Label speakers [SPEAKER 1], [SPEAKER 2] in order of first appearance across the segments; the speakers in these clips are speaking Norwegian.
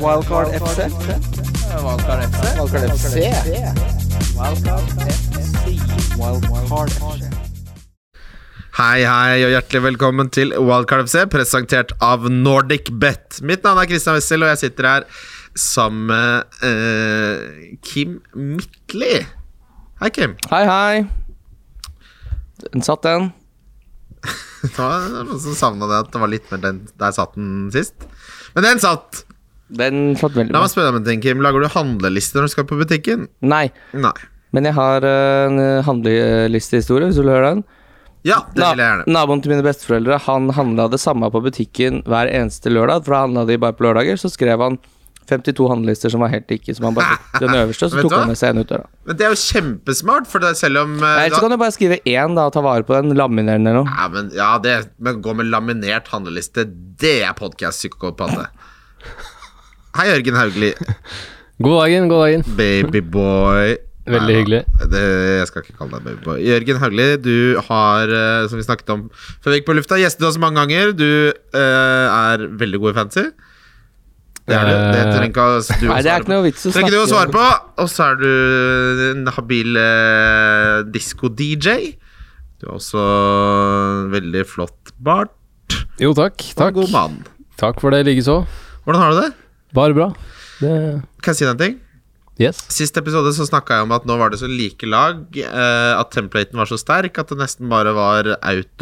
[SPEAKER 1] Wildcard FC.
[SPEAKER 2] Valgkar FC.
[SPEAKER 1] Wildcard FC. Wildcard FC.
[SPEAKER 3] Hei, hei, og hjertelig velkommen til Wildcard FC, presentert av Nordic Bet. Mitt navn er Christian Wessel, og jeg sitter her sammen med eh, Kim Midtli. Hei, Kim.
[SPEAKER 2] Hei, hei. Den satt, den.
[SPEAKER 3] Det var noen som savna det at det var litt mer den der satt den sist. Men den satt!
[SPEAKER 2] Den satt veldig
[SPEAKER 3] La
[SPEAKER 2] bra.
[SPEAKER 3] meg spørre deg om en ting, Kim. Lager du handlelister når du skal på butikken?
[SPEAKER 2] Nei,
[SPEAKER 3] Nei.
[SPEAKER 2] men jeg har eh, en handlelistehistorie, hvis du vil høre den.
[SPEAKER 3] Ja, det vil jeg gjerne.
[SPEAKER 2] Na- Naboen til mine besteforeldre Han handla det samme på butikken hver eneste lørdag. For da handla de bare på lørdager. Så skrev han 52 handlelister som var helt like. Som han bare tok den øverste, så
[SPEAKER 3] Vet
[SPEAKER 2] tok
[SPEAKER 3] du hva?
[SPEAKER 2] han med seg en ut døra.
[SPEAKER 3] Men det er jo kjempesmart, for det er selv om eh,
[SPEAKER 2] Eller så
[SPEAKER 3] da-
[SPEAKER 2] kan du bare skrive én da, og ta vare på den. Laminere den eller noe.
[SPEAKER 3] ja, men, ja, det men gå med laminert handleliste, det er podkast-psykopate. Hei, Jørgen Hauglie.
[SPEAKER 4] God dagen, god dagen.
[SPEAKER 3] Babyboy. Nei,
[SPEAKER 4] Veldig hyggelig.
[SPEAKER 3] Det, jeg skal ikke kalle deg babyboy. Jørgen Hauglie, du har, eh, som vi snakket om før vi gikk på lufta, gjestet oss mange ganger. Du eh, er veldig god i fancy. Det er du. Det trenger ikke å- du å
[SPEAKER 2] Eh, Nei, det er
[SPEAKER 3] svare
[SPEAKER 2] ikke noe vits å
[SPEAKER 3] Trenger ikke du å
[SPEAKER 2] snakke
[SPEAKER 3] svare på. Og så er du en habil eh, disko-DJ. Du er også en veldig flott bart.
[SPEAKER 4] Jo, takk.
[SPEAKER 3] Og en
[SPEAKER 4] Takk,
[SPEAKER 3] god mann.
[SPEAKER 4] takk for det likeså.
[SPEAKER 3] Hvordan har du det?
[SPEAKER 4] Bare bra. Det,
[SPEAKER 3] Kan jeg si deg en ting?
[SPEAKER 4] yes.
[SPEAKER 3] Sist episode så snakka jeg om at nå var det så like lag, eh, at templaten var så sterk at det nesten bare var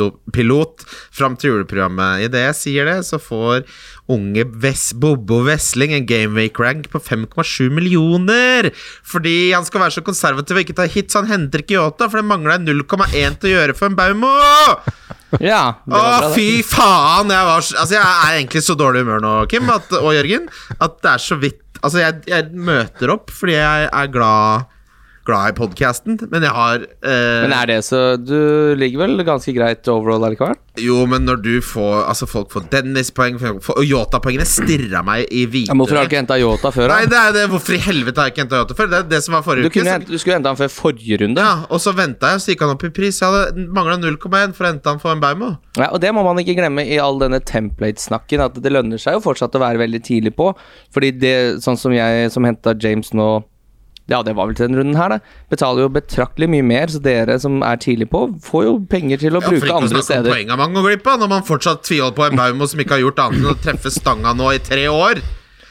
[SPEAKER 3] autopilot fram til juleprogrammet. Idet jeg sier det, så får unge Vess, Bobo Wesling en gameweek-rank på 5,7 millioner! Fordi han skal være så konservativ og ikke ta hits, så han henter ikke Yota, for det mangla 0,1 til å gjøre for en Baumo!
[SPEAKER 2] Ja, det
[SPEAKER 3] Å,
[SPEAKER 2] var bra, det.
[SPEAKER 3] fy faen! Jeg, var, så- altså, jeg er egentlig så dårlig i humør nå, Kim at, og Jørgen, at det er så vidt Altså, jeg, jeg møter opp fordi jeg er glad, glad i podkasten, men jeg har eh,
[SPEAKER 2] Men er det så Du ligger vel ganske greit overall allikevel?
[SPEAKER 3] Jo, men når du får Altså, folk får Dennis-poeng, folk får- og Yota-poengene stirra meg i hvite
[SPEAKER 2] Ja, men Hvorfor har du ikke henta Yota før?
[SPEAKER 3] Nei,
[SPEAKER 2] Da?
[SPEAKER 3] det er det. Hvorfor i helvete har jeg ikke henta Yota før? Det er det som var
[SPEAKER 2] Du,
[SPEAKER 3] forrige uke.
[SPEAKER 2] kunne,
[SPEAKER 3] så-
[SPEAKER 2] hent- du skulle hente han før forrige runde.
[SPEAKER 3] ja, og så venta jeg, så gikk han opp i pris. Jeg hadde mangla 0,1 for å hente han for en Baumo.
[SPEAKER 2] Ja, og det må man ikke glemme i all denne template-snakken, at det lønner seg jo fortsatt å være veldig tidlig på. Fordi det, sånn som jeg som henta James nå Ja, det var vel til den runden her, da. Betaler jo betraktelig mye mer, så dere som er tidlig på, får jo penger til å
[SPEAKER 3] Ja, for
[SPEAKER 2] bruke
[SPEAKER 3] ikke å
[SPEAKER 2] andre
[SPEAKER 3] snakke om
[SPEAKER 2] steder.
[SPEAKER 3] poenga man går glipp av når man fortsatt tviholder på en Baumo som ikke har gjort annet enn å treffe stanga nå i tre år.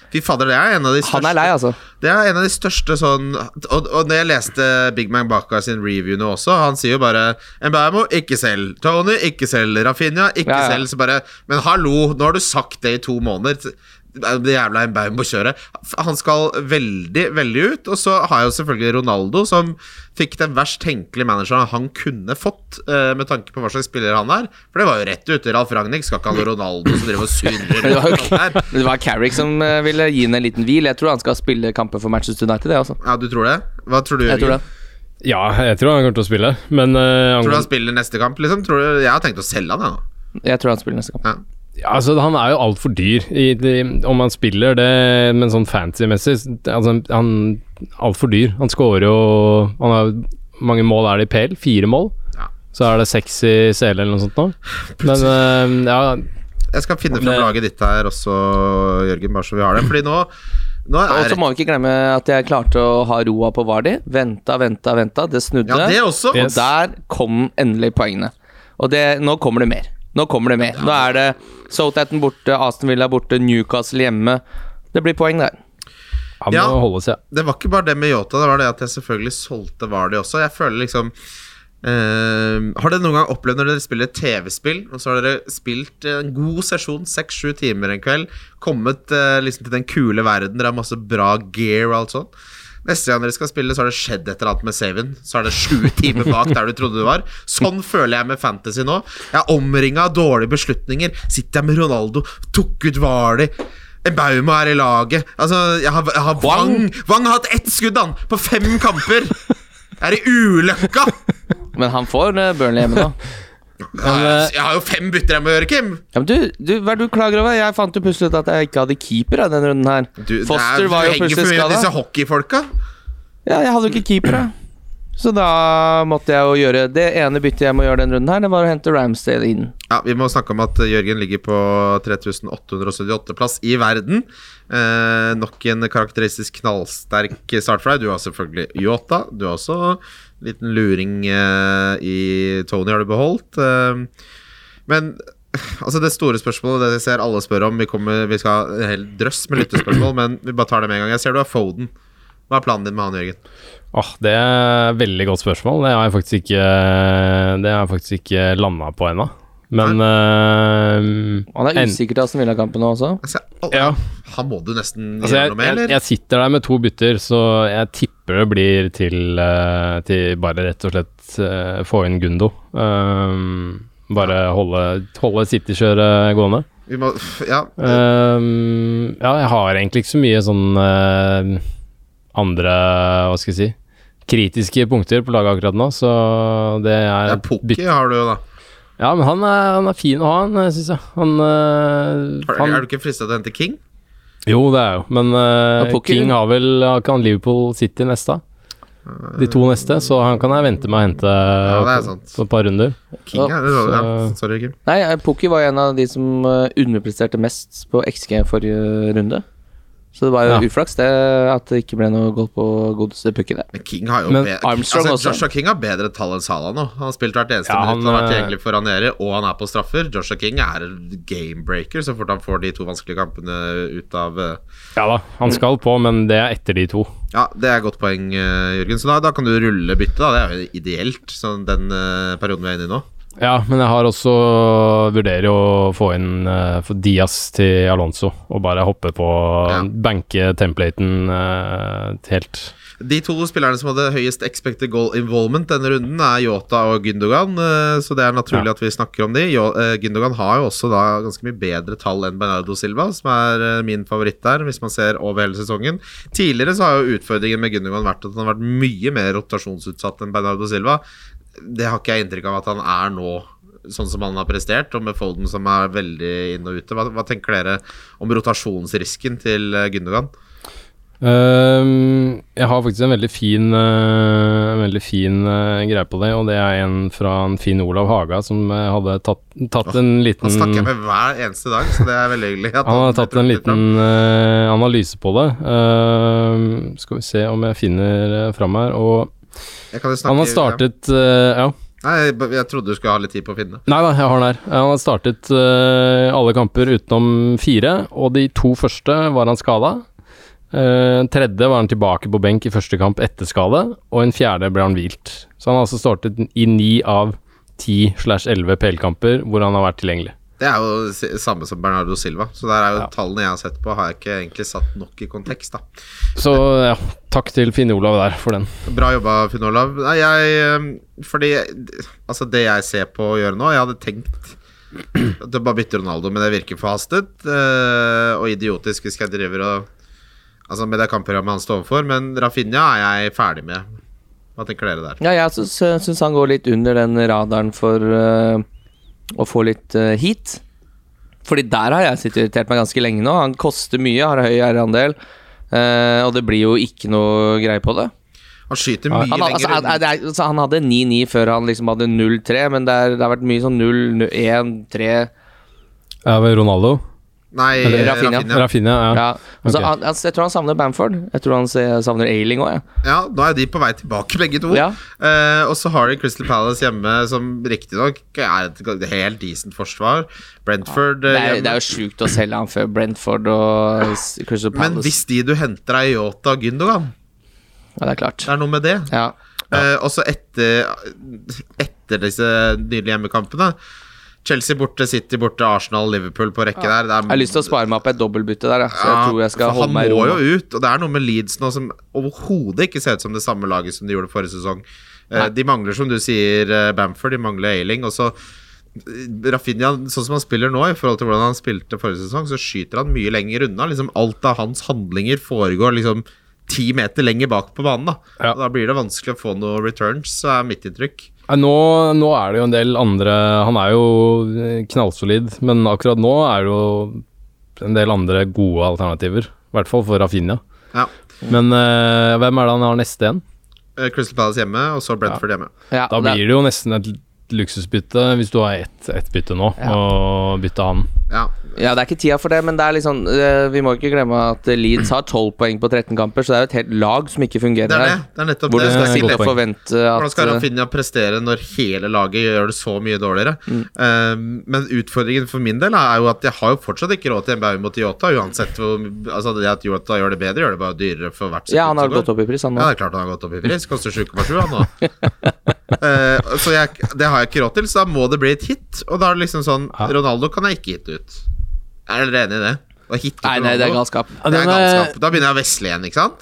[SPEAKER 3] Fy fader, det er en av de største
[SPEAKER 2] Han er lei, altså.
[SPEAKER 3] Det er en av de største sånn Og, og når jeg leste Big Man Baka sin review nå også, han sier jo bare En Baumo, ikke selg. Tony, ikke selg. Rafinha, ikke
[SPEAKER 2] Ja, ja.
[SPEAKER 3] selg. Så bare Men hallo, nå har du sagt det i to måneder. Det jævla en Baumo-kjøret. Han skal veldig, veldig ut. Og så har jeg jo selvfølgelig Ronaldo, som fikk den verst tenkelige manageren han kunne fått, eh, med tanke på hva slags spiller han er. For det var jo rett ute. Ralf Ragnhild skal ikke ha noe Ronaldo som driver og surrer
[SPEAKER 2] Det var, jo
[SPEAKER 3] rundt
[SPEAKER 2] ikke-
[SPEAKER 3] her.
[SPEAKER 2] det var Carrick som eh, ville gi henne en liten hvil. Jeg tror han skal spille kamper for Manchester United, det, altså.
[SPEAKER 3] Ja, du tror det? Hva tror du,
[SPEAKER 2] Jeg
[SPEAKER 3] Jørgen?
[SPEAKER 2] tror det.
[SPEAKER 4] Ja, jeg tror han kommer til å spille, men eh,
[SPEAKER 2] Mm.
[SPEAKER 3] Tror du han
[SPEAKER 4] han,
[SPEAKER 3] spiller neste kamp? Liksom? Tror du, jeg har tenkt å selge han, jeg nå.
[SPEAKER 2] Jeg tror han spiller neste kamp.
[SPEAKER 4] ja, altså, han er jo altfor dyr. I, i, om han spiller det, men sånn fancy-messig altså, Han er altfor dyr. Han scorer jo Han har hvor mange mål er det i PL? Fire mål?
[SPEAKER 3] Ja.
[SPEAKER 4] Så er det seks i CL eller noe sånt nå. Men eh, ja,
[SPEAKER 3] Jeg skal finne fram
[SPEAKER 4] Det-
[SPEAKER 3] laget ditt her også, Jørgen, bare så vi har det. Fordi nå, nå
[SPEAKER 2] Og
[SPEAKER 3] er
[SPEAKER 2] så må vi ikke glemme at jeg klarte å ha roa på Vardi. Venta, venta, venta. Det snudde.
[SPEAKER 3] Ja, det også.
[SPEAKER 2] Og der kom endelig poengene. Og det, nå kommer det mer. Nå kommer det mer. Nå er det Southampton borte, Aston Villa borte, Newcastle hjemme. Det blir poeng der.
[SPEAKER 4] han
[SPEAKER 3] Ja.
[SPEAKER 4] må holde seg.
[SPEAKER 3] Det var ikke bare det med Yota, det var det at jeg selvfølgelig solgte Vardy også. Jeg føler liksom eh, Har dere noen gang opplevd når dere spiller TV-spill, og så har dere spilt eh, en god sesjon, seks-sju timer en kveld, kommet eh, liksom til den kule verden, dere har masse bra gear og alt sånn. Neste gang dere skal spille, så har det skjedd et eller annet med saven. Så er det sju timer bak der du trodde du var. Sånn føler jeg med Fantasy nå. Jeg er omringa av dårlige beslutninger. Sitter jeg med Ronaldo, tok ut Vardy en Bauma er i laget. Altså, jeg har, jeg har Wang. Wang har hatt ett skudd, han! På fem kamper! Jeg er i ulykka!
[SPEAKER 2] Men han får eh, Burnley hjemme nå.
[SPEAKER 3] altså,
[SPEAKER 2] eh,
[SPEAKER 3] Jeg har jo fem bytter jeg må gjøre, Kim!
[SPEAKER 2] Ja, men du, du, hva er det du klager over? Jeg fant jo plutselig ut at jeg ikke hadde keeper i denne runden her.
[SPEAKER 3] Du, det er-
[SPEAKER 2] Foster var jo
[SPEAKER 3] du henger for
[SPEAKER 2] plutselig
[SPEAKER 3] mye med
[SPEAKER 2] skada.
[SPEAKER 3] disse hockeyfolka.
[SPEAKER 2] Ja, jeg hadde jo ikke keeper, jeg. Så da måtte jeg jo gjøre Det ene byttet jeg må gjøre den runden her, det var å hente Ramsdale inn.
[SPEAKER 3] Ja, Vi må snakke om at eh, Jørgen ligger på 3878. plass i verden. Eh, nok en karakteristisk knallsterk start for deg. Du har selvfølgelig Yota. Du har også en liten luring eh, i Tony, har du beholdt. Eh, men altså det store spørsmålet, det jeg ser alle spør om Vi, kommer, vi skal ha en hel drøss med lyttespørsmål, men vi bare tar det med en gang. Jeg ser du har Foden. Hva er planen din med han, Jørgen?
[SPEAKER 4] Åh, det er et veldig godt spørsmål. Det har jeg faktisk ikke, det har jeg faktisk ikke landa på ennå. Men eh,
[SPEAKER 2] Han er
[SPEAKER 4] en-
[SPEAKER 2] usikker til Aston Villa-kampen nå også.
[SPEAKER 3] Jeg ser, alle-
[SPEAKER 4] Ja.
[SPEAKER 3] Han må du nesten
[SPEAKER 4] Altså,
[SPEAKER 3] gjøre
[SPEAKER 4] jeg,
[SPEAKER 3] noe med,
[SPEAKER 4] jeg,
[SPEAKER 3] eller?
[SPEAKER 4] jeg sitter der med to bytter, så jeg tipper det blir til, eh, til bare rett og slett eh, få inn Gundo. Um, bare holde, holde City-kjøret gående.
[SPEAKER 3] Vi må, ja,
[SPEAKER 4] Um, ja, jeg har egentlig ikke så mye sånn eh, andre Hva skal jeg si kritiske punkter på laget akkurat nå, så det
[SPEAKER 3] ja,
[SPEAKER 4] er
[SPEAKER 3] Pukki har du jo, da.
[SPEAKER 4] Ja, men han er, han er fin å ha, han, syns jeg. Han, eh,
[SPEAKER 3] Har-
[SPEAKER 4] han
[SPEAKER 3] Er du ikke frista til å hente King?
[SPEAKER 4] Jo, det er jo, men eh,
[SPEAKER 2] Ja, Pukki.
[SPEAKER 4] King har vel har ikke han Liverpool City neste? De to neste, så han kan jeg vente med å hente
[SPEAKER 3] det er
[SPEAKER 4] på,
[SPEAKER 3] sant.
[SPEAKER 4] på et par runder.
[SPEAKER 3] King, ja. det var- ja.
[SPEAKER 4] så-
[SPEAKER 3] Sorry, Kim.
[SPEAKER 2] Nei, eh, Pukki var en av de som eh, underpresterte mest på XG forrige runde. Så det var jo
[SPEAKER 4] Ja.
[SPEAKER 2] uflaks det at det ikke ble noe gold på godeste Pukki der.
[SPEAKER 3] Men King har jo
[SPEAKER 4] Men
[SPEAKER 3] bedre
[SPEAKER 2] Armstrong
[SPEAKER 3] altså,
[SPEAKER 2] også.
[SPEAKER 3] Joshua King har bedre tall enn Salah nå. Han har spilt hvert eneste
[SPEAKER 4] Ja,
[SPEAKER 3] minutt. Han
[SPEAKER 4] han,
[SPEAKER 3] har vært
[SPEAKER 4] eh,
[SPEAKER 3] tilgjengelig for Ranieri, og han er på straffer. Joshua King er en gamebreaker så fort han får de to vanskelige kampene ut av eh,
[SPEAKER 4] Ja da, han skal på, men det er etter de to.
[SPEAKER 3] Ja, det er et godt poeng, eh, Jørgen. Så da, da kan du rulle byttet, da. Det er jo ideelt, sånn den eh, perioden vi er inne i nå.
[SPEAKER 4] Ja, men jeg har også vurderer jo å få inn eh, få Diaz til Alonso, og bare hoppe på
[SPEAKER 3] Ja.
[SPEAKER 4] banke templaten eh, helt.
[SPEAKER 3] De to spillerne som hadde høyest expected goal involvement denne runden, er Yota og Gündogan, eh, så det er naturlig
[SPEAKER 4] Ja.
[SPEAKER 3] at vi snakker om de. Jo- eh, Gündogan har jo også da ganske mye bedre tall enn Bernardo Silva, som er eh, min favoritt der, hvis man ser over hele sesongen. Tidligere så har jo utfordringen med Gündogan vært at han har vært mye mer rotasjonsutsatt enn Bernardo Silva. Det har ikke jeg inntrykk av at han er nå, sånn som han har prestert, og med Foden som er veldig inn og ute. Hva, hva tenker dere om rotasjonsrisken til eh, Gündogan?
[SPEAKER 4] Ehm, jeg har faktisk en veldig fin, eh, en veldig fin eh, greie på det, og det er en fra en fin Olav Haga som eh, hadde tatt, tatt en liten
[SPEAKER 3] Han snakker jeg med hver eneste dag, så det er veldig hyggelig. at
[SPEAKER 4] Mm. Han har tatt en
[SPEAKER 3] trekker fram.
[SPEAKER 4] liten eh, analyse på det. Ehm, skal vi se om jeg finner eh, fram her. Og
[SPEAKER 3] Jeg kan jo snakke-
[SPEAKER 4] han har startet eh, Ja.
[SPEAKER 3] Nei, jeg, b- jeg trodde du skulle ha litt tid på å finne.
[SPEAKER 4] Nei da, jeg har den her. Han har startet eh, alle kamper utenom fire, og de to første var han skada. Eh, tredje var han tilbake på benk i første kamp etter skade, og en fjerde ble han hvilt. Så han har altså startet i ni av ti slash elleve PL-kamper hvor han har vært tilgjengelig.
[SPEAKER 3] Det er jo s- samme som Bernardo Silva, så der er jo
[SPEAKER 4] Ja.
[SPEAKER 3] tallene jeg har sett på, har jeg ikke egentlig satt nok i kontekst, da.
[SPEAKER 4] Så ja, takk til Finn-Olav der for den.
[SPEAKER 3] Bra jobba, Finn Olav. Nei, jeg øhm, Fordi Altså, det jeg ser på å gjøre nå Jeg hadde tenkt at jeg bare bytter Ronaldo, men det virker forhastet øh, og idiotisk hvis jeg driver og Altså, med det kampprogrammet han står overfor, men Rafinha er jeg ferdig med. Hva tenker dere der?
[SPEAKER 2] Ja, jeg syns, syns han går litt under den radaren for eh, å få litt eh, heat. Fordi der har jeg sittet og irritert meg ganske lenge nå. Han koster mye, har høy R-andel. eh, og det blir jo ikke noe greie på det.
[SPEAKER 3] Han skyter mye
[SPEAKER 2] Han,
[SPEAKER 3] lenger
[SPEAKER 2] altså,
[SPEAKER 3] unna.
[SPEAKER 2] han, det er- altså, han hadde 9-9 før han liksom hadde 0-3, men det, er, det har vært mye sånn 0-1-3
[SPEAKER 4] Er det Ronaldo?
[SPEAKER 3] Nei,
[SPEAKER 2] Eller
[SPEAKER 3] Rafinha.
[SPEAKER 2] Rafinha.
[SPEAKER 4] Rafinha, ja.
[SPEAKER 2] Ja. Altså,
[SPEAKER 4] Ok.
[SPEAKER 2] han, altså, jeg tror han savner Bamford. Jeg tror han ser- savner Ailing òg, jeg.
[SPEAKER 3] Ja, nå er de på vei tilbake, begge to.
[SPEAKER 2] Ja.
[SPEAKER 3] Eh, og så har de Crystal Palace hjemme, som riktignok er et g- helt decent forsvar. Brentford
[SPEAKER 2] Det
[SPEAKER 3] eh,
[SPEAKER 2] er,
[SPEAKER 3] hjemme.
[SPEAKER 2] det er jo sjukt å selge han før Brentford og s- Crystal Palace.
[SPEAKER 3] Men hvis de du henter er Yota og Gündogan,
[SPEAKER 2] Ja, det er klart.
[SPEAKER 3] det er noe med det.
[SPEAKER 2] Ja.
[SPEAKER 3] Eh, og så etter, etter disse nydelige hjemmekampene Chelsea borte, City borte, Arsenal, Liverpool på rekke der. Det er,
[SPEAKER 2] Jeg har lyst til å spare meg opp et dobbeltbytte der, jeg. så jeg
[SPEAKER 3] Ja,
[SPEAKER 2] tror jeg skal
[SPEAKER 3] for
[SPEAKER 2] holde meg i
[SPEAKER 3] Han
[SPEAKER 2] ro. nå.
[SPEAKER 3] må jo ut, og det er noe med Leeds nå som overhodet ikke ser ut som det samme laget som de gjorde forrige sesong. Eh,
[SPEAKER 2] Nei.
[SPEAKER 3] De mangler, som du sier, eh, Bamford, de mangler Ailing. Og så eh, Rafinha, sånn som han spiller nå, i forhold til hvordan han spilte forrige sesong, så skyter han mye lenger unna. Liksom Alt av hans handlinger foregår liksom ti meter lenger bak på banen. Da
[SPEAKER 4] Ja.
[SPEAKER 3] Og da blir det vanskelig å få noe returns, så er mitt inntrykk.
[SPEAKER 4] Nei, Nå, nå er det jo en del andre Han er jo eh, knallsolid, men akkurat nå er det jo en del andre gode alternativer. I hvert fall for Rafinha.
[SPEAKER 3] Ja.
[SPEAKER 4] Men eh, hvem er det han har neste igjen?
[SPEAKER 3] eh, Crystal Palace hjemme, og så Brentford hjemme.
[SPEAKER 2] Ja,
[SPEAKER 4] Da
[SPEAKER 2] og det-
[SPEAKER 4] blir det jo nesten et luksusbytte hvis du har ett ett bytte nå,
[SPEAKER 2] Ja.
[SPEAKER 4] og bytte han.
[SPEAKER 3] Ja.
[SPEAKER 2] Ja, det er ikke tida for det, men det er litt sånn, eh, vi må ikke glemme at Leeds har 12 poeng på 13 kamper, så det er jo et helt lag som ikke fungerer
[SPEAKER 3] Det er det.
[SPEAKER 2] her.
[SPEAKER 3] Det er nettopp
[SPEAKER 2] Hvor du
[SPEAKER 3] det.
[SPEAKER 2] skal
[SPEAKER 3] det er
[SPEAKER 2] sitte
[SPEAKER 3] ikke
[SPEAKER 4] godt
[SPEAKER 2] og
[SPEAKER 4] poeng.
[SPEAKER 2] forvente
[SPEAKER 3] Hvordan skal
[SPEAKER 2] at eh, Mm.
[SPEAKER 3] Rafinha prestere når hele laget gjør det så mye dårligere? Eh, men utfordringen for min del er jo at jeg har jo fortsatt ikke råd til MBAU mot Yota. Uansett hvor altså det at Yota gjør det bedre, gjør det bare dyrere for hvert sekund.
[SPEAKER 2] Ja, han har
[SPEAKER 3] som går.
[SPEAKER 2] gått opp i pris, han
[SPEAKER 3] Ja,
[SPEAKER 2] nå.
[SPEAKER 3] det er klart han har gått opp i pris. Koster 7,7 han nå. Eh, så jeg, det har jeg ikke råd til, så da må det bli et hit. Og da er det liksom sånn
[SPEAKER 4] Ja.
[SPEAKER 3] Ronaldo kan jeg ikke hitte ut. Er dere enig i det? Å hitte ut
[SPEAKER 2] Nei, nei, det er
[SPEAKER 3] Ronaldo?
[SPEAKER 2] galskap.
[SPEAKER 4] Ja,
[SPEAKER 3] Det er
[SPEAKER 4] den er-
[SPEAKER 3] galskap. Da begynner jeg å vesle igjen, ikke sant?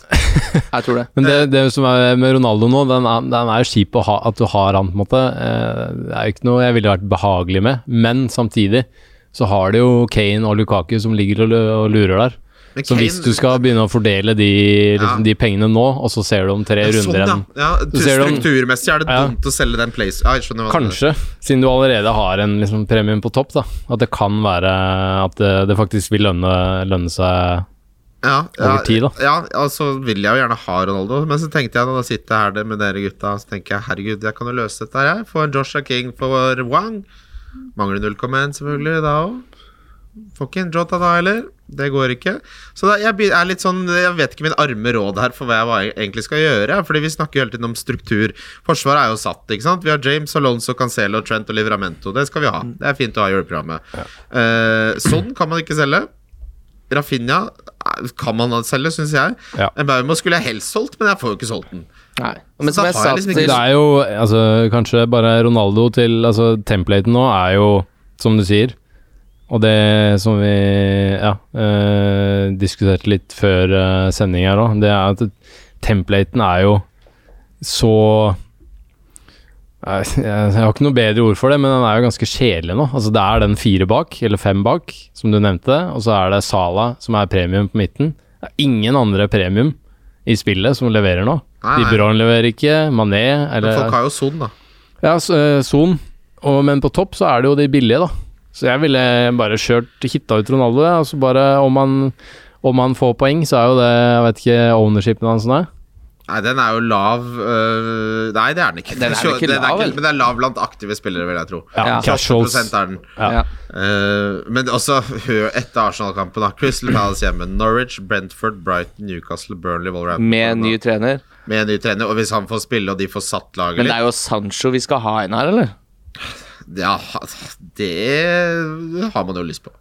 [SPEAKER 2] Jeg tror det.
[SPEAKER 4] Men det, det som er med Ronaldo nå, den er, den er jo kjip å ha, at du har han, på en måte. Eh, Det er jo ikke noe jeg ville vært behagelig med, men samtidig så har du jo Kane og Lukaku som ligger og lu- og lurer der.
[SPEAKER 3] Men
[SPEAKER 4] Så
[SPEAKER 3] Kane-
[SPEAKER 4] hvis du skal begynne å fordele de, liksom,
[SPEAKER 3] Ja.
[SPEAKER 4] de pengene nå, og så ser du om tre
[SPEAKER 3] Ja,
[SPEAKER 4] runder
[SPEAKER 3] sånn, ja.
[SPEAKER 4] igjen
[SPEAKER 3] ja.
[SPEAKER 4] Så ser du om-
[SPEAKER 3] Strukturmessig er det
[SPEAKER 4] Ja.
[SPEAKER 3] dumt å selge den place... Ja, jeg skjønner hva du mener.
[SPEAKER 4] Kanskje, siden du allerede har en liksom, premium på topp, da. At det kan være at det, det faktisk vil lønne, lønne seg
[SPEAKER 3] ja, ja,
[SPEAKER 4] over tid, da.
[SPEAKER 3] Ja, altså vil jeg jo gjerne ha Ronaldo, men så tenkte jeg når jeg sitter her det med dere gutta, så tenker jeg herregud, jeg kan jo løse dette her, jeg. Får Joshua King for Wang. Mangler 0,1 selvfølgelig da òg. Får ikke en Jota da heller. Det går ikke. Så da, jeg be- er litt sånn Jeg vet ikke min arme råd her for hva jeg var- egentlig skal gjøre. Fordi vi snakker jo hele tiden om struktur. Forsvaret er jo satt, ikke sant. Vi har James, Alonso, Cancelo, Trent og Livramento. Det skal vi
[SPEAKER 4] Mm.
[SPEAKER 3] ha. Det er fint å ha i juleprogrammet. Eh, sånn kan man ikke selge. Rafinha eh, kan man selge, syns jeg.
[SPEAKER 4] Ja.
[SPEAKER 3] En Baumo skulle jeg helst solgt, men jeg får jo ikke solgt den.
[SPEAKER 2] Nei. Men
[SPEAKER 3] Så
[SPEAKER 2] som
[SPEAKER 3] da
[SPEAKER 2] jeg
[SPEAKER 3] har
[SPEAKER 2] sa
[SPEAKER 3] jeg liksom
[SPEAKER 2] til
[SPEAKER 4] Det er jo altså, kanskje bare Ronaldo til altså, Templaten nå er jo, som du sier Og det som vi ja, eh, diskuterte litt før eh, sending her òg, det er at templaten er jo så Nei, jeg, jeg har ikke noe bedre ord for det, men den er jo ganske kjedelig nå. Altså, det er den fire bak, eller fem bak, som du nevnte, og så er det Sala som er premium på midten. Det er ingen andre premium i spillet som leverer nå.
[SPEAKER 3] Nei,
[SPEAKER 4] De
[SPEAKER 3] nei.
[SPEAKER 4] Bruyne leverer ikke, Mané
[SPEAKER 3] Men folk
[SPEAKER 4] eller
[SPEAKER 3] har jo Son, da.
[SPEAKER 4] Ja, s- eh, Son. Og, men på topp så er det jo de billige, da. Så jeg ville bare kjørt hitta ut Ronaldo, ja, og så bare om han, om han får poeng, så er jo det Jeg vet ikke ownershipen hans nå.
[SPEAKER 3] Nei, den er jo lav øh, Nei, det er den ikke.
[SPEAKER 2] Den er vel ikke lav, vel?
[SPEAKER 3] men den er lav blant aktive spillere, vil jeg tro.
[SPEAKER 4] Ja,
[SPEAKER 2] Ja.
[SPEAKER 3] 8%
[SPEAKER 4] casuals.
[SPEAKER 3] er den.
[SPEAKER 4] Ja.
[SPEAKER 2] ja.
[SPEAKER 3] Eh, men også hør etter Arsenal-kampen, da. Crystal Palace hjemme. Norwich, Brentford, Brighton, Newcastle, Burnley, Wolverhampton.
[SPEAKER 2] Med en ny trener.
[SPEAKER 3] Med en ny trener. Og hvis han får spille, og de får satt laget
[SPEAKER 2] Men det
[SPEAKER 3] litt
[SPEAKER 2] er jo Sancho vi skal ha inn her, eller?
[SPEAKER 3] Ja, det har man jo lyst på.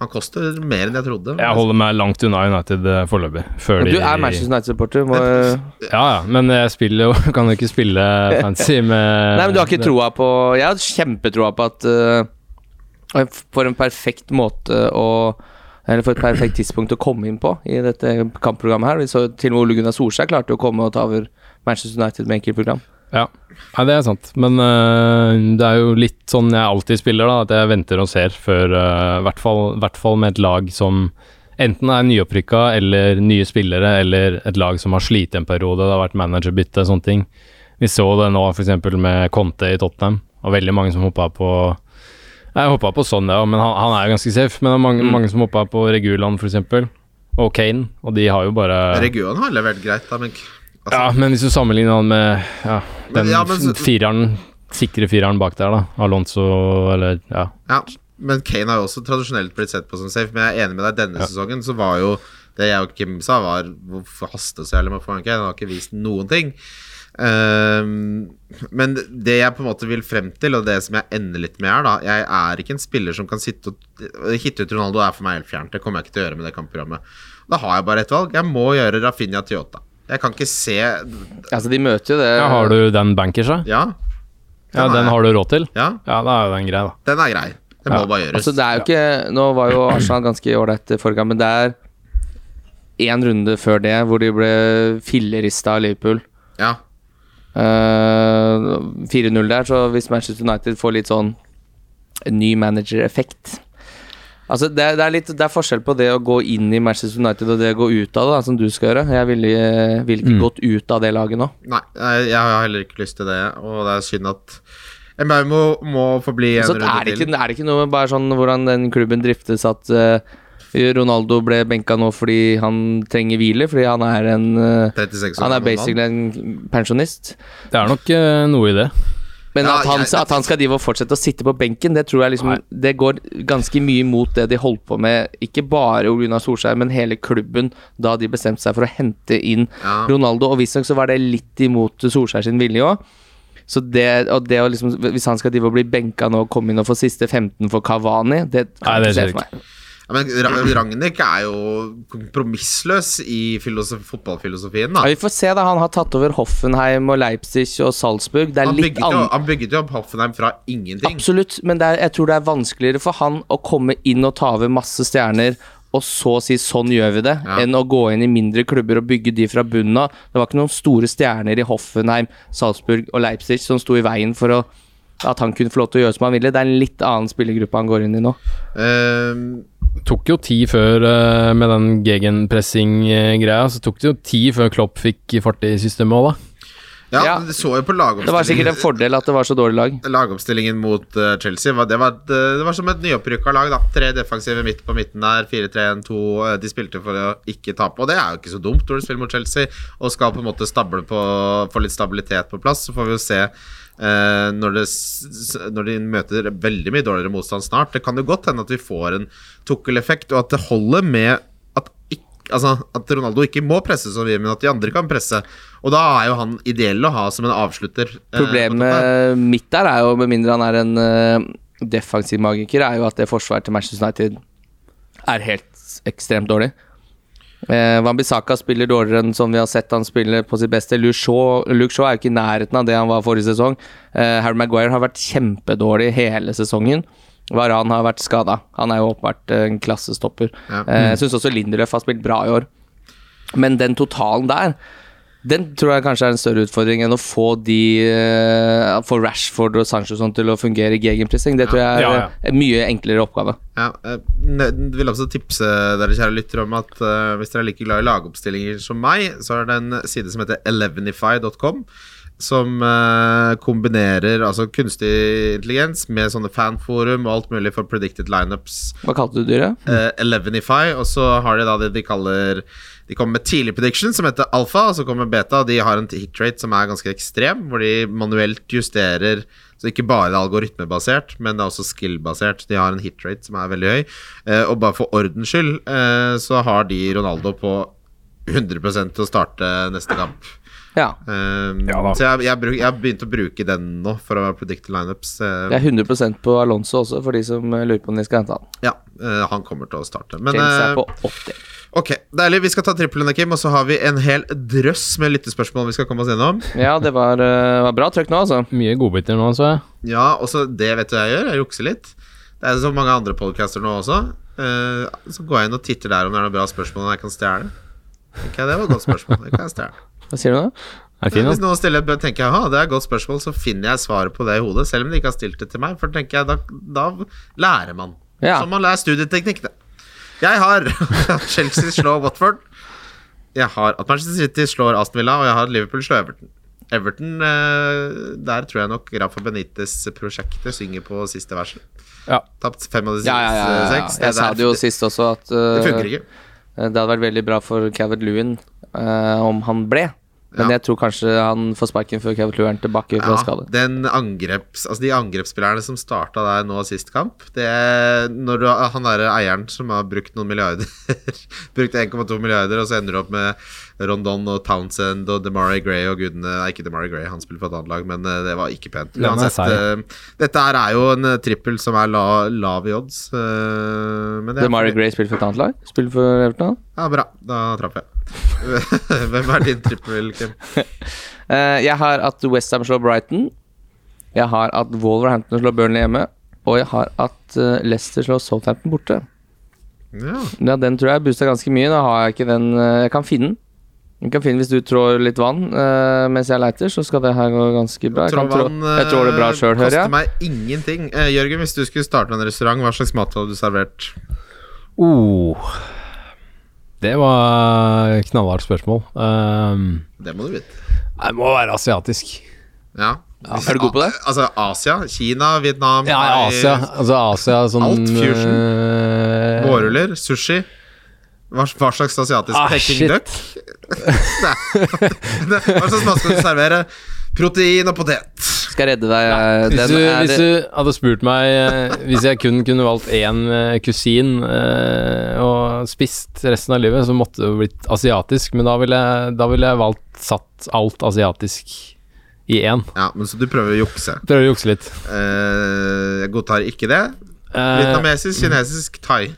[SPEAKER 3] Han koster mer enn jeg trodde.
[SPEAKER 4] Jeg holder meg langt unna United eh, foreløpig. Før
[SPEAKER 2] Men
[SPEAKER 4] de
[SPEAKER 2] du er Manchester United-supporter. må- Nei,
[SPEAKER 4] Ja, ja, men jeg spiller jo Kan jo ikke spille fancy med
[SPEAKER 2] men du har ikke troa på Jeg har kjempetroa på at eh, For en perfekt måte å Eller for et perfekt tidspunkt å komme inn på i dette kampprogrammet her. Vi så til og med Ole Gunnar Solskjær klarte jo å komme og ta over Manchester United med enkeltprogram.
[SPEAKER 4] Ja. Nei, det er sant. Men øh, det er jo litt sånn jeg alltid spiller, da. At jeg venter og ser før øh, hvert fall, hvert fall med et lag som enten er nyopprykka eller nye spillere, eller et lag som har slitt en periode. Det har vært managerbytte, sånne ting. Vi så det nå f.eks. med Conte i Tottenham, og veldig mange som hoppa på Jeg hoppa på Sonja, men han, han er jo ganske safe. Men det er mange, mange som hoppa på Reguland f.eks., og Kane, og de har jo bare
[SPEAKER 3] Regionen har levert greit, da, men altså,
[SPEAKER 4] ja, men hvis du sammenligner han med ja,
[SPEAKER 3] Men-
[SPEAKER 4] den
[SPEAKER 3] ja, men så-
[SPEAKER 4] fireren, sikre fireren bak der, da. Alonso eller ja.
[SPEAKER 3] Ja, men Kane har jo også tradisjonelt blitt sett på som safe. Men jeg er enig med deg, denne sesongen så var jo det jeg og Kim sa, var hvorfor haste så jævlig med å få han Kane? Han har ikke vist noen ting. Ehm, men det jeg på en måte vil frem til, og det som jeg ender litt med her, da Jeg er ikke en spiller som kan sitte og hitte ut Ronaldo, er for meg helt fjernt. Det kommer jeg ikke til å gjøre med det kampprogrammet. Da har jeg bare ett valg. Jeg må gjøre Rafinha Toyota. Jeg kan ikke se
[SPEAKER 2] Altså, de møter jo det
[SPEAKER 3] Eh,
[SPEAKER 4] ja. Har du den bankers, da?
[SPEAKER 3] Ja,
[SPEAKER 4] Ja,
[SPEAKER 3] har
[SPEAKER 4] den
[SPEAKER 3] jeg.
[SPEAKER 4] har du råd til?
[SPEAKER 3] ja
[SPEAKER 4] Ja, da er jo den grei, da.
[SPEAKER 3] den er grei. Det må bare gjøres.
[SPEAKER 2] Altså, det er jo ikke Nå var jo Arsenal ganske ålreit forrige gang, men det er én runde før det hvor de ble fillerista av Liverpool.
[SPEAKER 3] ja.
[SPEAKER 2] Eh, 4-0 der, så hvis Manchester United får litt sånn en ny manager-effekt Altså, det, er- det, er litt, det er forskjell på det å gå inn i Manchester United og det å gå ut av det, da, som du skal gjøre. Jeg ville vil ikke gått ut av det laget nå.
[SPEAKER 3] Nei, jeg jeg har heller ikke lyst til det, og det er synd at Mbaumo må, må få bli en
[SPEAKER 2] Så er
[SPEAKER 3] runde
[SPEAKER 2] det, ikke,
[SPEAKER 3] til.
[SPEAKER 2] er det ikke noe med bare sånn hvordan den klubben driftes, at eh, Ronaldo ble benka nå fordi han trenger hvile, fordi han er en eh,
[SPEAKER 3] 36 år
[SPEAKER 2] Han er
[SPEAKER 3] gammel mann.
[SPEAKER 2] basically en pensjonist.
[SPEAKER 4] Det er nok eh, noe i det.
[SPEAKER 2] Men
[SPEAKER 3] Ja,
[SPEAKER 2] at, han,
[SPEAKER 3] jeg-
[SPEAKER 2] at han skal drive og fortsette å sitte på benken, det tror jeg liksom Det går ganske mye mot det de holdt på med, ikke bare Ole Gunnar Solskjær, men hele klubben, da de bestemte seg for å hente inn
[SPEAKER 3] Ja.
[SPEAKER 2] Ronaldo. Og visstnok så var det litt imot Solskjær sin vilje òg. Så det, og det å liksom Hvis han skal drive og bli benka nå og komme inn og få siste 15 for Kavani, det
[SPEAKER 4] Nei,
[SPEAKER 2] kan
[SPEAKER 4] det
[SPEAKER 2] ikke skje
[SPEAKER 4] skjer
[SPEAKER 2] for meg.
[SPEAKER 3] Ja, men Ra- Ragnhild er jo kompromissløs i filosof fotballfilosofien.
[SPEAKER 2] Ja,
[SPEAKER 3] da
[SPEAKER 2] vi får se, da. Han har tatt over Hoffenheim og Leipzig og Salzburg. Det er
[SPEAKER 3] han
[SPEAKER 2] litt
[SPEAKER 3] bygget, jo,
[SPEAKER 2] annet
[SPEAKER 3] han bygget jo opp Hoffenheim fra ingenting.
[SPEAKER 2] Absolutt, men det er, jeg tror det er vanskeligere for han å komme inn og ta over masse stjerner, og så si 'sånn gjør vi det',
[SPEAKER 3] Ja.
[SPEAKER 2] enn å gå inn i mindre klubber og bygge de fra bunnen av. Det var ikke noen store stjerner i Hoffenheim, Salzburg og Leipzig som sto i veien for å, at han kunne få lov til å gjøre som han ville. Det er en litt annen spillergruppe han går inn i nå.
[SPEAKER 3] Ehm,
[SPEAKER 4] tok jo tid før eh, med den gegenpressing-greia, så tok det jo tid før Klopp fikk fart i systemet òg, da.
[SPEAKER 3] ja,
[SPEAKER 2] Ja.
[SPEAKER 3] men du så jo på
[SPEAKER 2] Det var sikkert en
[SPEAKER 3] lagoppstillingen,
[SPEAKER 2] fordel at det var så dårlig lag.
[SPEAKER 3] lagoppstillingen mot eh, Chelsea. var- Det var, et, eh, det var som et nyopprykka lag. da Tre defensive midt på midten der, 4-3-1-2. eh, De spilte for å ikke tape, og det er jo ikke så dumt når du spiller mot Chelsea og skal på en måte stable på, få litt stabilitet på plass. Så får vi jo se eh, når, det, s- s- når de møter veldig mye dårligere motstand snart. Det kan jo godt hende at vi får en tukkeleffekt, og at det holder med at ikke Altså, at Ronaldo ikke må presse så mye, men at de andre kan presse. Og da er jo han ideell å ha som en avslutter. eh, på toppen der.
[SPEAKER 2] Problemet mitt der er jo, med mindre han er en eh, defensiv magiker, er jo at det forsvaret til Manchester United er helt ekstremt dårlig. Uh, Wambisaka spiller dårligere enn som vi har sett han spille på sitt beste. Luke Shaw, Luke Shaw er jo ikke i nærheten av det han var forrige sesong. Eh, Harry Maguire har vært kjempedårlig hele sesongen. Varan har vært skada. Han er jo åpenbart eh, en klassestopper.
[SPEAKER 3] Ja.
[SPEAKER 2] Eh, Jeg syns også Linderlöf har spilt bra i år. Men den totalen der, den tror jeg kanskje er en større utfordring enn å få de eh, Få Rashford og Sanchez og sånn til å fungere i gegenpressing. Det tror jeg er
[SPEAKER 4] Ja, ja.
[SPEAKER 2] eh, en mye enklere oppgave.
[SPEAKER 3] Ja, eh, ne- vil også tipse dere kjære lyttere om at eh, hvis dere er like glad i lagoppstillinger som meg, så er det en side som heter elevenify.com. Som eh, kombinerer altså kunstig intelligens med sånne fanforum og alt mulig for predicted lineups.
[SPEAKER 2] Hva kalte du dyret?
[SPEAKER 3] Eh, Elevenify, og så har de da det de kaller De kommer med tidlig prediction, som heter alfa, og så kommer beta, og de har en hit rate som er ganske ekstrem, hvor de manuelt justerer så ikke bare det er algoritmebasert, men det er også skill-basert. De har en hit rate som er veldig høy. Eh, og bare for ordens skyld eh, så har de Ronaldo på 100 til å starte neste kamp.
[SPEAKER 2] Ja.
[SPEAKER 3] Eh,
[SPEAKER 4] Ja da.
[SPEAKER 3] så jeg, jeg, bruk, jeg har begynt å bruke den nå for å predicte lineups. Eh,
[SPEAKER 2] Det er 100 på Alonso også, for de som eh, lurer på om de skal hente han.
[SPEAKER 3] ja, eh, han kommer til å starte. Men
[SPEAKER 2] James er
[SPEAKER 3] eh,
[SPEAKER 2] på 80.
[SPEAKER 3] Ok, deilig. Vi skal ta triplene, Kim, og så har vi en hel drøss med lyttespørsmål vi skal komme oss gjennom.
[SPEAKER 2] Ja, det var, eh, var bra trøkk nå, altså.
[SPEAKER 4] Mye godbiter nå, så jeg.
[SPEAKER 3] Ja, også det vet du jeg gjør. Jeg jukser litt. Det er så mange andre podcaster nå også. Eh, så går jeg inn og titter der om det er noen bra spørsmål jeg kan stjele. Ok, det var et godt spørsmål. Det kan jeg stjele.
[SPEAKER 2] Hva sier du nå?
[SPEAKER 4] Er fin,
[SPEAKER 3] Hvis
[SPEAKER 4] altså.
[SPEAKER 3] noen stiller et tenker jeg, «Ha, det er et godt spørsmål, så finner jeg svaret på det i hodet. Selv om de ikke har stilt det til meg, for tenker jeg, da, da lærer man.
[SPEAKER 2] Ja.
[SPEAKER 3] Som man lærer studieteknikk, det. Jeg har at Chelsea slår Watford. Jeg har at Manchester City slår Aston Villa, og jeg har at Liverpool slår Everton. Everton, eh, der tror jeg nok Rafa Benitez prosjektet synger på siste verset.
[SPEAKER 4] Ja.
[SPEAKER 3] Tapt fem av de siste
[SPEAKER 2] Ja, ja, ja, ja, ja.
[SPEAKER 3] seks.
[SPEAKER 2] Jeg sa
[SPEAKER 3] der-
[SPEAKER 2] det jo sist også, at eh,
[SPEAKER 3] Det funker ikke.
[SPEAKER 2] Eh, Det hadde vært veldig bra for Cavett Lewin eh, om han ble. Men jeg
[SPEAKER 3] Ja.
[SPEAKER 2] tror kanskje han får sparken før Cavett Lewin er tilbake fra
[SPEAKER 3] Ja,
[SPEAKER 2] skade.
[SPEAKER 3] den angreps, altså de angrepsspillerne som starta der nå sist kamp det, Når du, han der eieren som har brukt noen milliarder Brukt 1,2 milliarder, og så ender du opp med Rondon og Townsend og Demarai Gray og gudene Nei, ikke Demarai Gray, han spiller på et annet lag, men eh, det var ikke pent.
[SPEAKER 4] Den er
[SPEAKER 3] Uansett,
[SPEAKER 4] seig.
[SPEAKER 3] eh, dette her er jo en eh, trippel som er la, lav i odds. eh, men det
[SPEAKER 2] The
[SPEAKER 3] er
[SPEAKER 2] Mari Gray spiller for et annet lag? Spiller for Everton? han?
[SPEAKER 3] Ja, bra. Da traff jeg. Hvem er din trippel, Kim?
[SPEAKER 2] Eh, jeg har at Westham slår Brighton. Jeg har at Wolverhampton slår Burnley hjemme. Og jeg har at eh, Leicester slår Southampton borte.
[SPEAKER 3] Ja.
[SPEAKER 2] Ja, Den tror jeg boosta ganske mye. Da har jeg ikke den eh, Jeg kan finne den. Jeg kan finne den Hvis du trår litt vann eh, mens jeg leiter, så skal det her gå ganske bra. Jeg, kan trå,
[SPEAKER 3] Tråvann
[SPEAKER 2] jeg trår det bra sjøl, hører jeg.
[SPEAKER 3] eh, koster meg ingenting. Eh, Jørgen, hvis du skulle starte en restaurant, hva slags mat hadde du servert?
[SPEAKER 4] Oh. Det var knallhardt spørsmål. Ehm,
[SPEAKER 3] Det må du vite.
[SPEAKER 4] det må være asiatisk.
[SPEAKER 3] Ja.
[SPEAKER 2] Er du god på det?
[SPEAKER 3] Altså Asia, Kina, Vietnam
[SPEAKER 4] Ja, i Asia. Altså Asia sånn
[SPEAKER 3] Alt fusion.
[SPEAKER 4] eh,
[SPEAKER 3] Vårruller, sushi hva, hva slags asiatisk
[SPEAKER 4] Ah,
[SPEAKER 3] Peking
[SPEAKER 4] shit.
[SPEAKER 3] duck? Nei. Hva slags mat skal du servere? Protein og potet.
[SPEAKER 2] Skal jeg redde deg. eh, Den
[SPEAKER 4] Hvis du,
[SPEAKER 2] er-
[SPEAKER 4] hvis du hadde spurt meg eh, Hvis jeg kun kunne valgt én eh, kusin eh, og spist resten av livet, så måtte det jo blitt asiatisk, men da ville jeg, da ville jeg valgt satt alt asiatisk i én.
[SPEAKER 3] Ja, men Så du prøver å jukse.
[SPEAKER 4] Prøver å jukse litt.
[SPEAKER 3] Eh, jeg godtar ikke det.
[SPEAKER 4] Eh,
[SPEAKER 3] Vietnamesisk, kinesisk, thai.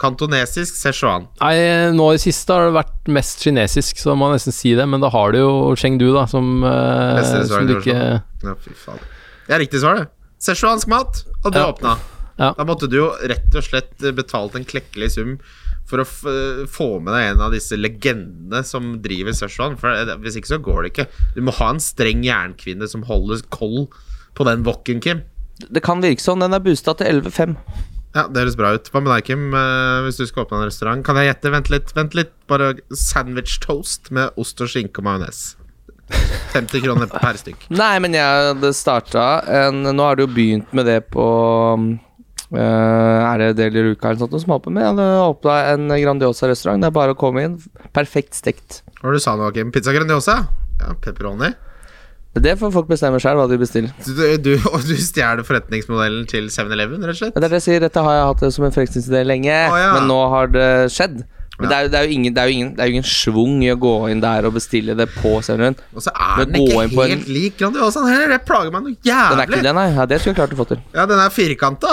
[SPEAKER 3] Kantonesisk, Sichuan.
[SPEAKER 4] nei, nå i siste har det vært mest kinesisk, så må jeg nesten si det, men da har du jo Chengdu, da, som, eh,
[SPEAKER 3] Neste restaurant
[SPEAKER 4] som
[SPEAKER 3] i
[SPEAKER 4] du ikke
[SPEAKER 3] Oslo. Ja, fy faen. Det er riktig svar, det. Sichuansk mat, og du
[SPEAKER 4] Ja.
[SPEAKER 3] åpna.
[SPEAKER 4] Ja.
[SPEAKER 3] Da måtte du jo rett og slett eh, betalt en klekkelig sum for å f eh, få med deg en av disse legendene som driver Sichuan. For det- hvis ikke, så går det ikke. Du må ha en streng jernkvinne som holder koll på den wokken, Kim.
[SPEAKER 2] det kan virke sånn. Den er boosta til 11,5.
[SPEAKER 3] Ja, det høres bra ut. Hva med deg, Kim? Eh, Hvis du skal åpne en restaurant, kan jeg gjette? Vent litt, vent litt. Bare sandwich toast med ost og skinke og majones. 50 kroner per stykk.
[SPEAKER 2] Nei, men jeg hadde starta en Nå har du jo begynt med det på um, eh, Er det Deli Ruka eller noe sånt som håper med? Jeg hadde åpna en Grandiosa-restaurant. Det er bare å komme inn. Perfekt stekt.
[SPEAKER 3] Hva var det du sa nå, Kim? Pizza Grandiosa? Ja, pepperoni?
[SPEAKER 2] Det får folk bestemme sjøl hva de bestiller.
[SPEAKER 3] Du, du, du, og du stjeler forretningsmodellen til 7-Eleven, rett og slett?
[SPEAKER 2] Men Det er det jeg sier, Dette har jeg hatt det som en forretningsidé lenge,
[SPEAKER 3] ja.
[SPEAKER 2] men nå har det skjedd. Men
[SPEAKER 3] Ja.
[SPEAKER 2] det, er, jo- det, er jo ingen, det, er jo ingen, det er jo ingen svung i å gå inn der og bestille det på Seven Run.
[SPEAKER 3] Og så er
[SPEAKER 2] Men
[SPEAKER 3] den ikke
[SPEAKER 2] gå inn på en-
[SPEAKER 3] helt lik Grandiosaen heller! Det plager meg noe
[SPEAKER 2] Den er ikke
[SPEAKER 3] jævlig!
[SPEAKER 2] det, nei. Ja, det skulle jeg klart å få til.
[SPEAKER 3] Ja, den er firkanta!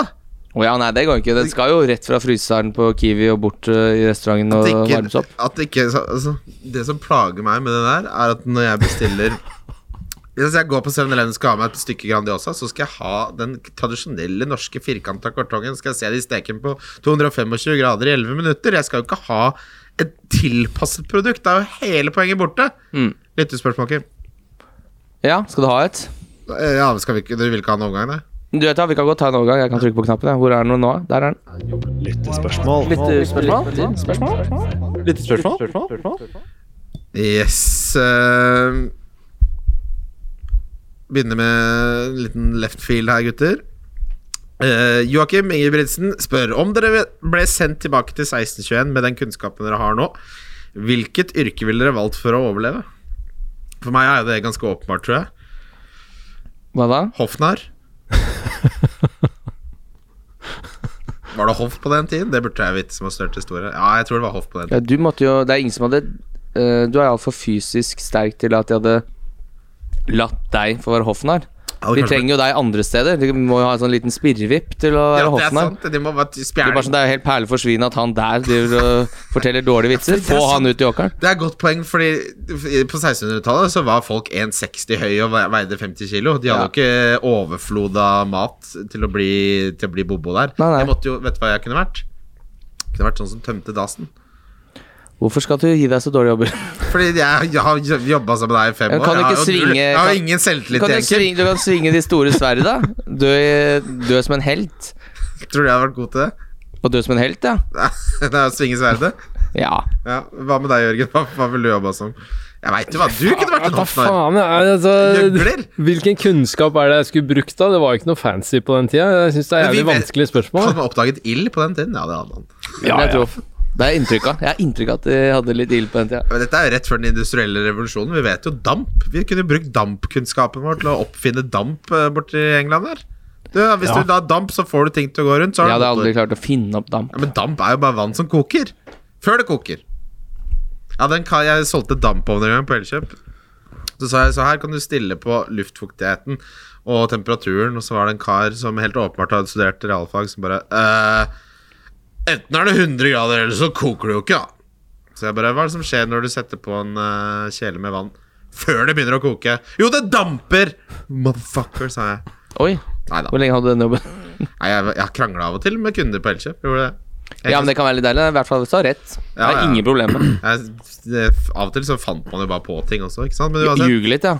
[SPEAKER 2] Å ja, nei, det går ikke. Den skal jo rett fra fryseren på Kiwi og bort eh, i restauranten
[SPEAKER 3] At
[SPEAKER 2] og
[SPEAKER 3] det
[SPEAKER 2] varmes
[SPEAKER 3] ikke,
[SPEAKER 2] opp.
[SPEAKER 3] at det ikke så- altså, Det som plager meg med det der, er at når jeg bestiller Hvis jeg går på 7-Eleven og skal ha meg et stykke Grandiosa, så skal jeg ha den tradisjonelle norske firkanta kartongen. Skal jeg se de steken på 225 grader i 11 minutter. Jeg skal jo ikke ha et tilpasset produkt. Da er jo hele poenget borte.
[SPEAKER 2] Mm.
[SPEAKER 3] Lyttespørsmål, Kim.
[SPEAKER 2] Ja, skal du ha et?
[SPEAKER 3] Eh, Ja, men skal vi ikke, du vil ikke ha en omgang, nei?
[SPEAKER 2] Du vet da, Vi kan godt ta en overgang. Jeg kan trykke på knappen. jeg. Hvor er den nå? Der er den. Lyttespørsmål?
[SPEAKER 3] Yes eh, Begynner med en liten left field her, gutter. Uh, Joakim Ingebrigtsen spør om dere ble sendt tilbake til 1621 med den kunnskapen dere har nå. Hvilket yrke ville dere valgt for å overleve? For meg er jo det ganske åpenbart, tror jeg.
[SPEAKER 2] Hva da?
[SPEAKER 3] Hoffnarr. Var det hoff på den tiden? Det burde jeg vite, som har størst historie. Ja, jeg tror det var hoff på den tiden.
[SPEAKER 2] Ja, du måtte jo Det er ingen som hadde eh, Du er iallfall fysisk sterk til at de hadde latt deg få være hoffnarr.
[SPEAKER 3] Ja, det
[SPEAKER 2] De
[SPEAKER 3] kanskje-
[SPEAKER 2] trenger jo deg andre steder. De må jo ha en sånn liten spirrevipp til å
[SPEAKER 3] Ja,
[SPEAKER 2] være
[SPEAKER 3] det er
[SPEAKER 2] hoffnarr.
[SPEAKER 3] sant. De må bare
[SPEAKER 2] Det er bare
[SPEAKER 3] spjæle
[SPEAKER 2] sånn Det er jo helt perle for svinet at han der driver og forteller dårlige vitser. Få han ut i åkeren.
[SPEAKER 3] Det er et godt poeng, fordi på 1600-tallet så var folk 1,60 høy og ve- veide 50 kilo. De
[SPEAKER 2] Ja.
[SPEAKER 3] hadde jo ikke overflod av mat til å bli, til å bli bobo der.
[SPEAKER 2] Nei, nei.
[SPEAKER 3] Jeg måtte jo, Vet du hva jeg kunne vært? Jeg kunne vært sånn som tømte dasen.
[SPEAKER 2] Hvorfor skal du gi deg så dårlige jobber?
[SPEAKER 3] Fordi jeg, jeg har jobba sammen med deg i fem
[SPEAKER 2] Men
[SPEAKER 3] år.
[SPEAKER 2] kan du ikke
[SPEAKER 3] jeg, har jo null-
[SPEAKER 2] svinge-
[SPEAKER 3] jeg har
[SPEAKER 2] kan-
[SPEAKER 3] jo ingen
[SPEAKER 2] Du
[SPEAKER 3] selvtillit,
[SPEAKER 2] kan, jo
[SPEAKER 3] egentlig.
[SPEAKER 2] svinge, du kan svinge de store sverd, da. Dø, i- dø som en helt.
[SPEAKER 3] Tror du jeg har vært god til det?
[SPEAKER 2] Og dø som en helt, ja.
[SPEAKER 3] Det er å svinge sverdet?
[SPEAKER 2] Ja.
[SPEAKER 3] Ja. Hva med deg, Jørgen? Hva, hva vil du jobbe som? Jeg veit jo hva du kunne vært en
[SPEAKER 4] Hva
[SPEAKER 3] hoffnarr.
[SPEAKER 4] faen er det,
[SPEAKER 3] Gjøgler?
[SPEAKER 4] altså, Hvilken kunnskap er det jeg skulle brukt da? Det var jo ikke noe fancy på den tida. Jeg syns det er
[SPEAKER 3] Men vi
[SPEAKER 4] jævlig
[SPEAKER 3] vet-
[SPEAKER 4] vanskelige spørsmål.
[SPEAKER 3] Hadde man oppdaget ild på den tiden? Ja, det hadde man.
[SPEAKER 2] ja,
[SPEAKER 4] Ja,
[SPEAKER 2] Jeg
[SPEAKER 4] ja.
[SPEAKER 2] tror. Det er inntrykk av. Jeg har inntrykk av at de hadde litt ild på den tida.
[SPEAKER 3] Men dette er jo rett før den industrielle revolusjonen. Vi vet jo damp. Vi kunne jo brukt dampkunnskapen vår til å oppfinne damp eh, borti England der. Du, hvis
[SPEAKER 4] Ja.
[SPEAKER 3] du da har damp, så får du ting til å gå rundt. Så
[SPEAKER 2] Jeg
[SPEAKER 3] har du
[SPEAKER 2] hadde aldri
[SPEAKER 3] motor.
[SPEAKER 2] klart å finne opp damp.
[SPEAKER 3] ja, men damp er jo bare vann som koker. Før det koker. Ja, den kan, jeg solgte dampovner en gang på Elkjøp. Så sa jeg så her kan du stille på luftfuktigheten og temperaturen, og så var det en kar som helt åpenbart hadde studert realfag, som bare «Eh, Enten er det 100 grader, eller så koker det jo ikke, da. Så jeg bare Hva er det som skjer når du setter på en eh, kjele med vann før det begynner å koke? Jo, det damper! Motherfucker, sa jeg.
[SPEAKER 2] Oi,
[SPEAKER 3] Nei da.
[SPEAKER 2] hvor lenge hadde du den jobben?
[SPEAKER 3] Nei, jeg, jeg krangla av og til med kunder på Elkjøp. Gjorde det. Jeg,
[SPEAKER 2] Ja, men det kan være litt deilig. I hvert fall hvis du har rett. Det
[SPEAKER 3] Ja,
[SPEAKER 2] er
[SPEAKER 3] ja.
[SPEAKER 2] ingen problemer.
[SPEAKER 3] jeg, det, av og til så fant man jo bare på ting også, ikke sant? Men uansett
[SPEAKER 2] Ljug litt, ja.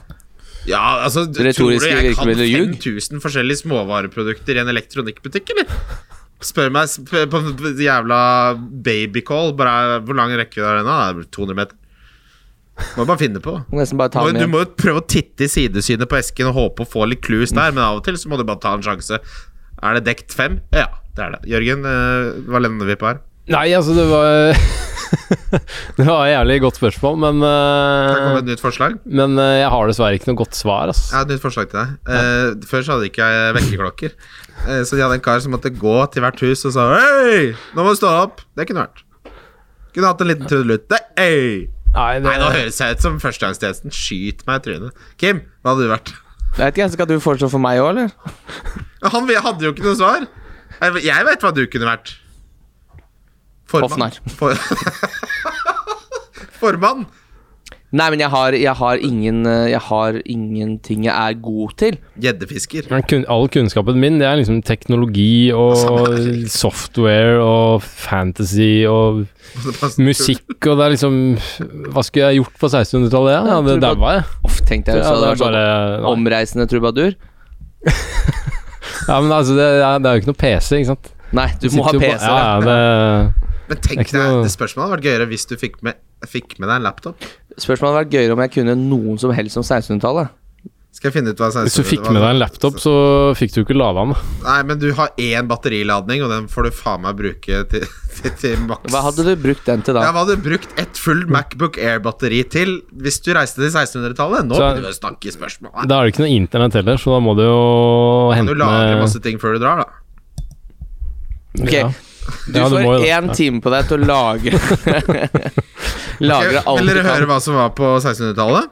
[SPEAKER 3] Ja, altså, tror du
[SPEAKER 2] Retoriske
[SPEAKER 3] jeg kan
[SPEAKER 2] virkemidler, ljug?
[SPEAKER 3] 5000 forskjellige småvareprodukter i en elektronikkbutikk, eller? Spør meg sp på en jævla babycall. Bare hvor lang rekkevidde er den? da? Det er vel 200 meter. Må bare finne på.
[SPEAKER 2] Må nesten bare ta
[SPEAKER 3] Må,
[SPEAKER 2] den
[SPEAKER 3] du
[SPEAKER 2] igjen.
[SPEAKER 3] må jo prøve å titte i sidesynet på esken og håpe å få litt clues der, men av og til så må du bare ta en sjanse. Er det dekt fem? Ja, det er det. Jørgen, eh, hva lander vi på her?
[SPEAKER 4] Nei, altså, det var Det var et jævlig godt spørsmål, men eh,
[SPEAKER 3] Her kommer et nytt forslag.
[SPEAKER 4] Men eh, jeg har dessverre ikke noe godt svar, ass.
[SPEAKER 3] Jeg har et nytt forslag til deg. Eh, før så hadde ikke jeg vekkerklokker. Eh, så de hadde en kar som måtte gå til hvert hus og sa Hei, nå må du stå opp. Det kunne vært. Kunne hatt en liten trudelutt. Hei!
[SPEAKER 4] Nei,
[SPEAKER 3] Nei, nå høres jeg ut som førstegangstjenesten. Skyt meg i trynet. Kim, hva hadde du vært?
[SPEAKER 2] Jeg vet ikke, Skal du foreslå for meg òg, eller?
[SPEAKER 3] Han vi- hadde jo ikke noe svar. Jeg- Jeg vet hva du kunne vært. Formann.
[SPEAKER 2] Hoffnarr.
[SPEAKER 3] For... Formann.
[SPEAKER 2] Nei, men jeg har, jeg har ingen eh, Jeg har ingenting jeg er god til.
[SPEAKER 3] Gjeddefisker.
[SPEAKER 4] Men kun, all kunnskapen min, det er liksom teknologi og
[SPEAKER 3] altså.
[SPEAKER 4] software og fantasy og musikk og det er liksom Hva skulle jeg gjort på 1600-tallet? Ja? Jeg hadde
[SPEAKER 2] Jeg tror
[SPEAKER 4] daua, jeg.
[SPEAKER 2] Off, tenkte jeg. Så
[SPEAKER 4] Ja,
[SPEAKER 2] det
[SPEAKER 4] det
[SPEAKER 2] var
[SPEAKER 4] er
[SPEAKER 2] sånn
[SPEAKER 4] bare, nei.
[SPEAKER 2] Omreisende trubadur?
[SPEAKER 4] ja, men altså, det, er- det er jo ikke noe PC, ikke sant?
[SPEAKER 2] Nei, du må ha
[SPEAKER 4] Sitter jo på-
[SPEAKER 2] PC.
[SPEAKER 4] Ja,
[SPEAKER 2] da.
[SPEAKER 4] ja, det,
[SPEAKER 3] Men
[SPEAKER 4] Det er
[SPEAKER 3] tenk
[SPEAKER 4] ikke
[SPEAKER 3] deg,
[SPEAKER 4] noe-
[SPEAKER 3] det spørsmålet hadde vært gøyere hvis du fikk med, fikk med deg en laptop.
[SPEAKER 2] Spørsmålet hadde vært gøyere om jeg kunne noen som helst om 1600-tallet.
[SPEAKER 3] Skal jeg finne ut hva
[SPEAKER 4] hvis du fikk med deg en laptop, så fikk du ikke lada den. da.
[SPEAKER 3] Nei, men du har én batteriladning, og den får du faen meg bruke til, til, til maks.
[SPEAKER 2] Hva hadde du brukt den til
[SPEAKER 3] Ja,
[SPEAKER 2] da?
[SPEAKER 3] hva hadde du brukt et full Macbook Air-batteri til hvis du reiste til 1600-tallet? Nå
[SPEAKER 4] Så-
[SPEAKER 3] begynner du å snakke i spørsmål. Nei,
[SPEAKER 4] Da er det ikke noe internett heller, så da må du jo
[SPEAKER 3] kan
[SPEAKER 4] hente
[SPEAKER 3] du lagre masse ting før du drar, da?
[SPEAKER 2] Ok,
[SPEAKER 4] ja.
[SPEAKER 2] Du
[SPEAKER 4] Ja, du må
[SPEAKER 2] får
[SPEAKER 4] jo det.
[SPEAKER 2] én time på deg til å lage Lagre alt du
[SPEAKER 3] Vil dere høre
[SPEAKER 2] kan.
[SPEAKER 3] hva som var på 1600-tallet?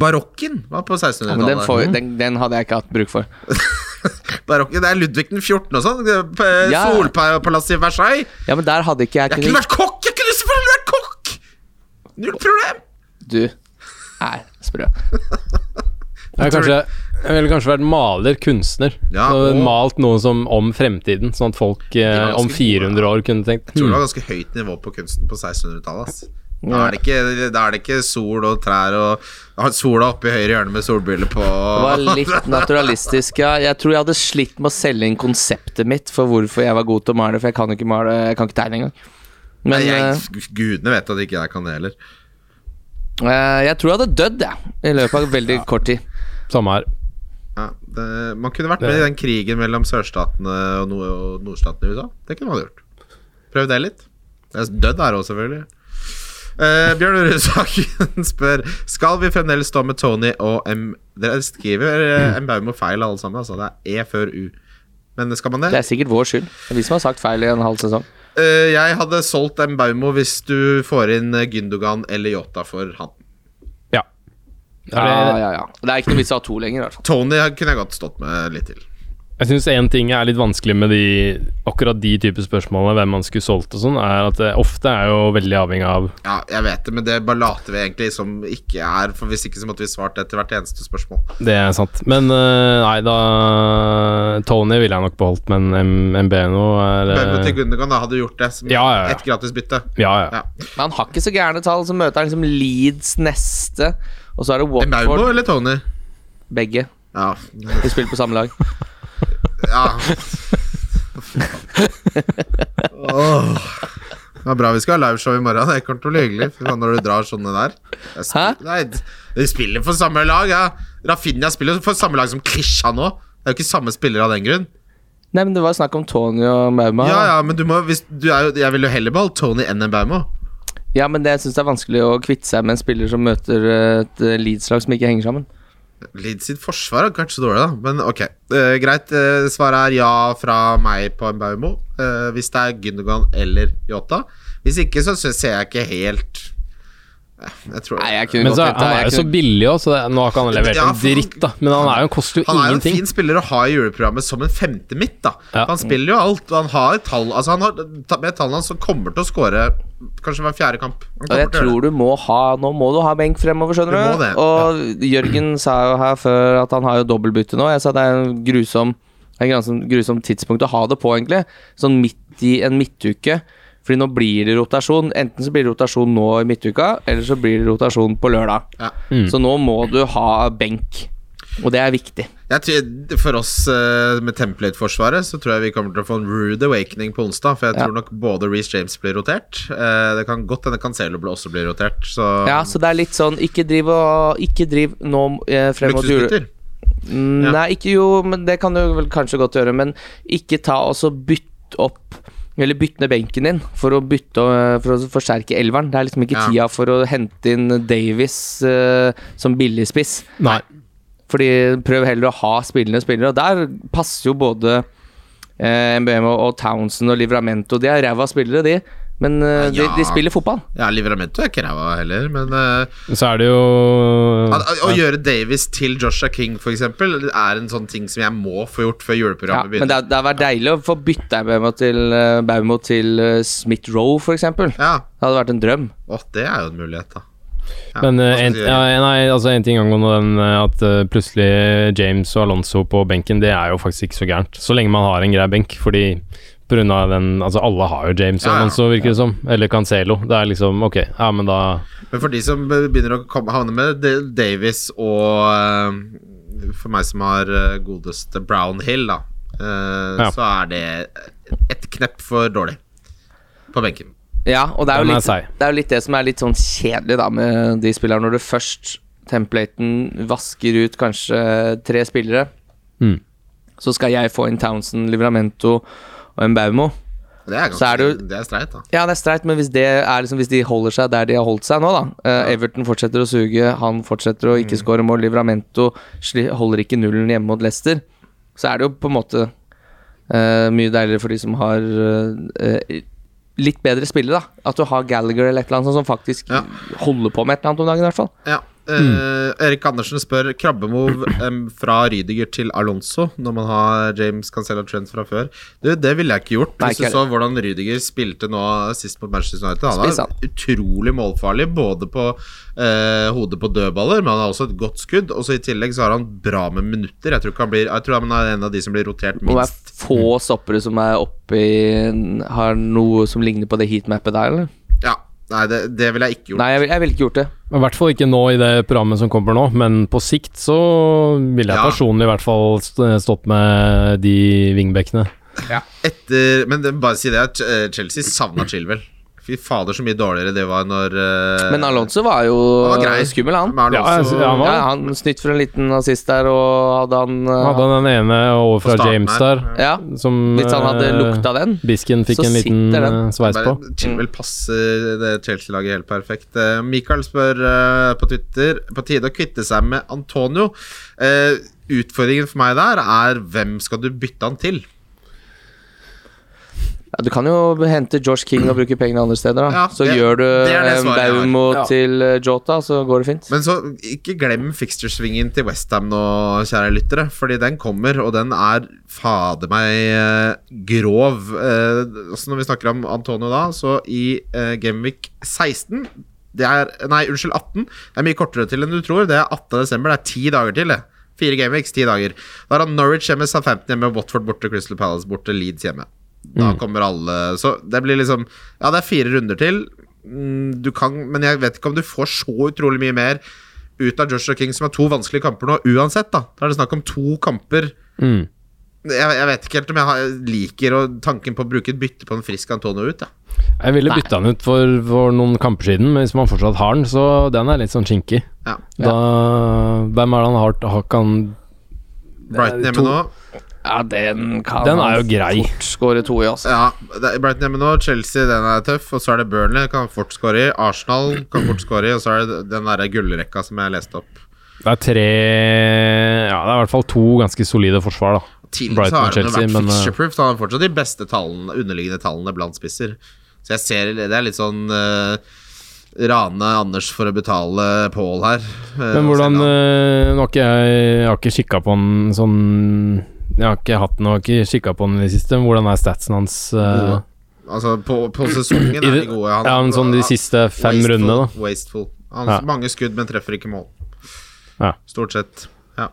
[SPEAKER 3] Barokken var på
[SPEAKER 2] Ja, men den,
[SPEAKER 3] 1600-tallet.
[SPEAKER 2] får, den, den hadde jeg ikke hatt bruk for.
[SPEAKER 3] Barokken, Det er Ludvig den 14. og sånn.
[SPEAKER 2] Ja.
[SPEAKER 3] Ja. Solpalasset i Versailles.
[SPEAKER 2] Ja, men der hadde ikke jeg
[SPEAKER 3] Jeg kunne
[SPEAKER 2] kunnet
[SPEAKER 3] vært kokk! Jeg kunne selvfølgelig vært kokk! Null problem!
[SPEAKER 2] Du er sprø.
[SPEAKER 4] Jeg,
[SPEAKER 3] tror
[SPEAKER 4] kanskje, jeg ville kanskje vært maler, kunstner.
[SPEAKER 3] Ja,
[SPEAKER 4] Så
[SPEAKER 3] og-
[SPEAKER 4] Malt noe som om fremtiden, sånn at folk eh,
[SPEAKER 3] ganske
[SPEAKER 4] om
[SPEAKER 3] gode,
[SPEAKER 4] 400 år kunne tenkt
[SPEAKER 3] Jeg tror det
[SPEAKER 4] hmm,
[SPEAKER 3] var ganske høyt nivå på kunsten på 1600-tallet. ass. Da er, det ikke, da er det ikke sol og trær og har Sola oppe i høyre hjørne med solbriller på
[SPEAKER 2] Det var litt naturalistisk, ja. Jeg tror jeg hadde slitt med å selge inn konseptet mitt for hvorfor jeg var god til å male, for jeg kan ikke male Jeg kan ikke tegne engang. Men
[SPEAKER 3] Nei,
[SPEAKER 2] eh,
[SPEAKER 3] jeg, Gudene vet at ikke jeg kan det heller.
[SPEAKER 2] eh, jeg tror jeg hadde dødd, jeg, i løpet av veldig kort tid.
[SPEAKER 4] Samme her.
[SPEAKER 3] Ja, det, man kunne vært med i den krigen mellom sørstatene og, nord og nordstatene i USA. Det kunne man gjort. Prøv det litt. Jeg er dødd her òg, selvfølgelig. Eh, Bjørn Rudsaken spør Skal vi fremdeles stå med Tony og M Dere skriver eh, M Baumo feil, alle sammen. Altså, det er E før U. Men skal man det?
[SPEAKER 2] Det er sikkert vår skyld. Det er vi som har sagt feil i en halv sesong.
[SPEAKER 3] Eh, jeg hadde solgt Mbaumo hvis du får inn eh, Gündogan eller Yota for han.
[SPEAKER 4] Ja.
[SPEAKER 2] Ja,
[SPEAKER 4] Jeg,
[SPEAKER 2] ja, ja. Det er ikke noe vits i å ha to lenger, i hvert fall.
[SPEAKER 3] Tony kunne jeg godt stått med litt til.
[SPEAKER 4] jeg syns én ting er litt vanskelig med de, akkurat de type spørsmålene, hvem man skulle solgt og sånn, er at det ofte er jo veldig avhengig av
[SPEAKER 3] Ja, jeg vet det, men det bare later vi egentlig som ikke er, for hvis ikke så måtte vi svart etter hvert eneste spørsmål.
[SPEAKER 4] Det er sant. Men eh, nei, da Tony ville jeg nok beholdt, men M- MBNO er eh,
[SPEAKER 3] Mbaumo til Gündogan, da hadde du gjort det som
[SPEAKER 4] Ja, ja, ja.
[SPEAKER 3] et gratis bytte.
[SPEAKER 4] Ja, ja.
[SPEAKER 3] Ja.
[SPEAKER 2] Men han har ikke så gærne tall. Så møter han liksom Leeds neste, og så er det
[SPEAKER 3] Mbaumo
[SPEAKER 2] Watford.
[SPEAKER 3] eller Tony?
[SPEAKER 2] Begge.
[SPEAKER 3] Ja.
[SPEAKER 2] De spiller på samme lag.
[SPEAKER 3] ja. Åh. Det var bra vi skal ha liveshow i morgen. Det kommer til å bli hyggelig. Fy faen, når du drar sånne der. Jeg sp-
[SPEAKER 2] Hæ?
[SPEAKER 3] Nei, d- de spiller for samme lag, ja. Rafinha spiller for samme lag som Krisha nå. Det er jo ikke samme spiller av den grunn.
[SPEAKER 2] Nei, men det var snakk om Tony og Mauma.
[SPEAKER 3] Ja, ja, men du må hvis, du er jo, Jeg vil jo heller beholde Tony enn en Baumo.
[SPEAKER 2] Ja, men det, jeg syns det er vanskelig å kvitte seg med en spiller som møter eh, et eh, Leeds-lag som ikke henger sammen.
[SPEAKER 3] Leeds sitt forsvar er kanskje dårlig, da. Men ok, Eh, greit. Eh, svaret er ja fra meg på en Baumo. eh, hvis det er Gündogan eller Yota. Hvis ikke, så sy- ser jeg ikke helt Eh, Jeg tror
[SPEAKER 2] Nei, jeg kunne
[SPEAKER 4] Men
[SPEAKER 2] godt
[SPEAKER 4] så,
[SPEAKER 2] hente-
[SPEAKER 4] han er
[SPEAKER 2] jeg
[SPEAKER 4] jo så
[SPEAKER 2] kunne-
[SPEAKER 4] billig òg, så det, nå har ikke han levert
[SPEAKER 3] Ja,
[SPEAKER 4] en
[SPEAKER 3] for han-
[SPEAKER 4] dritt, da. Men han er jo, han koster jo
[SPEAKER 3] Han er jo en
[SPEAKER 4] ingenting.
[SPEAKER 3] fin spiller å ha i juleprogrammet som en femte midt, da.
[SPEAKER 4] Ja.
[SPEAKER 3] Han spiller jo alt, og han har tall Altså, han har ta- med tallene hans så kommer til å skåre kanskje hver fjerde kamp. Han
[SPEAKER 2] Og
[SPEAKER 3] kommer
[SPEAKER 2] jeg
[SPEAKER 3] til å gjøre
[SPEAKER 2] tror du må ha Nå må du ha benk fremover, skjønner
[SPEAKER 3] Du
[SPEAKER 2] du.
[SPEAKER 3] må det,
[SPEAKER 2] Og Jørgen sa jo her før at han har jo dobbeltbytte nå. Jeg sa det er en grusom det er en grusom, grusom tidspunkt å ha det på, egentlig. Sånn midt i en midtuke. Fordi nå blir det rotasjon. Enten så blir det rotasjon nå i midtuka, eller så blir det rotasjon på lørdag.
[SPEAKER 3] Ja.
[SPEAKER 2] Så nå må du ha benk.
[SPEAKER 3] det.
[SPEAKER 2] Og det er viktig.
[SPEAKER 3] Jeg tror, for oss eh, med template-forsvaret så tror jeg vi kommer til å få en rude awakening på onsdag. For jeg
[SPEAKER 2] Ja.
[SPEAKER 3] tror nok både Reece James blir rotert. eh, det kan godt hende Cancelo blir- også blir rotert. Så,
[SPEAKER 2] Ja, så det er litt sånn Ikke driv og Ikke driv nå eh, frem mot jule...
[SPEAKER 3] luksusgutter.
[SPEAKER 2] Mm,
[SPEAKER 3] Ja.
[SPEAKER 2] Nei, ikke jo, men det kan du vel kanskje godt gjøre, men ikke ta og så bytt opp eller bytte ned benken din for å, bytte, øh, for å forsterke elveren. Det er liksom ikke
[SPEAKER 3] Ja.
[SPEAKER 2] tida for å hente inn Davies øh, som billigspiss.
[SPEAKER 4] Nei.
[SPEAKER 2] Fordi Prøv heller å ha spillende spillere. Og der passer jo både eh, MBM og, og Townsend og Livramento. De er ræva spillere, de. Men eh, de,
[SPEAKER 3] Ja.
[SPEAKER 2] de spiller fotball.
[SPEAKER 3] Ja, Livramento er ikke ræva heller, men eh,
[SPEAKER 4] Så er det jo
[SPEAKER 3] at- at- Å gjøre Davis til Joshua King, for eksempel, er en sånn ting som jeg må få gjort før
[SPEAKER 2] Ja,
[SPEAKER 3] juleprogrammet
[SPEAKER 2] men det,
[SPEAKER 3] begynner.
[SPEAKER 2] er- det har vært deilig å få bytte Baumo til, eh, Baumo til eh, Smith Roe, f.eks. Det
[SPEAKER 3] Ja,
[SPEAKER 2] hadde vært en drøm.
[SPEAKER 3] Å, det er jo en mulighet, da. Ja,
[SPEAKER 4] Men
[SPEAKER 3] hva
[SPEAKER 4] eh,
[SPEAKER 3] skal
[SPEAKER 4] en,
[SPEAKER 3] du gjøre?
[SPEAKER 4] ja, nei, altså en ting angående den eh, at eh, plutselig James og Alonso på benken, det er jo faktisk ikke så gærent. Så lenge man har en grei benk, fordi på grunn av den Altså, alle har jo James og
[SPEAKER 3] Ja, ja.
[SPEAKER 4] Alonso, virker det som. Eller Cancelo. Det er liksom Ok, ja, men da
[SPEAKER 3] Men for de som begynner å komme, havne med D- Davis og eh, For meg som har eh, godeste Brown Hill, da, eh,
[SPEAKER 4] Ja.
[SPEAKER 3] så er det et knepp for dårlig på benken.
[SPEAKER 2] Ja, og det er,
[SPEAKER 4] Den
[SPEAKER 2] jo
[SPEAKER 4] er
[SPEAKER 2] litt,
[SPEAKER 4] seig.
[SPEAKER 2] det er jo litt det som er litt sånn kjedelig da med de spillerne, når du først templaten vasker ut kanskje tre spillere,
[SPEAKER 4] Mm.
[SPEAKER 2] så skal jeg få inn Townsend, Livramento og en Baumo.
[SPEAKER 3] Det er, ganske,
[SPEAKER 2] Så er
[SPEAKER 3] det,
[SPEAKER 2] det jo-
[SPEAKER 3] er streit, da.
[SPEAKER 2] Ja, det er streit, men hvis, det er liksom, hvis de holder seg der de har holdt seg nå, da eh, Everton fortsetter å suge, han fortsetter å ikke
[SPEAKER 3] Mm.
[SPEAKER 2] skåre mål, Livramento sli, holder ikke nullen hjemme mot Leicester, så er det jo på en måte eh, mye deiligere for de som har eh, eh, litt bedre spillere, da. At du har Gallagher eller et eller annet sånt som faktisk
[SPEAKER 3] Ja.
[SPEAKER 2] holder på med et eller annet om dagen, i hvert fall.
[SPEAKER 3] Ja.
[SPEAKER 2] Mm.
[SPEAKER 3] eh, Erik Andersen spør krabbemov em, fra Rydiger til Alonso når man har James Cancella Trent fra før. Du, det ville jeg ikke gjort.
[SPEAKER 2] Nei,
[SPEAKER 3] Hvis
[SPEAKER 2] ikke
[SPEAKER 3] du så hvordan Rydiger spilte nå sist mot Manchester United. Han
[SPEAKER 2] Spiss,
[SPEAKER 3] er
[SPEAKER 2] han.
[SPEAKER 3] utrolig målfarlig, både på eh, hodet på dødballer, men han har også et godt skudd. Og så I tillegg så har han bra med minutter. Jeg tror, ikke han, blir, jeg tror han er en av de som blir rotert
[SPEAKER 2] Må
[SPEAKER 3] minst.
[SPEAKER 2] være få stoppere som er oppe i Har noe som ligner på det heatmappet der, eller?
[SPEAKER 3] Ja, Nei, det, det ville jeg ikke gjort.
[SPEAKER 2] Nei, jeg vil- jeg ville ikke gjort det.
[SPEAKER 4] I hvert fall ikke nå i det programmet som kommer nå, men på sikt så ville jeg
[SPEAKER 3] Ja.
[SPEAKER 4] personlig i hvert fall st- stått med de wingbackene.
[SPEAKER 3] Etter, men det- bare si det at eh, Chelsea savna Chilwell. Fy fader, så mye dårligere det var når eh,
[SPEAKER 2] Men Alonso var jo
[SPEAKER 3] Han var grei.
[SPEAKER 2] skummel, han.
[SPEAKER 3] Men
[SPEAKER 4] Ja,
[SPEAKER 3] Alonso-
[SPEAKER 4] altså, ja, han var-
[SPEAKER 2] Ja, han snytt for en liten assist der, og hadde han eh,
[SPEAKER 4] Hadde han den ene over fra
[SPEAKER 3] På starten
[SPEAKER 4] James
[SPEAKER 3] her.
[SPEAKER 4] der,
[SPEAKER 2] Ja,
[SPEAKER 4] som
[SPEAKER 2] hvis han hadde
[SPEAKER 4] eh,
[SPEAKER 2] lukta den.
[SPEAKER 4] Bisken fikk
[SPEAKER 2] så
[SPEAKER 4] en liten
[SPEAKER 2] sitter den.
[SPEAKER 4] eh, sveis på.
[SPEAKER 3] Bare
[SPEAKER 2] Mm.
[SPEAKER 3] Chilwell passer det Chelsea-laget helt perfekt. Eh, Michael spør eh, på Twitter På tide å kvitte seg med Antonio. Eh, utfordringen for meg der er hvem skal du bytte han til?
[SPEAKER 2] Ja, du kan jo hente George King og bruke pengene andre steder, da.
[SPEAKER 3] Ja,
[SPEAKER 2] så
[SPEAKER 3] det-
[SPEAKER 2] gjør du
[SPEAKER 3] det er det
[SPEAKER 2] eh,
[SPEAKER 3] svaret jeg har.
[SPEAKER 2] Baumo
[SPEAKER 3] Ja.
[SPEAKER 2] til eh, Jota, så går det fint.
[SPEAKER 3] Men så ikke glem fixturesvingen til Westham nå, kjære lyttere. Fordi den kommer, og den er fader meg eh, grov. Eh, også når vi snakker om Antonio da, så i eh, Gameweek 16 det er, Nei, unnskyld, 18. Det er mye kortere til enn du tror. Det er 18. desember. Det er ti dager til, det. Fire Gameweeks, ti dager. Da har han Norwich hjemme, Southampton hjemme, Watford borte, Crystal Palace borte, Leeds hjemme.
[SPEAKER 4] Mm.
[SPEAKER 3] Da kommer alle Så det blir liksom Ja, det er fire runder til. Mm, Du kan Men jeg vet ikke om du får så utrolig mye mer ut av Joshua King, som har to vanskelige kamper nå, uansett, da. Da er det snakk om to kamper.
[SPEAKER 4] Mm.
[SPEAKER 3] Jeg, jeg vet ikke helt om jeg har- liker å- tanken på å bruke et bytte på en frisk Antonio ut, jeg.
[SPEAKER 4] Jeg ville bytta den ut for, for noen kamper siden, men hvis man fortsatt har den, så den er litt sånn kinkig.
[SPEAKER 3] Ja.
[SPEAKER 4] Da, hvem er det han har, har kan
[SPEAKER 3] Brighton hjemme
[SPEAKER 4] to-
[SPEAKER 3] nå.
[SPEAKER 2] Ja, den kan
[SPEAKER 4] Den
[SPEAKER 2] han
[SPEAKER 4] er jo grei.
[SPEAKER 2] fort skåre to i, altså.
[SPEAKER 3] Ja, det er Brighton hjemme nå. Chelsea, den er tøff. Og så er det Burnley, kan fort score i. Arsenal kan fort score i. Og så er det den derre gullrekka som jeg leste opp.
[SPEAKER 4] Det er tre Ja, det er i hvert fall to ganske solide forsvar, da.
[SPEAKER 3] Tidligere så
[SPEAKER 4] Brighton
[SPEAKER 3] har han
[SPEAKER 4] og
[SPEAKER 3] jo
[SPEAKER 4] Chelsea,
[SPEAKER 3] vært
[SPEAKER 4] men, eh,
[SPEAKER 3] fixture-proof. så Han har fortsatt de beste tallene, underliggende tallene blant spisser. Så jeg ser det er litt sånn eh, rane Anders for å betale Pål her. Eh,
[SPEAKER 4] Men hvordan
[SPEAKER 3] selv om-
[SPEAKER 4] eh, Nå har ikke jeg, jeg har ikke kikka på den sånn Jeg har ikke hatt den og har ikke kikka på den i det siste. men Hvordan er statsen hans? eh,
[SPEAKER 3] Gode. Altså, på, på sesongen
[SPEAKER 4] i
[SPEAKER 3] er de
[SPEAKER 4] det-
[SPEAKER 3] gode. Han-
[SPEAKER 4] ja, men sånn de siste fem
[SPEAKER 3] Wasteful,
[SPEAKER 4] rundene, da.
[SPEAKER 3] Wasteful. Han
[SPEAKER 4] Ja.
[SPEAKER 3] Mange skudd, men treffer ikke mål.
[SPEAKER 4] Ja.
[SPEAKER 3] Stort sett. Ja.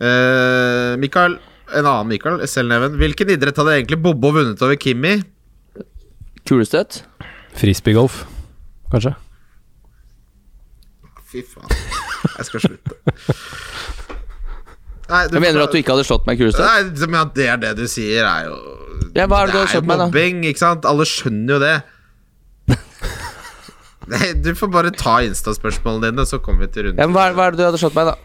[SPEAKER 3] Eh, Mikael, en annen Mikael, Selneven. Hvilken idrett hadde egentlig Bobo vunnet over Kimmi?
[SPEAKER 2] Kulestøt.
[SPEAKER 4] Frisbeegolf, kanskje?
[SPEAKER 3] Fy faen. Jeg skal slutte. Nei, du
[SPEAKER 2] Jeg mener
[SPEAKER 3] får-
[SPEAKER 2] at du ikke hadde slått meg kuleste.
[SPEAKER 3] Nei, det- men at det er det du sier, er jo
[SPEAKER 2] Ja, hva er det du har
[SPEAKER 3] jo
[SPEAKER 2] kjøpt meg, da?
[SPEAKER 3] mobbing, ikke sant? Alle skjønner jo det. Nei, du får bare ta Insta-spørsmålene dine, så kommer vi til runden.
[SPEAKER 2] Ja, men hva, er- hva er det du hadde slått meg, da?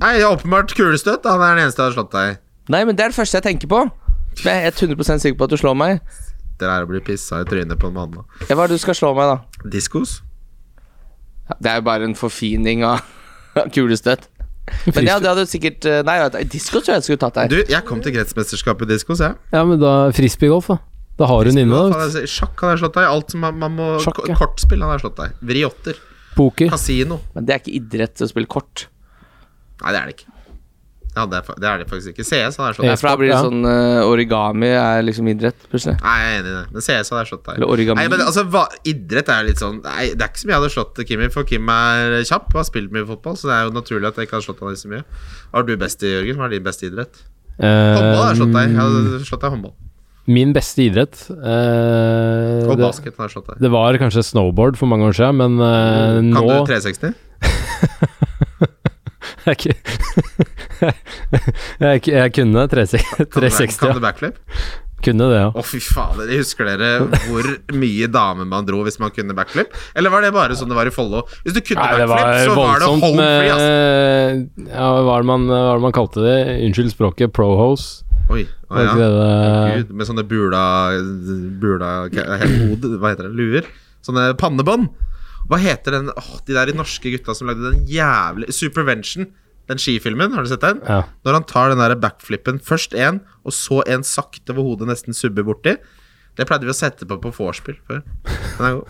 [SPEAKER 3] Nei, jeg har åpenbart kulestøt. Han er den eneste jeg har slått deg i.
[SPEAKER 2] Nei, men det er det første jeg tenker på. Men Jeg er 100 sikker på at du slår meg.
[SPEAKER 3] Det er å bli pissa i trynet på en mann.
[SPEAKER 2] Ja, hva er det du skal slå meg, da?
[SPEAKER 3] Diskos?
[SPEAKER 2] Ja, det er jo bare en forfining av av kulestøt. Men ja, det hadde sikkert eh, Nei, vet du, disko tror jeg jeg skulle tatt deg.
[SPEAKER 3] Du, jeg kom til kretsmesterskapet i diskos, jeg.
[SPEAKER 4] Ja, men da Frisbeegolf, da. Da har hun inne, da.
[SPEAKER 3] Faen, jeg- Sjakk han har jeg slått deg i. Alt som man, man må
[SPEAKER 4] Sjakk,
[SPEAKER 3] ko-
[SPEAKER 4] ja.
[SPEAKER 3] Kortspill han har jeg slått deg i. Vriotter.
[SPEAKER 4] Poker.
[SPEAKER 3] Kasino.
[SPEAKER 2] Men det er ikke idrett å spille kort.
[SPEAKER 3] Nei, det er det ikke. Ja, det, er, fa- det er det faktisk ikke. CS han har jeg slått
[SPEAKER 2] Ja,
[SPEAKER 3] deg i.
[SPEAKER 2] for da blir det
[SPEAKER 4] ja.
[SPEAKER 2] sånn eh, Origami er liksom idrett, plutselig.
[SPEAKER 3] Nei, jeg er enig i det. Men CS hadde jeg slått deg.
[SPEAKER 2] Eller origami.
[SPEAKER 3] Nei, men altså, hva, idrett er jo litt sånn Nei, det er ikke så mye jeg hadde slått Kim i, for Kim er kjapp og har spilt mye fotball, så det er jo naturlig at jeg ikke hadde slått han i så mye. Hva var du best i, Jørgen? Hva er din beste idrett? Håndball har jeg slått deg. i. Jeg hadde slått deg i håndball.
[SPEAKER 4] Eh, Min beste idrett eh,
[SPEAKER 3] Og
[SPEAKER 4] det,
[SPEAKER 3] basket har jeg slått deg. i.
[SPEAKER 4] det var kanskje snowboard for mange år siden, men eh,
[SPEAKER 3] Kan
[SPEAKER 4] nå
[SPEAKER 3] du 360?
[SPEAKER 4] jeg, er ikke- jeg, er ikke- jeg kunne
[SPEAKER 3] Kan,
[SPEAKER 4] 360.
[SPEAKER 3] Du, back- kan
[SPEAKER 4] 360 ja.
[SPEAKER 3] du backflip?
[SPEAKER 4] Kunne det, ja.
[SPEAKER 3] Å, fy fader. Husker dere hvor mye damer man dro hvis man kunne backflip? Eller var det bare sånn det var i Follo? Hvis du kunne
[SPEAKER 4] Nei, det var
[SPEAKER 3] backflip, så var det
[SPEAKER 4] voldsomt
[SPEAKER 3] home free,
[SPEAKER 4] med
[SPEAKER 3] ass.
[SPEAKER 4] Ja, hva er det man, hva er det man kalte det? Unnskyld språket, prohose.
[SPEAKER 3] Oi, å
[SPEAKER 4] Var
[SPEAKER 3] ja.
[SPEAKER 4] ikke det det
[SPEAKER 3] Gud, med sånne bula, bula hode, Hva heter det? Luer? Sånne pannebånd. Hva heter den åh, De der norske gutta som lagde den jævlig Supervention. Den skifilmen, har du sett den?
[SPEAKER 4] Ja.
[SPEAKER 3] Når han tar den der backflippen først én, og så en sakte hvor hodet nesten subber borti. Det pleide vi å sette på på vorspiel før. Den er god.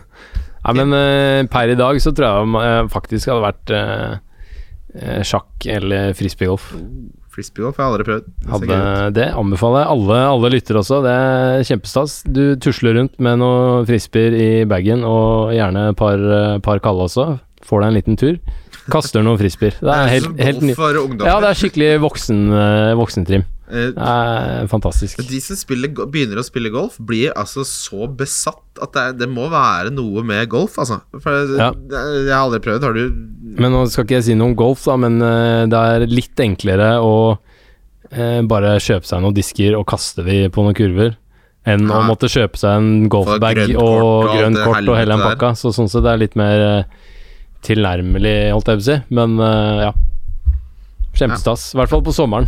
[SPEAKER 4] Nei, men eh, per i dag så tror jeg jeg faktisk hadde vært eh, eh, sjakk eller frisbeegolf.
[SPEAKER 3] Frisbeegolf har jeg aldri prøvd. Det ser
[SPEAKER 4] Hadde
[SPEAKER 3] gøy ut.
[SPEAKER 4] det. Anbefaler jeg alle, alle lytter også. Det er kjempestas. Du tusler rundt med noen frisbeer i bagen, og gjerne et par, eh, par kalde også. Får deg en liten tur. Kaster noen frisbeer. Det er helt, helt
[SPEAKER 3] Golf eh,
[SPEAKER 4] nytt.
[SPEAKER 3] for ungdommer.
[SPEAKER 4] Ja, det er skikkelig voksen, eh, voksentrim.
[SPEAKER 3] Eh,
[SPEAKER 4] Det er fantastisk.
[SPEAKER 3] De som spiller, go- begynner å spille golf, blir altså så besatt at det, er- det må være noe med golf, altså. For
[SPEAKER 4] Ja.
[SPEAKER 3] det- jeg har aldri prøvd. Har du
[SPEAKER 4] Men nå skal ikke jeg si noe om golf, da, men eh, det er litt enklere å eh, bare kjøpe seg noen disker og kaste de på noen kurver, enn
[SPEAKER 3] Ja.
[SPEAKER 4] å måtte kjøpe seg en golfbag
[SPEAKER 3] grønt kort og
[SPEAKER 4] og
[SPEAKER 3] alt
[SPEAKER 4] grønt
[SPEAKER 3] det
[SPEAKER 4] kort og hele den
[SPEAKER 3] helvete
[SPEAKER 4] pakka. Så sånn sett det er litt mer eh, tilnærmelig, holdt jeg på å si. Men eh, ja. Kjempestas. I hvert fall på sommeren.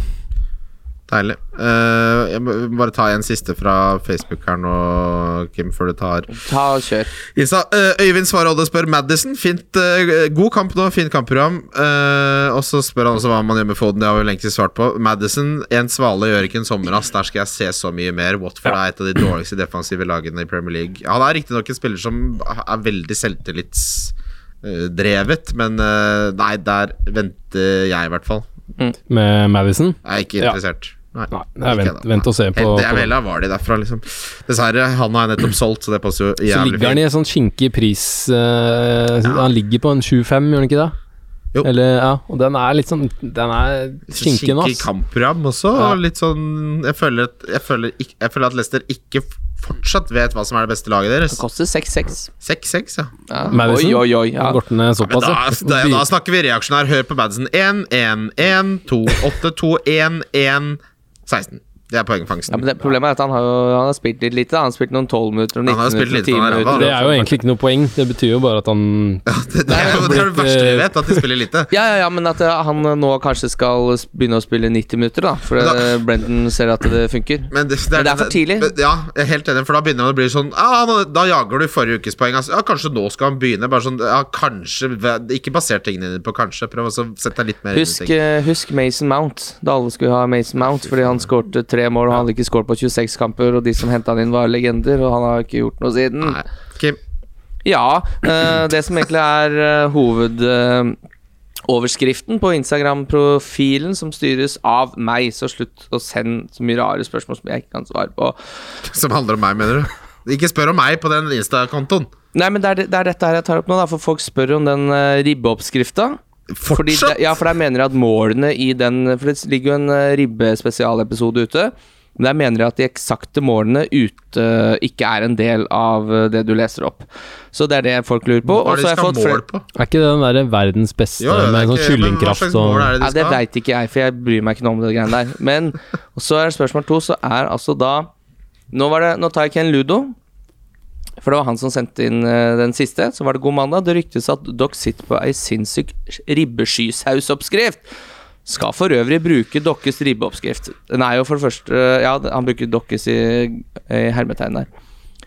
[SPEAKER 3] Deilig. Eh, jeg må bare ta en siste fra Facebook her nå, Kim, før du tar
[SPEAKER 2] Ta og kjør.
[SPEAKER 3] Insta. Eh, Øyvind Svarholde spør Madison. Fint, eh, god kamp nå, fint kampprogram. Eh, og så spør han også hva man gjør med Foden. Det har vi lenge svart på. Madison, en svale gjør ikke en sommerass. Der skal jeg se så mye mer. Watford er et av de dårligste defensive lagene i Premier League. Han er riktignok en spiller som er veldig selvtillitsdrevet, men eh, nei, der venter jeg i hvert fall.
[SPEAKER 4] Med Madison?
[SPEAKER 3] Jeg er ikke
[SPEAKER 4] Ja.
[SPEAKER 3] interessert. Nei,
[SPEAKER 4] Nei, det er
[SPEAKER 3] ikke
[SPEAKER 4] vent-
[SPEAKER 3] da.
[SPEAKER 4] vent og se på-
[SPEAKER 3] Helt- Jeg
[SPEAKER 4] på-
[SPEAKER 3] vil ha Vardy derfra, liksom. Dessverre, han har jeg nettopp solgt, så det passer jo jævlig
[SPEAKER 4] Så ligger han i en sånn skinkig pris eh, Han ligger på en 7-5, gjør han ikke det?
[SPEAKER 3] Jo.
[SPEAKER 4] Eller, ja, og den er litt sånn Den er
[SPEAKER 3] Skinkig
[SPEAKER 4] skinken, ass.
[SPEAKER 3] kampprogram også.
[SPEAKER 4] Ja.
[SPEAKER 3] og Litt sånn jeg føler, at, jeg, føler ikk- jeg føler at Leicester ikke f- fortsatt vet hva som er det beste laget deres.
[SPEAKER 2] Det koster 6-6.
[SPEAKER 3] 6-6, ja.
[SPEAKER 2] Ja.
[SPEAKER 4] Madison?
[SPEAKER 2] Oi, oi, oi. Ja.
[SPEAKER 4] Han Går den ned
[SPEAKER 3] Men
[SPEAKER 4] såpass,
[SPEAKER 3] da,
[SPEAKER 4] ja.
[SPEAKER 3] da, da snakker vi reaksjonær. Hør på Madsen. 1, 1, 1, 2, 8, 2, 1, 1, 16. Det
[SPEAKER 2] Ja,
[SPEAKER 3] er poengfangsten.
[SPEAKER 2] men det, problemet er at han har, jo, han har spilt litt lite. da. Han har spilt noen 12 minutter og
[SPEAKER 3] Han har
[SPEAKER 2] 19
[SPEAKER 3] spilt
[SPEAKER 2] minutter og 10
[SPEAKER 3] lite, han er ræva,
[SPEAKER 2] minutter.
[SPEAKER 4] Det er jo egentlig ikke noe poeng. Det betyr jo bare at han
[SPEAKER 3] det, det er jo det, er det verste
[SPEAKER 2] eh,
[SPEAKER 3] vi vet, at de spiller lite.
[SPEAKER 2] Ja, ja, ja, men at eh, han nå kanskje skal s- begynne å spille 90 minutter, da. For
[SPEAKER 3] Men da-
[SPEAKER 2] eh, Brendan ser at det funker.
[SPEAKER 3] Men det,
[SPEAKER 2] Men det er for tidlig.
[SPEAKER 3] men- Ja, jeg er helt enig, for da begynner han å bli sånn ah, nå- Da jager du forrige ukes poeng. Altså. Ja, kanskje nå skal han begynne. Bare sånn, ja, kanskje Ikke baser tingene dine på kanskje. Prøv også å sette deg litt mer
[SPEAKER 2] Husk,
[SPEAKER 3] inn i ting.
[SPEAKER 2] eh, husk Mason Mount, da alle skulle ha Mason Mount. Fordi han skårte tre mål, og han hadde ikke skåret på 26 kamper. Og de som henta han inn, var legender, og han har ikke gjort noe siden.
[SPEAKER 3] Nei. Kim,
[SPEAKER 2] Ja. eh, det som egentlig er eh, hovedoverskriften på Instagram-profilen, som styres av meg, så slutt å sende så mye rare spørsmål som jeg ikke kan svare på.
[SPEAKER 3] som handler om meg, mener du? Ikke spør om meg på den Insta-kontoen.
[SPEAKER 2] Nei, men det er, det er dette her jeg tar opp nå, da, for folk spør om den uh, ribbeoppskrifta. Fordi
[SPEAKER 3] Fortsatt?
[SPEAKER 2] de- ja, for der mener jeg at målene i den For det ligger jo en eh, ribbespesialepisode ute. Men der mener jeg at de eksakte målene ute eh, ikke er en del av eh, det du leser opp. Så det er det folk lurer på. Og
[SPEAKER 3] Hva er det
[SPEAKER 2] så
[SPEAKER 3] de
[SPEAKER 2] har jeg
[SPEAKER 3] skal
[SPEAKER 2] fått
[SPEAKER 3] ha
[SPEAKER 2] flere
[SPEAKER 3] mål på?
[SPEAKER 4] Er ikke det den derre verdens beste
[SPEAKER 3] Jo, jo, det er
[SPEAKER 4] med sånn
[SPEAKER 3] ikke- men Hva
[SPEAKER 4] kyllingkraft
[SPEAKER 3] slags mål er
[SPEAKER 4] og
[SPEAKER 3] det
[SPEAKER 2] Ja,
[SPEAKER 3] de
[SPEAKER 2] det
[SPEAKER 3] skal ha?
[SPEAKER 2] veit ikke jeg, for jeg bryr meg ikke noe om det greiene der. Men og så er det spørsmål to, så er altså da Nå, var det, nå tar jeg Ken Ludo. For det var han som sendte inn eh, den siste. Så var det god mandag. Det ryktes at dere sitter på ei sinnssyk ribbeskysausoppskrift. Skal for øvrig bruke dokkes ribbeoppskrift. Den er jo for det første eh, Ja, han bruker dokkes i, i hermetegn der.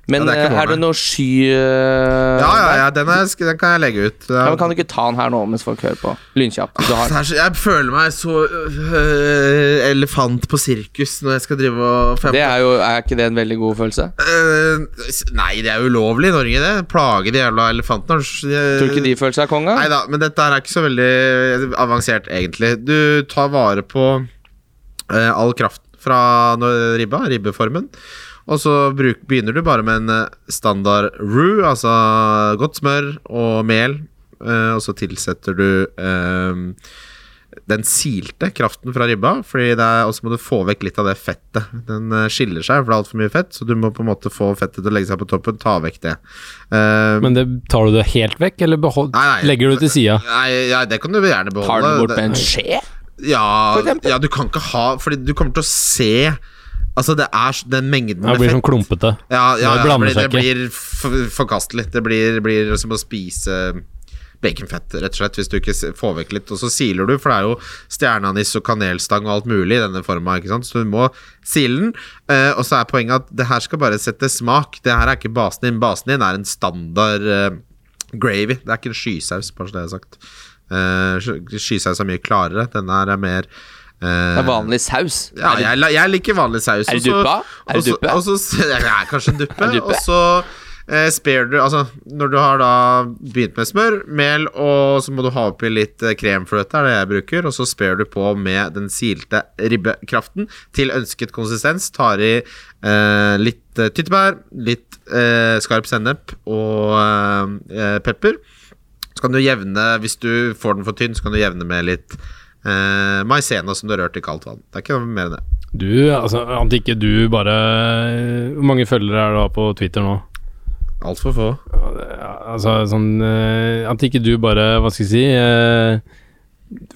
[SPEAKER 2] Men
[SPEAKER 3] Ja, det er ikke
[SPEAKER 2] eh,
[SPEAKER 3] vår,
[SPEAKER 2] er det
[SPEAKER 3] nei.
[SPEAKER 2] noe sky eh,
[SPEAKER 3] Ja, ja,
[SPEAKER 2] der?
[SPEAKER 3] ja, den, er, sk- den kan jeg legge ut. Det er-
[SPEAKER 2] Ja, men kan du ikke ta den her nå mens folk hører på? Lynkjapt. hvis Du har
[SPEAKER 3] Det er så- jeg føler meg så øh, elefant på sirkus når jeg skal drive og
[SPEAKER 2] Det er jo Er ikke det en veldig god følelse?
[SPEAKER 3] Øh, s- Nei, det er ulovlig i Norge, det. Plage de jævla elefantene.
[SPEAKER 2] Tror du ikke de føler seg konga?
[SPEAKER 3] Nei da, men dette her er ikke så veldig eh, avansert, egentlig. Du tar vare på eh, all kraft fra når- ribba, ribbeformen. Og så bruk, begynner du bare med en eh, standard roux, altså godt smør og mel. eh, og så tilsetter du eh, den silte kraften fra ribba, Fordi det er- og så må du få vekk litt av det fettet. Den eh, skiller seg, for det er altfor mye fett, så du må på en måte få fettet til å legge seg på toppen. Ta vekk det. Eh,
[SPEAKER 4] Men det tar du det helt vekk, eller behold,
[SPEAKER 3] Nei, nei.
[SPEAKER 4] legger du det til sida?
[SPEAKER 3] Nei, ja, det kan du gjerne beholde.
[SPEAKER 2] Tar den bort
[SPEAKER 3] Det-
[SPEAKER 2] med en skje?
[SPEAKER 3] ja,
[SPEAKER 2] for eksempel?
[SPEAKER 3] ja, du kan ikke ha Fordi du kommer til å se Altså, det er s- den mengden
[SPEAKER 4] Det
[SPEAKER 3] med
[SPEAKER 4] blir
[SPEAKER 3] fett
[SPEAKER 4] sånn klumpete.
[SPEAKER 3] ja, ja, ja,
[SPEAKER 4] det blander
[SPEAKER 3] det blir, det
[SPEAKER 4] seg
[SPEAKER 3] blir f- forkastelig. Det blir, blir som å spise baconfett, rett og slett, hvis du ikke s- får vekk litt. Og så siler du, for det er jo stjerneanis og kanelstang og alt mulig i denne forma, ikke sant, så du må sile den. Eh, og så er poenget at det her skal bare sette smak. Det her er ikke basen din. Basen din er en standard eh, gravy. Det er ikke en skysaus, bare så det er sagt. Eh, sky- skysaus er mye klarere. Denne her er mer eh,
[SPEAKER 2] Det er vanlig saus.
[SPEAKER 3] ja, jeg, la- jeg liker vanlig saus.
[SPEAKER 2] Er det
[SPEAKER 3] og så-
[SPEAKER 2] duppa? Er det
[SPEAKER 3] og så-
[SPEAKER 2] duppe?
[SPEAKER 3] og så s- ja, det er kanskje en duppe.
[SPEAKER 2] duppe?
[SPEAKER 3] Og så eh, sper du Altså, når du har da begynt med smør, mel, og så må du ha oppi litt eh, kremfløte, er det jeg bruker, og så sper du på med den silte ribbekraften til ønsket konsistens. Tar i eh, litt eh, tyttebær, litt eh, skarp sennep og eh, pepper. Så kan du jevne, hvis du får den for tynn, så kan du jevne med litt eh, maisena som du har rørt i kaldt vann. Det er ikke noe mer enn det.
[SPEAKER 4] Du, altså, at ikke du bare Hvor mange følgere er du har på Twitter nå?
[SPEAKER 3] Altfor få.
[SPEAKER 4] Altså, sånn eh, At ikke du bare, hva skal jeg si eh,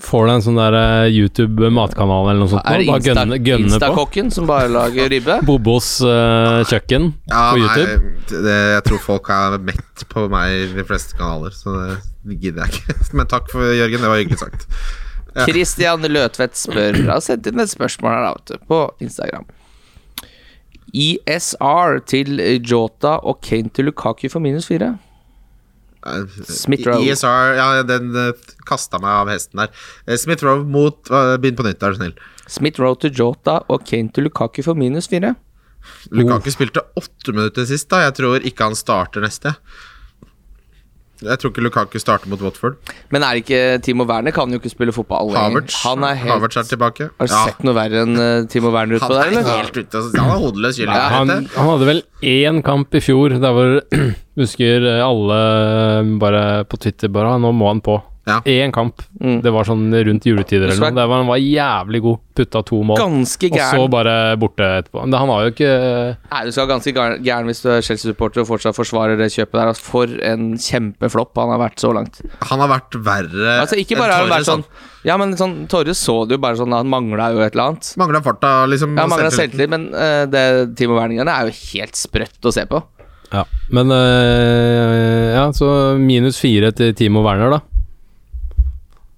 [SPEAKER 4] Får deg en sånn der eh, YouTube-matkanal eller noe sånt.
[SPEAKER 2] Er det
[SPEAKER 4] nå, bare
[SPEAKER 2] Insta,
[SPEAKER 4] gønne, gønne på.
[SPEAKER 2] Instakokken som bare lager ribbe?
[SPEAKER 4] Bobos eh, kjøkken på YouTube.
[SPEAKER 3] Nei, det, jeg tror folk er mett på meg i de fleste kanaler, så det gidder jeg ikke. Men takk for Jørgen, det var hyggelig sagt. Ja.
[SPEAKER 2] Christian Løtvedt spør Har sendt inn et spørsmål her da, vet du, på Instagram. ISR til Jota og Kane til Lukaku for minus fire.
[SPEAKER 3] Eh,
[SPEAKER 2] Smith Rowe.
[SPEAKER 3] ISR, ja, den kasta meg av hesten der. Eh, Smith Rowe mot eh, Begynn på nytt, er du snill.
[SPEAKER 2] Smith Rowe til Jota og Kane til Lukaku for minus fire.
[SPEAKER 3] Lukaku
[SPEAKER 4] Oh.
[SPEAKER 3] spilte åtte minutter sist, da. Jeg tror ikke han starter neste. Jeg tror ikke Lukaku starter mot Watford.
[SPEAKER 2] Men er ikke Timo Werner kan jo ikke spille fotball lenger.
[SPEAKER 3] Havertz
[SPEAKER 2] Han er helt
[SPEAKER 3] Havertz er tilbake.
[SPEAKER 2] Har du
[SPEAKER 3] Ja,
[SPEAKER 2] sett noe verre enn eh, Timo Werner utpå
[SPEAKER 3] han
[SPEAKER 2] der,
[SPEAKER 3] er
[SPEAKER 2] eller?
[SPEAKER 3] helt ute. altså. Han er hodeløs kylling.
[SPEAKER 2] Ja,
[SPEAKER 4] Han,
[SPEAKER 3] vet du.
[SPEAKER 4] han hadde vel én kamp i fjor der hvor husker eh, alle eh, bare på Twitter bare «Ah, Nå må han på.
[SPEAKER 3] Ja.
[SPEAKER 4] Én kamp.
[SPEAKER 2] Mm.
[SPEAKER 4] Det var sånn rundt juletider eller
[SPEAKER 2] Så er-
[SPEAKER 4] noe. Der var han var jævlig god. Putta to mål.
[SPEAKER 2] Ganske
[SPEAKER 4] Og
[SPEAKER 2] gæren.
[SPEAKER 4] så bare borte etterpå. Men han var jo ikke eh,
[SPEAKER 2] Nei, Du skal være ganske gær- gæren hvis du er Chelsea-supporter og fortsatt forsvarer det kjøpet der. Altså, for en kjempeflopp han har vært så langt.
[SPEAKER 3] Han har vært verre
[SPEAKER 2] Altså, ikke bare har han vært sånn Ja, men sånn, Torres så det jo bare sånn, han mangla jo et eller annet.
[SPEAKER 3] Mangla farta, liksom.
[SPEAKER 2] Ja, mangla
[SPEAKER 3] selvtilliten.
[SPEAKER 2] selvtillit, men eh, det Timo Werningene er jo helt sprøtt å se på.
[SPEAKER 4] Ja. Men øh, ja, så minus fire til Timo Werner, da.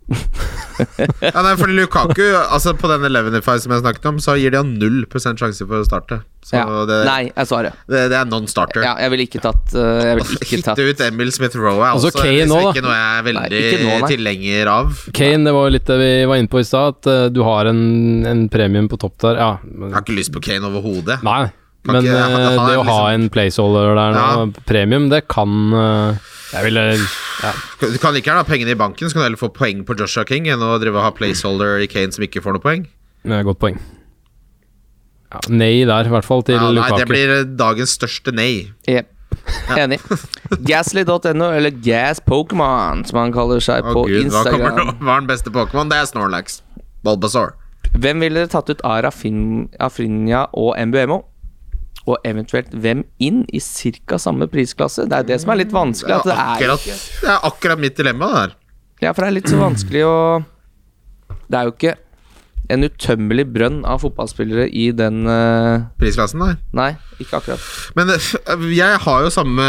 [SPEAKER 3] Ja, nei, fordi Lukaku, altså på den Elevenify som jeg snakket om, så gir de han 0 sjanse for å starte. Så
[SPEAKER 2] Ja.
[SPEAKER 3] det,
[SPEAKER 2] Nei, jeg svarer.
[SPEAKER 3] det, det er non-starter.
[SPEAKER 2] Ja, jeg ville ikke tatt eh, Jeg ville ikke
[SPEAKER 3] Hitte
[SPEAKER 2] tatt
[SPEAKER 3] ut Emil Smith Rowe er
[SPEAKER 4] Altså,
[SPEAKER 3] også
[SPEAKER 4] Kane
[SPEAKER 3] liksom
[SPEAKER 4] nå, da.
[SPEAKER 3] ikke noe jeg er veldig
[SPEAKER 2] Nei, ikke nå, nei.
[SPEAKER 3] tilhenger av.
[SPEAKER 4] Kane, det var jo litt det vi var inne på i stad, at øh, du har en, en premium på topp der. Ja.
[SPEAKER 3] Jeg har ikke lyst på Kane overhodet.
[SPEAKER 4] Nei.
[SPEAKER 3] Kan
[SPEAKER 4] Men
[SPEAKER 3] ikke-
[SPEAKER 4] øh,
[SPEAKER 3] han- han er
[SPEAKER 4] det å ha
[SPEAKER 3] liksom-
[SPEAKER 4] en placeholder der nå, premium, det kan øh, Jeg ville ja.
[SPEAKER 3] Du kan ikke gjerne ha pengene i banken, så kan du heller få poeng på Joshua King enn å drive og ha placeholder i Kane som ikke får noe poeng.
[SPEAKER 4] Det er et Godt poeng. Ja, nei der, i hvert fall, til
[SPEAKER 3] Ja, nei,
[SPEAKER 4] Lukaku.
[SPEAKER 3] det blir eh, dagens største nei.
[SPEAKER 2] Jep. Enig. Gasly.no, eller Gas Pokémon, som han kaller seg
[SPEAKER 3] Å
[SPEAKER 2] på
[SPEAKER 3] gud, hva kommer
[SPEAKER 2] Instagram.
[SPEAKER 3] nå? Hva er den beste Pokémon? Det er Snorlax. Bulbasaur.
[SPEAKER 2] gjort? Hvem ville dere tatt ut av Rafin, Afrinja og MBMO? Og eventuelt hvem inn i ca. samme prisklasse? Det er det som er litt vanskelig.
[SPEAKER 3] Det
[SPEAKER 2] At
[SPEAKER 3] er
[SPEAKER 2] det er
[SPEAKER 3] akkurat, det er akkurat mitt dilemma, det her.
[SPEAKER 2] Ja, for det er litt så vanskelig å Det er jo ikke en utømmelig brønn av fotballspillere i den eh,
[SPEAKER 3] Prisklassen der.
[SPEAKER 2] Nei, ikke akkurat.
[SPEAKER 3] Men eh, jeg har jo samme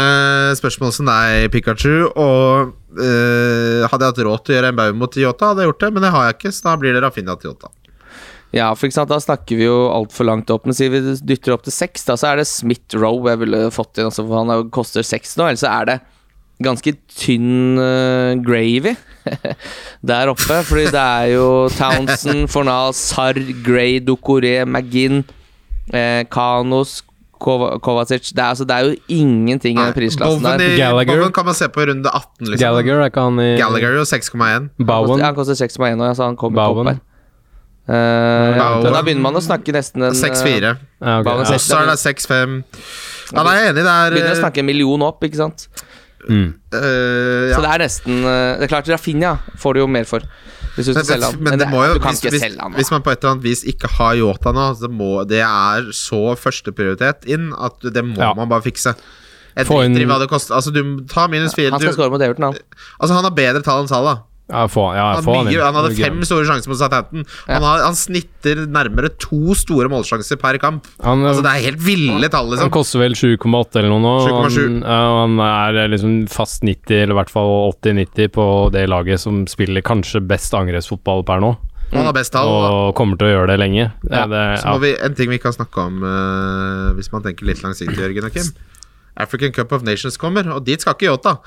[SPEAKER 3] spørsmål som deg, Pikachu. Og eh, hadde jeg hatt råd til å gjøre en baum mot Yota, hadde jeg gjort det. Men det har jeg ikke, så da blir det Rafinha til Yota.
[SPEAKER 2] Ja, for ikke sant, da snakker vi jo altfor langt opp. Men sier vi dytter opp til seks, da så er det Smith Rowe jeg ville fått inn. Altså, for han er jo- koster seks nå, ellers så er det ganske tynn eh, gravy der oppe. Fordi det er jo Townsend, Fornal, Sarr, Gray, Dokoré, McGinn, eh, Kanos, Kova- Kovacic det er, altså, det er jo ingenting i den prisklassen
[SPEAKER 3] Bowen
[SPEAKER 2] der.
[SPEAKER 3] i-
[SPEAKER 4] Gallagher.
[SPEAKER 3] Bowen kan man se på i runde 18, liksom.
[SPEAKER 4] Gallagher, er ikke han i
[SPEAKER 3] Gallagher er jo 6,1.
[SPEAKER 2] Koster-
[SPEAKER 4] Bowen?
[SPEAKER 2] ja, Han koster 6,1 nå, ja, så han kommer ikke opp
[SPEAKER 4] Bowen.
[SPEAKER 2] her. Eh,
[SPEAKER 3] Bowen.
[SPEAKER 2] men da begynner man å snakke nesten en eh,
[SPEAKER 3] 6,4.
[SPEAKER 4] Ja, ok,
[SPEAKER 2] Bowen
[SPEAKER 4] ja.
[SPEAKER 2] seks.
[SPEAKER 3] Ossard er 6,5. Ja, nei, jeg er enig. Det
[SPEAKER 2] eh, Begynner å
[SPEAKER 3] er
[SPEAKER 2] snakke en million opp, ikke sant?
[SPEAKER 4] Mm.
[SPEAKER 3] eh,
[SPEAKER 2] Så
[SPEAKER 3] ja.
[SPEAKER 2] det er nesten eh, Det er klart, Rafinha får du jo mer for. Hvis du skal selge han.
[SPEAKER 3] men, det må jo,
[SPEAKER 2] du kan
[SPEAKER 3] hvis,
[SPEAKER 2] ikke
[SPEAKER 3] hvis,
[SPEAKER 2] selge han. da.
[SPEAKER 3] hvis man på et eller annet vis ikke har Yota nå, så må, det er så førsteprioritet inn at det må
[SPEAKER 4] Ja.
[SPEAKER 3] man bare fikse. Jeg
[SPEAKER 4] Få inn-
[SPEAKER 3] driter i hva det koster. Altså, du tar minus fire.
[SPEAKER 2] han skal
[SPEAKER 3] Du,
[SPEAKER 2] score mot Everton, han.
[SPEAKER 3] altså, han har bedre tall enn Salah.
[SPEAKER 4] Ja, få, ja,
[SPEAKER 3] Han,
[SPEAKER 4] få
[SPEAKER 3] har
[SPEAKER 4] han inn.
[SPEAKER 3] mye, han hadde
[SPEAKER 4] Det er
[SPEAKER 3] fem store sjanser mot Southampton. Han, har, han snitter nærmere to store målsjanser per kamp.
[SPEAKER 4] gøy. Han, eh,
[SPEAKER 3] Altså, det er helt ville tall,
[SPEAKER 4] han
[SPEAKER 3] liksom.
[SPEAKER 4] koster vel 7,8 eller noe nå. og
[SPEAKER 3] 7,7.
[SPEAKER 4] Han, ja, og han er liksom fast 90, eller i hvert fall 80-90 på det laget som spiller kanskje best angrepsfotball per nå,
[SPEAKER 3] Han har best tall. da.
[SPEAKER 4] og kommer til å gjøre det lenge. Ja,
[SPEAKER 2] Ja,
[SPEAKER 4] det,
[SPEAKER 3] Så
[SPEAKER 4] ja.
[SPEAKER 3] må vi, en ting vi ikke har snakka om, eh, hvis man tenker litt langsiktig, Jørgen og Kim. African Cup of Nations kommer, og dit skal ikke Yota.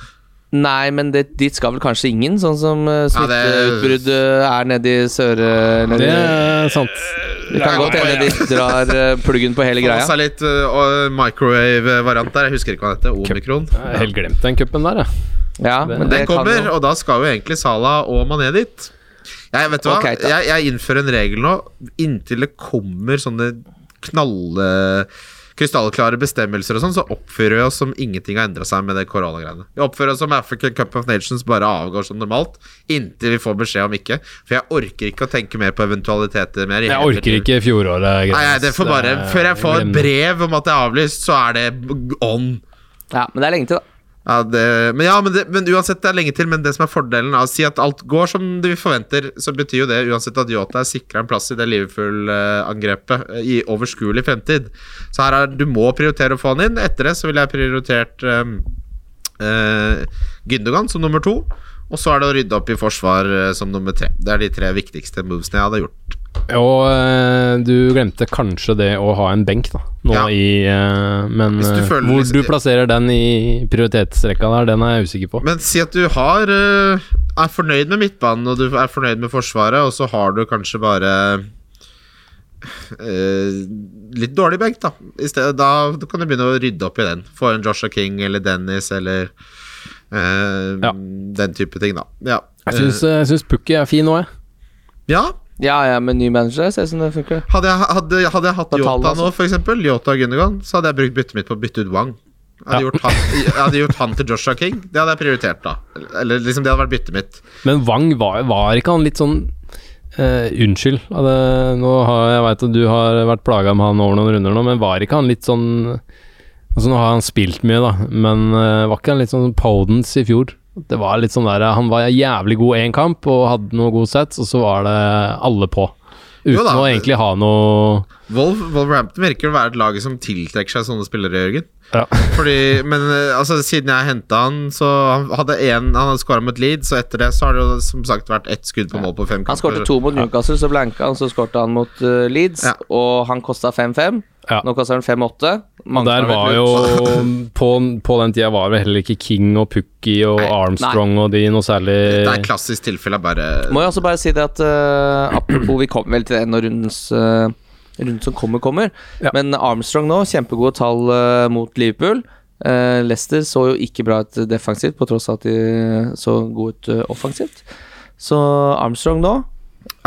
[SPEAKER 2] Nei, men det, dit skal vel kanskje ingen, sånn som uh,
[SPEAKER 3] Ja, det-
[SPEAKER 2] smitteutbruddet er nede i sør... eh, nede-
[SPEAKER 4] det er sant.
[SPEAKER 2] det kan godt hende de drar eh, pluggen på hele
[SPEAKER 3] Få
[SPEAKER 2] greia.
[SPEAKER 3] seg litt øh, microwave-variant der. Jeg husker ikke hva det heter. Omikron.
[SPEAKER 4] Jeg har helt glemt den cupen der, jeg.
[SPEAKER 2] Ja, men det
[SPEAKER 3] Den
[SPEAKER 2] kan
[SPEAKER 3] kommer,
[SPEAKER 2] jo
[SPEAKER 3] og da skal jo egentlig Salah og Mané dit. Jeg vet du hva,
[SPEAKER 2] Ok, da.
[SPEAKER 3] jeg, jeg innfører en regel nå. Inntil det kommer sånne knalle krystallklare bestemmelser og sånn, så oppfører vi oss som ingenting har endra seg med det koronagreiene. Vi oppfører oss som African Cup of Nations bare avgår som normalt, inntil vi får beskjed om ikke. For jeg orker ikke å tenke mer på eventualiteter mer. i
[SPEAKER 4] Jeg
[SPEAKER 3] hele mitt
[SPEAKER 4] orker
[SPEAKER 3] liv.
[SPEAKER 4] ikke fjoråret.
[SPEAKER 3] Nei, nei, det får bare Før jeg får
[SPEAKER 4] glem det.
[SPEAKER 3] brev om at det er avlyst, så er det on.
[SPEAKER 2] Ja, men det er lenge til, da.
[SPEAKER 3] Ja, det, men, ja men, det, men uansett, det er lenge til. Men det som er fordelen av å si at alt går som det vi forventer, så betyr jo det uansett at Yota er sikra en plass i det Liverpool-angrepet eh, i overskuelig fremtid. Så her er du må prioritere å få han inn. Etter det så ville jeg prioritert um, eh, Gündogan som nummer to. Og så er det å rydde opp i forsvar eh, som nummer tre. Det er de tre viktigste movesene jeg hadde gjort.
[SPEAKER 4] Og eh, du glemte kanskje det å ha en benk, da. Nå
[SPEAKER 3] Ja.
[SPEAKER 4] i eh, Men
[SPEAKER 3] Hvis du
[SPEAKER 4] eh,
[SPEAKER 3] føler
[SPEAKER 4] hvor
[SPEAKER 3] liksom-
[SPEAKER 4] du plasserer den i prioritetsrekka der, den er jeg usikker på.
[SPEAKER 3] Men si at du har eh, er fornøyd med midtbanen og du er fornøyd med Forsvaret, og så har du kanskje bare eh, litt dårlig benk, da. I stedet, da. Da kan du begynne å rydde opp i den. Få inn Joshua King eller Dennis eller eh,
[SPEAKER 4] Ja.
[SPEAKER 3] den type ting, da. Ja.
[SPEAKER 4] Jeg syns, eh, jeg syns Pukki er fin òg, jeg.
[SPEAKER 3] Eh, ja.
[SPEAKER 2] Ja, ja, med ny manager ser det ut som det funker.
[SPEAKER 3] Hadde jeg, hadde, hadde jeg hatt
[SPEAKER 2] Da
[SPEAKER 3] Yota
[SPEAKER 2] tallet, altså.
[SPEAKER 3] nå, for eksempel, Yota og Gundogan, så hadde jeg brukt byttet mitt på å bytte ut Wang. Jeg Hadde, gjort han, jeg hadde gjort han til Joshua King. Det hadde jeg prioritert, da. Eller liksom, det hadde vært byttet mitt.
[SPEAKER 4] Men Wang, var, var ikke han litt sånn eh, Unnskyld, ja, det, nå har, jeg veit at du har vært plaga med han over noen runder nå, men var ikke han litt sånn Altså Nå har han spilt mye, da, men eh, var ikke han litt sånn Podence i fjor? Det var litt sånn der, eh, Han var jævlig god én kamp og hadde noe god sets, og så var det alle på.
[SPEAKER 3] Jo
[SPEAKER 4] Uten
[SPEAKER 3] da.
[SPEAKER 4] å egentlig ha noe
[SPEAKER 3] Wolf, Wolverhampton virker å være et lag som tiltrekker seg sånne spillere, Jørgen.
[SPEAKER 4] Ja.
[SPEAKER 3] Fordi, men eh, altså, siden jeg henta han, så han hadde en, han hadde skåra mot Leeds, og etter det så har det jo som sagt vært ett skudd på mål på fem
[SPEAKER 2] Han skårte
[SPEAKER 3] kamper.
[SPEAKER 2] to mot Newcastle, så blanka han, så skårte han mot eh, Leeds,
[SPEAKER 3] Ja.
[SPEAKER 2] og han kosta 5-5.
[SPEAKER 4] Ja.
[SPEAKER 2] Nå koster han 5-8.
[SPEAKER 4] Og der var jo på, på den tida var det heller ikke King og Pukki og
[SPEAKER 3] Nei, nei.
[SPEAKER 4] Armstrong og de noe særlig
[SPEAKER 3] Det er et klassisk tilfelle av bare
[SPEAKER 2] Må jeg også bare si det at eh, apropos, vi kommer vel til det når rundens eh, runden som kommer, kommer.
[SPEAKER 4] Ja.
[SPEAKER 2] Men Armstrong nå, kjempegode tall eh, mot Liverpool. Eh, Leicester så jo ikke bra ut defensivt, på tross av at de så gode ut eh, offensivt. Så Armstrong nå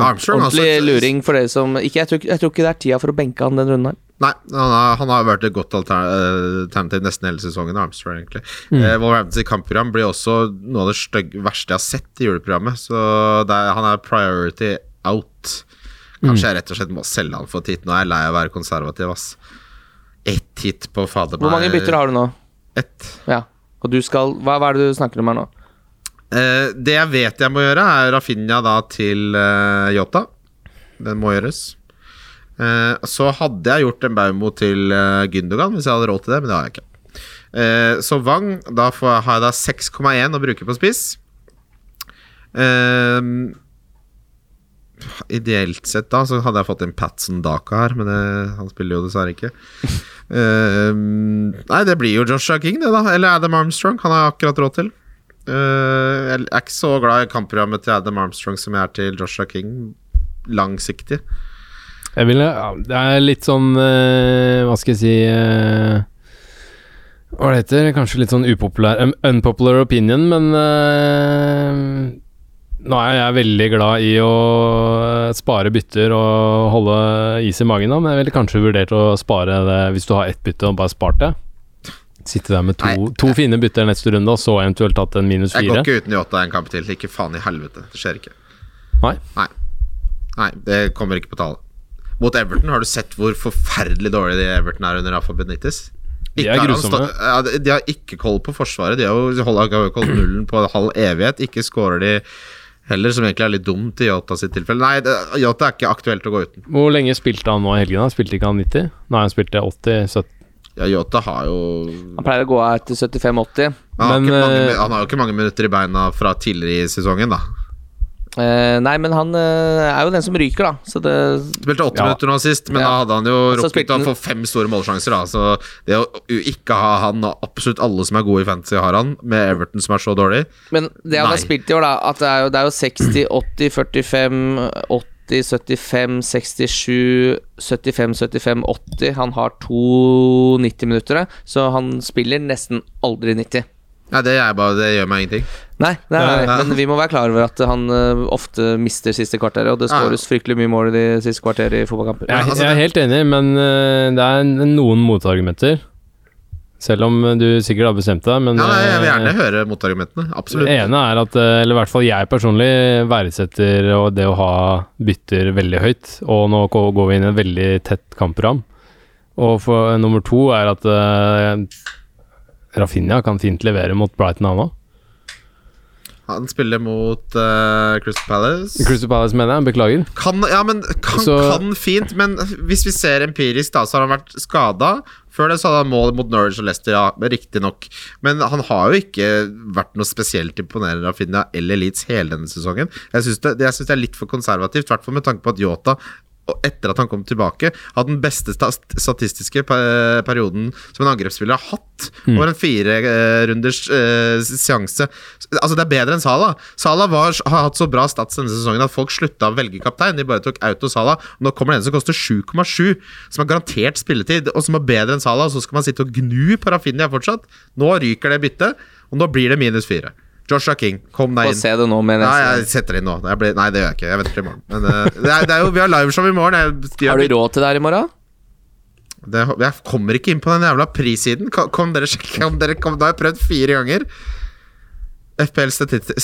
[SPEAKER 3] Armstrong. altså,
[SPEAKER 2] Ordentlig luring for dere som ikke, jeg, tror, ikke- jeg tror ikke det er tida for å benke han den runden her.
[SPEAKER 3] Nei, han har, han har vært et godt alter- eh, alternativ nesten hele sesongen. Armstrong, egentlig. Eh, Wolverhampton sitt kampprogram blir også noe av det stygg, verste jeg har sett i juleprogrammet. Så det er, han er priority out. Kanskje jeg rett og slett må selge han for et hit. Nå er jeg lei av å være konservativ, ass. Ett hit på fader
[SPEAKER 2] Hvor mange bytter har du nå?
[SPEAKER 3] Ett.
[SPEAKER 2] Ja. Og du skal Hva, hva er det du snakker om her nå?
[SPEAKER 3] Eh, det jeg vet jeg må gjøre, er Rafinha da til uh, Yota. Den må gjøres. Eh, så hadde jeg gjort en Baumo til eh, Gündogan hvis jeg hadde råd til det, men det har jeg ikke. Eh, så Wang, da får, jeg- har jeg da 6,1 å bruke på spiss. Eh, ideelt sett, da, så hadde jeg fått inn Patson Daka her, men det, han spiller jo dessverre ikke. Eh, nei, det blir jo Joshua King, det, da. Eller Adam Armstrong. Han har jeg akkurat råd til. Eh, jeg er ikke så glad i kampprogrammet til Adam Armstrong som jeg er til Joshua King, langsiktig.
[SPEAKER 4] Jeg vil, ja, det er litt sånn eh, Hva skal jeg si eh, Hva det heter Kanskje litt sånn upopulær um, Unpopular opinion, men eh, Nå er jeg veldig glad i å spare bytter og holde is i magen, da, men jeg ville kanskje vurdert å spare det hvis du har ett bytte og bare spart det. Sitte der med to,
[SPEAKER 3] Nei.
[SPEAKER 4] to fine bytter neste runde, og så eventuelt tatt en minus
[SPEAKER 3] Jeg går
[SPEAKER 4] fire.
[SPEAKER 3] ikke uten Yota en kamp til. Ikke faen i helvete. Det skjer ikke.
[SPEAKER 4] Nei.
[SPEAKER 3] Nei, Nei det kommer ikke på tale. Mot Everton, har du sett hvor forferdelig dårlig de Everton er under Rafa Benitez?
[SPEAKER 4] De
[SPEAKER 3] Ikke
[SPEAKER 4] er
[SPEAKER 3] har han
[SPEAKER 4] grusomme.
[SPEAKER 3] stått- ja, de- de har ikke koll på forsvaret. De har jo holdt, har jo ikke holdt nullen på halv evighet. Ikke scorer de heller, som egentlig er litt dumt i Yota sitt tilfelle. Nei, det- Yota er ikke aktuelt å gå uten.
[SPEAKER 4] Hvor lenge spilte han nå i helgen? da? Spilte ikke han 90? Nei, han spilte 80-70.
[SPEAKER 3] Ja, Yota har jo
[SPEAKER 2] Han pleier å gå av etter 75-80.
[SPEAKER 3] Han,
[SPEAKER 4] Men,
[SPEAKER 3] har ikke mange,
[SPEAKER 4] eh,
[SPEAKER 3] han har jo ikke mange minutter i beina fra tidligere i sesongen, da.
[SPEAKER 2] Eh, nei, men han eh, er jo den som ryker, da. Så det
[SPEAKER 3] Spilte åtte
[SPEAKER 4] Ja.
[SPEAKER 3] minutter nå sist, men
[SPEAKER 2] Ja.
[SPEAKER 3] da hadde han jo
[SPEAKER 2] så
[SPEAKER 3] rukket
[SPEAKER 2] spilte
[SPEAKER 3] å
[SPEAKER 2] han-
[SPEAKER 3] få fem store målsjanser, da. Så det å u- ikke ha han og absolutt alle som er gode i fantasy, har han, med Everton som er så dårlig
[SPEAKER 2] Men det han har
[SPEAKER 3] Nei.
[SPEAKER 2] spilt i år, da, at det er jo, det er jo 60, 80, 45, 80, 75, 67, 75, 75, 80. Han har to 90-minuttere, så han spiller nesten aldri 90.
[SPEAKER 3] Nei, det, er bare, det gjør meg ingenting.
[SPEAKER 2] Nei, nei, nei,
[SPEAKER 3] Ja, ja.
[SPEAKER 2] men vi må være klar over at han eh, ofte mister siste kvarteret, og det
[SPEAKER 3] Ja, ja.
[SPEAKER 2] skåres fryktelig mye mål i de siste kvarterene i fotballkamper.
[SPEAKER 4] Jeg,
[SPEAKER 3] altså,
[SPEAKER 4] jeg er helt enig, men eh, det er n- noen motargumenter. Selv om eh, du sikkert har bestemt deg, men
[SPEAKER 3] Ja, nei, jeg vil
[SPEAKER 4] eh,
[SPEAKER 3] gjerne høre motargumentene. Absolutt.
[SPEAKER 4] det ene er at, eh, eller i hvert fall jeg personlig, verdsetter eh, og det å ha bytter veldig høyt. Og nå gå- går vi inn i et veldig tett kampprogram. Og for, eh, nummer to er at eh, Rafinha kan fint levere mot Brighton, han òg.
[SPEAKER 3] Han spiller mot eh, Crystal Palace.
[SPEAKER 4] Crystal Palace, mener jeg. Beklager.
[SPEAKER 3] Kan, ja, men kan,
[SPEAKER 4] Så-
[SPEAKER 3] kan fint, men hvis vi ser empirisk, da, så har han vært skada. Før det så hadde han mål mot Norwich og Leicester, ja, men riktignok. Men han har jo ikke vært noe spesielt imponerende av Finna eller Leeds hele denne sesongen. Jeg syns det, det- jeg synes det er litt for konservativt, i hvert fall med tanke på at Yota og etter at han kom tilbake, hadde den beste sta- statistiske pe- perioden som en angrepsspiller har hatt. Over en firerunders eh, seanse. Altså, det er bedre enn Salah. Salah var, har hatt så bra stats denne sesongen at folk slutta å velge kaptein. De bare tok Auto Salah. Nå kommer det en som koster 7,7, som har garantert spilletid, og som er bedre enn Salah, og så skal man sitte og gnu på Rafinha fortsatt. Nå ryker det byttet, og nå blir det minus fire. Joshua King, kom deg
[SPEAKER 2] Få
[SPEAKER 3] inn.
[SPEAKER 2] se det nå med
[SPEAKER 3] Nei,
[SPEAKER 2] neste
[SPEAKER 3] jeg setter det inn nå. Jeg blir, nei, det gjør jeg ikke. Jeg venter til i morgen. Men eh, det, er, det er jo, vi har liveshow i morgen. Jeg,
[SPEAKER 2] Har du råd til det her i morgen?
[SPEAKER 3] det, jeg kommer ikke inn på den jævla prissiden. Kan, kan dere sjekke om dere kom, Da har jeg prøvd fire ganger. FPL statistisk,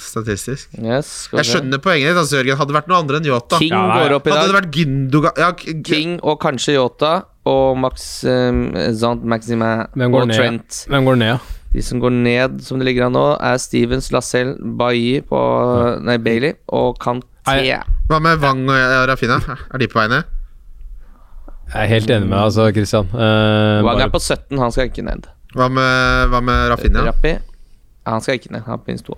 [SPEAKER 3] statistisk.
[SPEAKER 2] Yes, skal vi
[SPEAKER 3] Jeg
[SPEAKER 2] se.
[SPEAKER 3] skjønner poenget ditt, altså, Jørgen. Hadde det vært noe andre enn Yota
[SPEAKER 2] King
[SPEAKER 4] Ja, nei,
[SPEAKER 2] går opp i
[SPEAKER 3] Hadde det
[SPEAKER 2] dag.
[SPEAKER 3] vært Gündogan ja, K-
[SPEAKER 2] King og kanskje Yota og Max um, Zant Maximin
[SPEAKER 4] Hvem går
[SPEAKER 2] og
[SPEAKER 4] ned?
[SPEAKER 2] Trent.
[SPEAKER 4] Hvem går ned?
[SPEAKER 2] De som går ned, som det ligger an nå, er Stevens, Lacelle, Bailly på Nei, Bailey og Kanté.
[SPEAKER 4] Nei.
[SPEAKER 3] Hva med Wang og ja, Rafinha? Er de på vei ned?
[SPEAKER 4] Jeg er helt enig med deg, altså, Christian. Eh,
[SPEAKER 2] Wang
[SPEAKER 4] bare-
[SPEAKER 2] er på 17, han skal ikke ned.
[SPEAKER 3] Hva med, hva med Rafinha?
[SPEAKER 2] Rappi ja, Han skal ikke ned, han har minst to.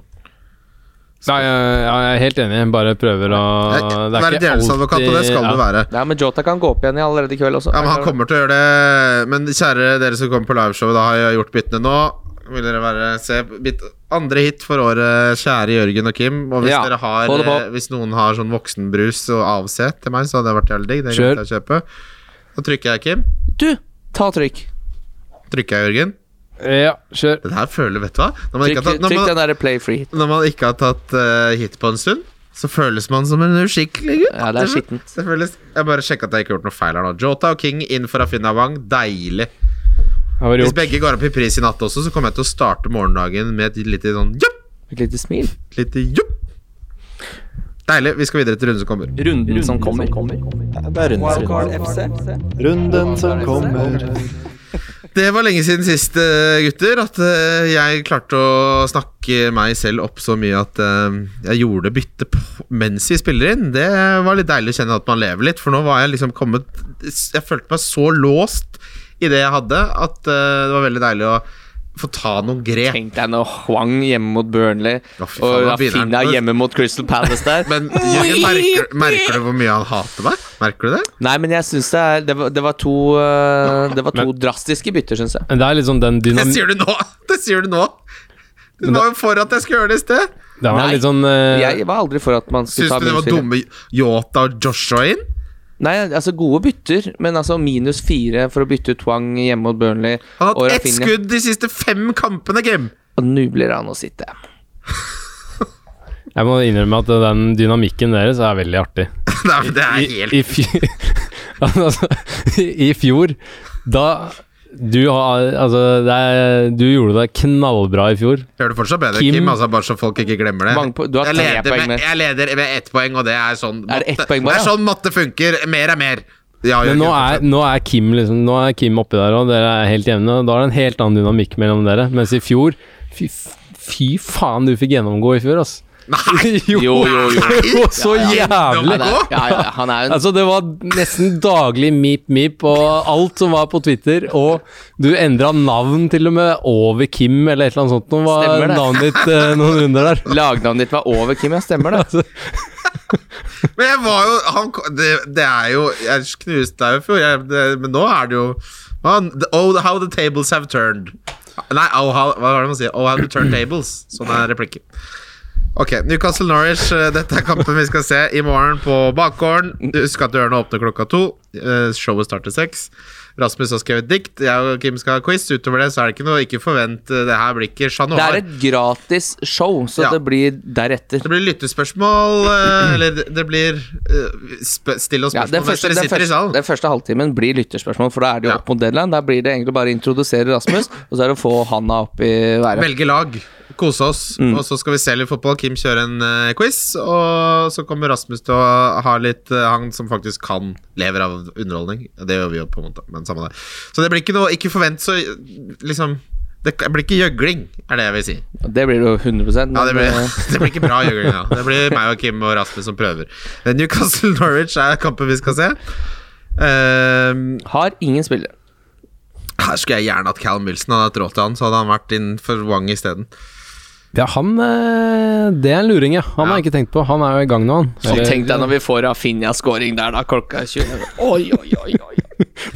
[SPEAKER 4] Nei, jeg, jeg er helt enig. Jeg Bare prøver å
[SPEAKER 3] Være djevelsadvokat, og det skal
[SPEAKER 4] ja.
[SPEAKER 3] du være.
[SPEAKER 2] Nei, men Jota kan gå opp igjen i allerede i kveld også.
[SPEAKER 3] Ja, men han kommer til å gjøre det. Men kjære dere som kommer på liveshowet, da har jeg gjort byttene nå. Vil dere være se mitt andre hit for året, kjære Jørgen og Kim. Og hvis,
[SPEAKER 2] Ja,
[SPEAKER 3] dere har,
[SPEAKER 2] hold det på.
[SPEAKER 3] eh, hvis noen har sånn voksenbrus og avsett til meg, så hadde det vært jævlig digg. Det
[SPEAKER 4] Kjør.
[SPEAKER 3] glemte jeg å kjøpe. Så trykker jeg, Kim.
[SPEAKER 2] Du, ta trykk.
[SPEAKER 3] Trykker jeg, Jørgen.
[SPEAKER 4] Ja, kjør.
[SPEAKER 3] Det her føler Vet du hva? Når man
[SPEAKER 2] Trykk,
[SPEAKER 3] ikke har tatt, når
[SPEAKER 2] trykk
[SPEAKER 3] man,
[SPEAKER 2] den derre play free.
[SPEAKER 3] når man ikke har tatt eh, hit på en stund, så føles man som en uskikkelig gutt.
[SPEAKER 2] Ja, det er skittent.
[SPEAKER 3] Det føles- Jeg bare sjekka at jeg ikke har gjort noe feil her nå. Jota og King inn for Afina Wang. Deilig.
[SPEAKER 4] Jeg har
[SPEAKER 3] Hvis
[SPEAKER 4] gjort.
[SPEAKER 3] begge går opp i pris i natt også, så kommer jeg til å starte morgendagen med et lite sånn jopp,
[SPEAKER 2] Et lite smil.
[SPEAKER 3] lite jopp. Deilig. Vi skal videre til runden som kommer.
[SPEAKER 4] Mm.
[SPEAKER 2] Runden som kommer.
[SPEAKER 5] Det er runden som
[SPEAKER 1] Wildcard FC.
[SPEAKER 5] Runden som kommer.
[SPEAKER 3] Det var lenge siden sist, eh, gutter, at eh, jeg klarte å snakke meg selv opp så mye at eh, jeg gjorde bytte på mens vi spiller inn. Det var litt deilig å kjenne at man lever litt, for nå var jeg liksom kommet Jeg følte meg så låst i det jeg hadde, at eh, det var veldig deilig å få ta noen grep.
[SPEAKER 2] Tenk deg når Huang hjemme mot Burnley
[SPEAKER 3] Ja, fy faen,
[SPEAKER 2] og
[SPEAKER 3] da begynner han.
[SPEAKER 2] Rafinha hjemme mot Crystal Palace der.
[SPEAKER 3] Men Jørgen, merker, merker du hvor mye han hater meg? Merker du det?
[SPEAKER 2] Nei, men jeg syns det er Det var, det var to, eh, det var to drastiske bytter, syns jeg.
[SPEAKER 4] Men det er liksom den
[SPEAKER 3] Det
[SPEAKER 4] dynam...
[SPEAKER 3] sier du nå! Det sier du nå! Du var jo for at jeg skulle gjøre det i sted.
[SPEAKER 4] Det er
[SPEAKER 2] Nei.
[SPEAKER 4] litt sånn eh,
[SPEAKER 2] Jeg var aldri for at man skulle
[SPEAKER 3] Syns
[SPEAKER 2] ta
[SPEAKER 3] du det var
[SPEAKER 2] minus fire.
[SPEAKER 3] dumme Yota og Joshua inn?
[SPEAKER 2] Nei, altså gode bytter, men altså minus fire for å bytte ut Twang hjemme mot Burnley
[SPEAKER 3] Han
[SPEAKER 2] og
[SPEAKER 3] har hatt ett
[SPEAKER 2] Rafinha.
[SPEAKER 3] skudd de siste fem kampene, Kim.
[SPEAKER 2] Og nå blir han å sitte.
[SPEAKER 4] Jeg må innrømme at den dynamikken deres er veldig artig.
[SPEAKER 3] Nei, men det er
[SPEAKER 4] I,
[SPEAKER 3] helt
[SPEAKER 4] i, fj- altså, I fjor, da du har Altså, det er, du gjorde det knallbra i fjor.
[SPEAKER 3] Gjør det fortsatt bedre, Kim.
[SPEAKER 4] Kim-
[SPEAKER 3] altså Bare så folk ikke glemmer det.
[SPEAKER 2] Mange po- du har
[SPEAKER 3] jeg,
[SPEAKER 2] tre
[SPEAKER 3] leder
[SPEAKER 2] poeng
[SPEAKER 3] med,
[SPEAKER 2] mer.
[SPEAKER 3] jeg leder med ett poeng, og det er sånn
[SPEAKER 2] Er det ett
[SPEAKER 3] matte-
[SPEAKER 2] poeng bare,
[SPEAKER 3] det er
[SPEAKER 2] ja?
[SPEAKER 3] sånn matte funker. Mer er mer. Ja,
[SPEAKER 4] Men nå
[SPEAKER 3] Jørgen,
[SPEAKER 4] er, nå er Kim liksom Nå er Kim oppi der, og dere er helt jevne. og Da er det en helt annen dynamikk mellom dere. Mens i fjor Fy, f- fy faen, du fikk gjennomgå i fjor, ass. Nei! jo,
[SPEAKER 2] Jo, jo, jo.
[SPEAKER 4] det var så
[SPEAKER 3] Nei,
[SPEAKER 2] Han
[SPEAKER 4] jævlig!
[SPEAKER 2] er, ja, ja, ja, han er jo en
[SPEAKER 4] Altså, det var nesten daglig mip-mip og alt som var på Twitter, og du endra navn til og med over Kim eller et eller annet sånt. Nå
[SPEAKER 2] Stemmer
[SPEAKER 4] var
[SPEAKER 2] det.
[SPEAKER 4] navnet ditt eh, noen runder der. Altså,
[SPEAKER 2] Lagnavnet ditt var over, Kim. Ja, stemmer det.
[SPEAKER 3] fortsatt. Men jeg var jo han, ko- det, det er jo Jeg knuste deg jo i fjor, jeg- det- men nå er det jo man, the, Oh, how the tables have turned. Nei, oh, how, hva er det man sier? Oh, how the turned tables. Sånn er replikken. Ok, Newcastle Norwich. eh, Dette er kampen vi skal se i morgen på bakgården. Husk at dørene åpner klokka to. Eh, Showet starter seks. Rasmus har skrevet dikt. Jeg og Kim skal ha quiz. Utover det så er det ikke noe. Ikke forvent. eh, Det her blir ikke Chat
[SPEAKER 2] Det
[SPEAKER 3] Noir.
[SPEAKER 2] er et gratis show, så
[SPEAKER 3] Ja.
[SPEAKER 2] det blir deretter.
[SPEAKER 3] Det blir lyttespørsmål, eh, eller det- det blir eh, spø- Still oss
[SPEAKER 2] Ja,
[SPEAKER 3] spørsmål
[SPEAKER 2] den,
[SPEAKER 3] mens
[SPEAKER 2] første,
[SPEAKER 3] dere
[SPEAKER 2] den,
[SPEAKER 3] sitter i
[SPEAKER 2] første,
[SPEAKER 3] salen.
[SPEAKER 2] den første halvtimen blir lytterspørsmål, for da er det jo
[SPEAKER 3] Ja.
[SPEAKER 2] opp mot deadline. Da blir det egentlig bare å introdusere Rasmus, og så er det å få handa opp i været.
[SPEAKER 3] Velge lag, kose oss,
[SPEAKER 2] Mm.
[SPEAKER 3] og så skal vi se litt fotball. Kim kjører en eh, quiz, og så kommer Rasmus til å ha litt eh, Han som faktisk kan, lever av underholdning. Det gjør vi jo, på en måte, men samme det. Så det blir ikke noe Ikke forvent så liksom det blir ikke gjøgling, er det jeg vil si.
[SPEAKER 2] Det blir det jo 100 men,
[SPEAKER 3] Ja, det, blir,
[SPEAKER 2] eh,
[SPEAKER 3] det blir ikke bra gjøgling. Ja. Det blir meg og Kim og Rasmus som prøver. Eh, Newcastle Norwich er kampen vi skal se. Uh,
[SPEAKER 2] eh, Har ingen spillere.
[SPEAKER 3] Her skulle jeg gjerne hatt Callum Wilson. Hadde jeg hatt råd til han, så hadde han vært innenfor Wang isteden.
[SPEAKER 4] Ja, han eh, Det er en luring, ja. Han
[SPEAKER 3] Ja.
[SPEAKER 4] har jeg ikke tenkt på. Han er jo i gang nå, han.
[SPEAKER 2] Så tenk deg når vi får Rafinha-scoring der, da, klokka 20. Oi, oi, oi, oi.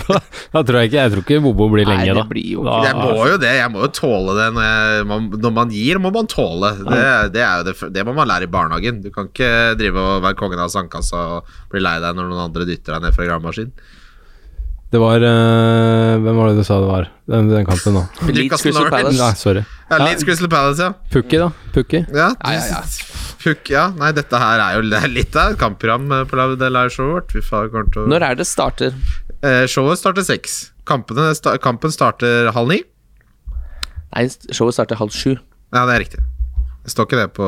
[SPEAKER 4] da, da tror jeg ikke Jeg tror ikke Bobo blir
[SPEAKER 2] Nei,
[SPEAKER 4] lenge,
[SPEAKER 2] det
[SPEAKER 4] da.
[SPEAKER 2] blir jo
[SPEAKER 4] da.
[SPEAKER 3] Jeg må jo det. Jeg må jo tåle det. Når, jeg, man, når man gir, må man tåle. Det, det, er jo det, f- det må man lære i barnehagen. Du kan ikke drive og være kongen av sandkassa og bli lei deg når noen andre dytter deg ned fra gravemaskinen.
[SPEAKER 4] Det var eh, Hvem var det du sa det var? Den, den kampen nå.
[SPEAKER 2] Leeds
[SPEAKER 3] Newcastle
[SPEAKER 2] Crystal
[SPEAKER 3] Norwich.
[SPEAKER 4] Nei,
[SPEAKER 2] Palace.
[SPEAKER 4] sorry.
[SPEAKER 3] Ja, Leeds Crystal Palace, ja.
[SPEAKER 4] Pukki, da. Pukki.
[SPEAKER 3] Ja,
[SPEAKER 2] Ja,
[SPEAKER 3] du,
[SPEAKER 2] ja, ja.
[SPEAKER 3] Fuck, ja. Nei, dette her er jo det er litt av et kampprogram eh, på live- det live showet vårt. Fy faen, kommer til å-
[SPEAKER 2] Når er det starter?
[SPEAKER 3] Eh, showet starter seks. Kampene, sta, kampen starter halv ni.
[SPEAKER 2] Nei, showet starter halv sju.
[SPEAKER 3] Ja, det er riktig. Det står ikke det på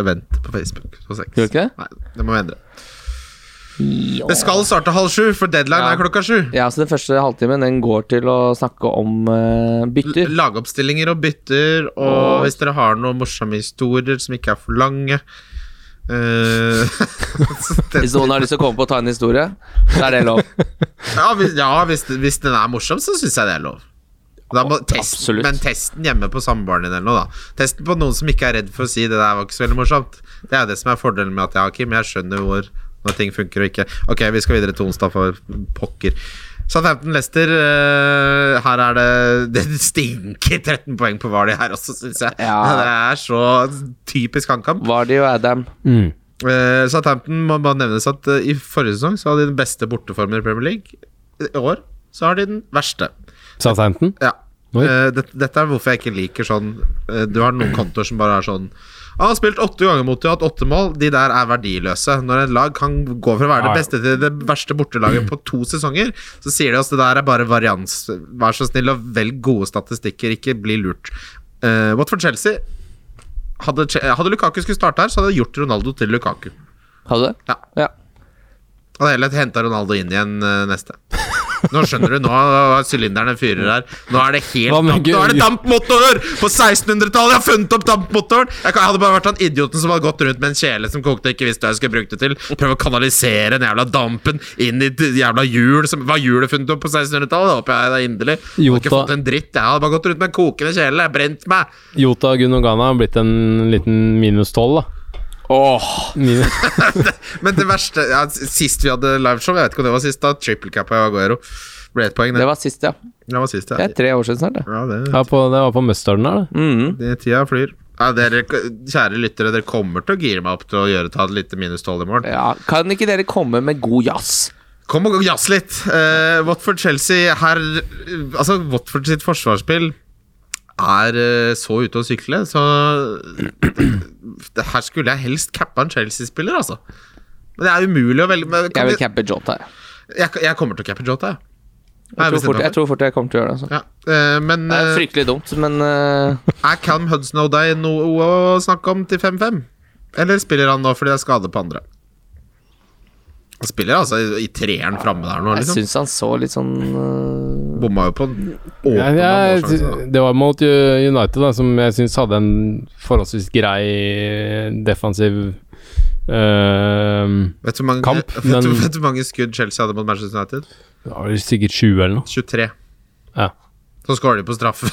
[SPEAKER 3] event på Facebook. På sex.
[SPEAKER 2] Gjør det ikke det?
[SPEAKER 3] Nei, det må vi endre. Det skal starte halv sju, for deadline
[SPEAKER 2] Ja.
[SPEAKER 3] er klokka sju.
[SPEAKER 2] Ja, så Den første halvtimen den går til å snakke om eh, bytter.
[SPEAKER 3] L- Lagoppstillinger og bytter, og hvis dere har noen morsomme historier som ikke er for lange eh, så det,
[SPEAKER 2] Hvis noen har lyst til å komme på og ta en historie, så er det lov.
[SPEAKER 3] Ja, hvis, ja hvis, hvis den er morsom, så syns jeg det er lov. Da må, test,
[SPEAKER 2] Absolutt.
[SPEAKER 3] men testen hjemme på samboeren din eller noe, da. Testen på noen som ikke er redd for å si 'det der var ikke så veldig morsomt'. Det er jo det som er fordelen med at jeg har Kim. Jeg skjønner hvor når ting funker og ikke. Ok, vi skal videre til onsdag, for pokker. Southampton Leicester, eh, her er det Det stinker 13 poeng på Vardy her også, syns jeg.
[SPEAKER 2] Ja.
[SPEAKER 3] Det er så typisk HamKam.
[SPEAKER 2] Vardy og Adam.
[SPEAKER 4] Mm.
[SPEAKER 3] Eh, Southampton må bare nevnes at eh, i forrige sesong så hadde de den beste borteformen i Premier League. I år så har de den verste.
[SPEAKER 4] Southampton.
[SPEAKER 3] Ja.
[SPEAKER 4] Oi.
[SPEAKER 3] Eh, det, dette er hvorfor jeg ikke liker sånn eh, Du har noen kontoer som bare er sånn Han har spilt åtte ganger mot dem og hatt åtte mål. De der er verdiløse. Når et lag kan gå fra å være
[SPEAKER 4] Ja, ja.
[SPEAKER 3] det beste til det verste bortelaget på to sesonger, så sier de oss det der er bare varians. Vær så snill og velg gode statistikker, ikke bli lurt. Eh, Watford Chelsea Hadde, Che- hadde Lukaku skulle starte her, så hadde jeg gjort Ronaldo til Lukaku.
[SPEAKER 2] Har du det?
[SPEAKER 3] Ja.
[SPEAKER 2] Ja.
[SPEAKER 3] Hadde heller henta Ronaldo inn igjen eh, neste. Nå skjønner du, nå har sylinderne fyrer her. Nå er det helt
[SPEAKER 4] Hva
[SPEAKER 3] damp,
[SPEAKER 4] med
[SPEAKER 3] Nå er det
[SPEAKER 4] Gøy-
[SPEAKER 3] dampmotor! På 1600-tallet! Jeg har funnet opp dampmotoren! Jeg, kan, jeg hadde bare vært han idioten som hadde gått rundt med en kjele som kokte, og ikke visste hva jeg skulle bruke det til. Prøve å kanalisere den jævla dampen inn i det jævla hjul. Som, hva hjulet funnet opp på 1600-tallet? Det håper jeg da inderlig. Jeg hadde ikke
[SPEAKER 4] Jota.
[SPEAKER 3] fått en dritt. Jeg hadde bare gått rundt med en kokende kjele. Brent meg.
[SPEAKER 4] Jota Gunogana har blitt en liten minus tolv, da. Minus.
[SPEAKER 3] Men det verste ja, Sist vi hadde liveshow, jeg vet ikke om det var sist, da triple cap av Aguero ble ett poeng.
[SPEAKER 2] Det
[SPEAKER 3] Det.
[SPEAKER 2] var sist, ja.
[SPEAKER 3] Det var sist,
[SPEAKER 2] Det
[SPEAKER 3] ja.
[SPEAKER 2] er tre år siden snart, det.
[SPEAKER 3] ja det,
[SPEAKER 4] Ja, på, det var på mustarden her, det.
[SPEAKER 2] Mhm.
[SPEAKER 3] det, tida flyr. Ja, dere, kjære lyttere, dere kommer til å gire meg opp til å gjøre ta et lite minus tolv i morgen.
[SPEAKER 2] Ja, kan ikke dere komme med god jazz?
[SPEAKER 3] Kom og jazz litt. Eh, Watford-Chelsea her Altså, Watford sitt forsvarsspill er eh, så ute å sykle, så det, Her skulle jeg helst cappa en Chelsea-spiller, altså. Men det er umulig å velge men,
[SPEAKER 2] Jeg
[SPEAKER 3] kan
[SPEAKER 2] vil
[SPEAKER 3] vi,
[SPEAKER 2] campe Jota. jeg.
[SPEAKER 3] jeg, jeg kommer til å cappe Jota, jeg.
[SPEAKER 2] Jeg
[SPEAKER 3] Er vi
[SPEAKER 2] tror, fort,
[SPEAKER 3] stemmer
[SPEAKER 2] jeg tror fort jeg kommer til å gjøre det. Altså.
[SPEAKER 3] Ja, eh, men
[SPEAKER 2] Det er
[SPEAKER 3] eh,
[SPEAKER 2] fryktelig dumt, men eh,
[SPEAKER 3] er Calm Hudson O'Day noe å snakke om til 5-5? Eller spiller han nå fordi det er skade på andre? Han spiller altså i, i treeren framme der nå,
[SPEAKER 2] jeg
[SPEAKER 3] liksom.
[SPEAKER 2] syns han så litt sånn eh,
[SPEAKER 3] Bomma jo på en åpen
[SPEAKER 4] Ja, jeg,
[SPEAKER 3] målsjanse, da.
[SPEAKER 4] det var mot U- United, da, som jeg syns hadde en forholdsvis grei defensiv eh,
[SPEAKER 3] Vet du hvor mange,
[SPEAKER 4] Kamp,
[SPEAKER 3] vet, du,
[SPEAKER 4] men-
[SPEAKER 3] vet du hvor mange skudd Chelsea hadde mot Manchester United?
[SPEAKER 4] Det var vel sikkert 20 eller noe.
[SPEAKER 3] 23.
[SPEAKER 4] Ja.
[SPEAKER 3] Så skårer de på straffe.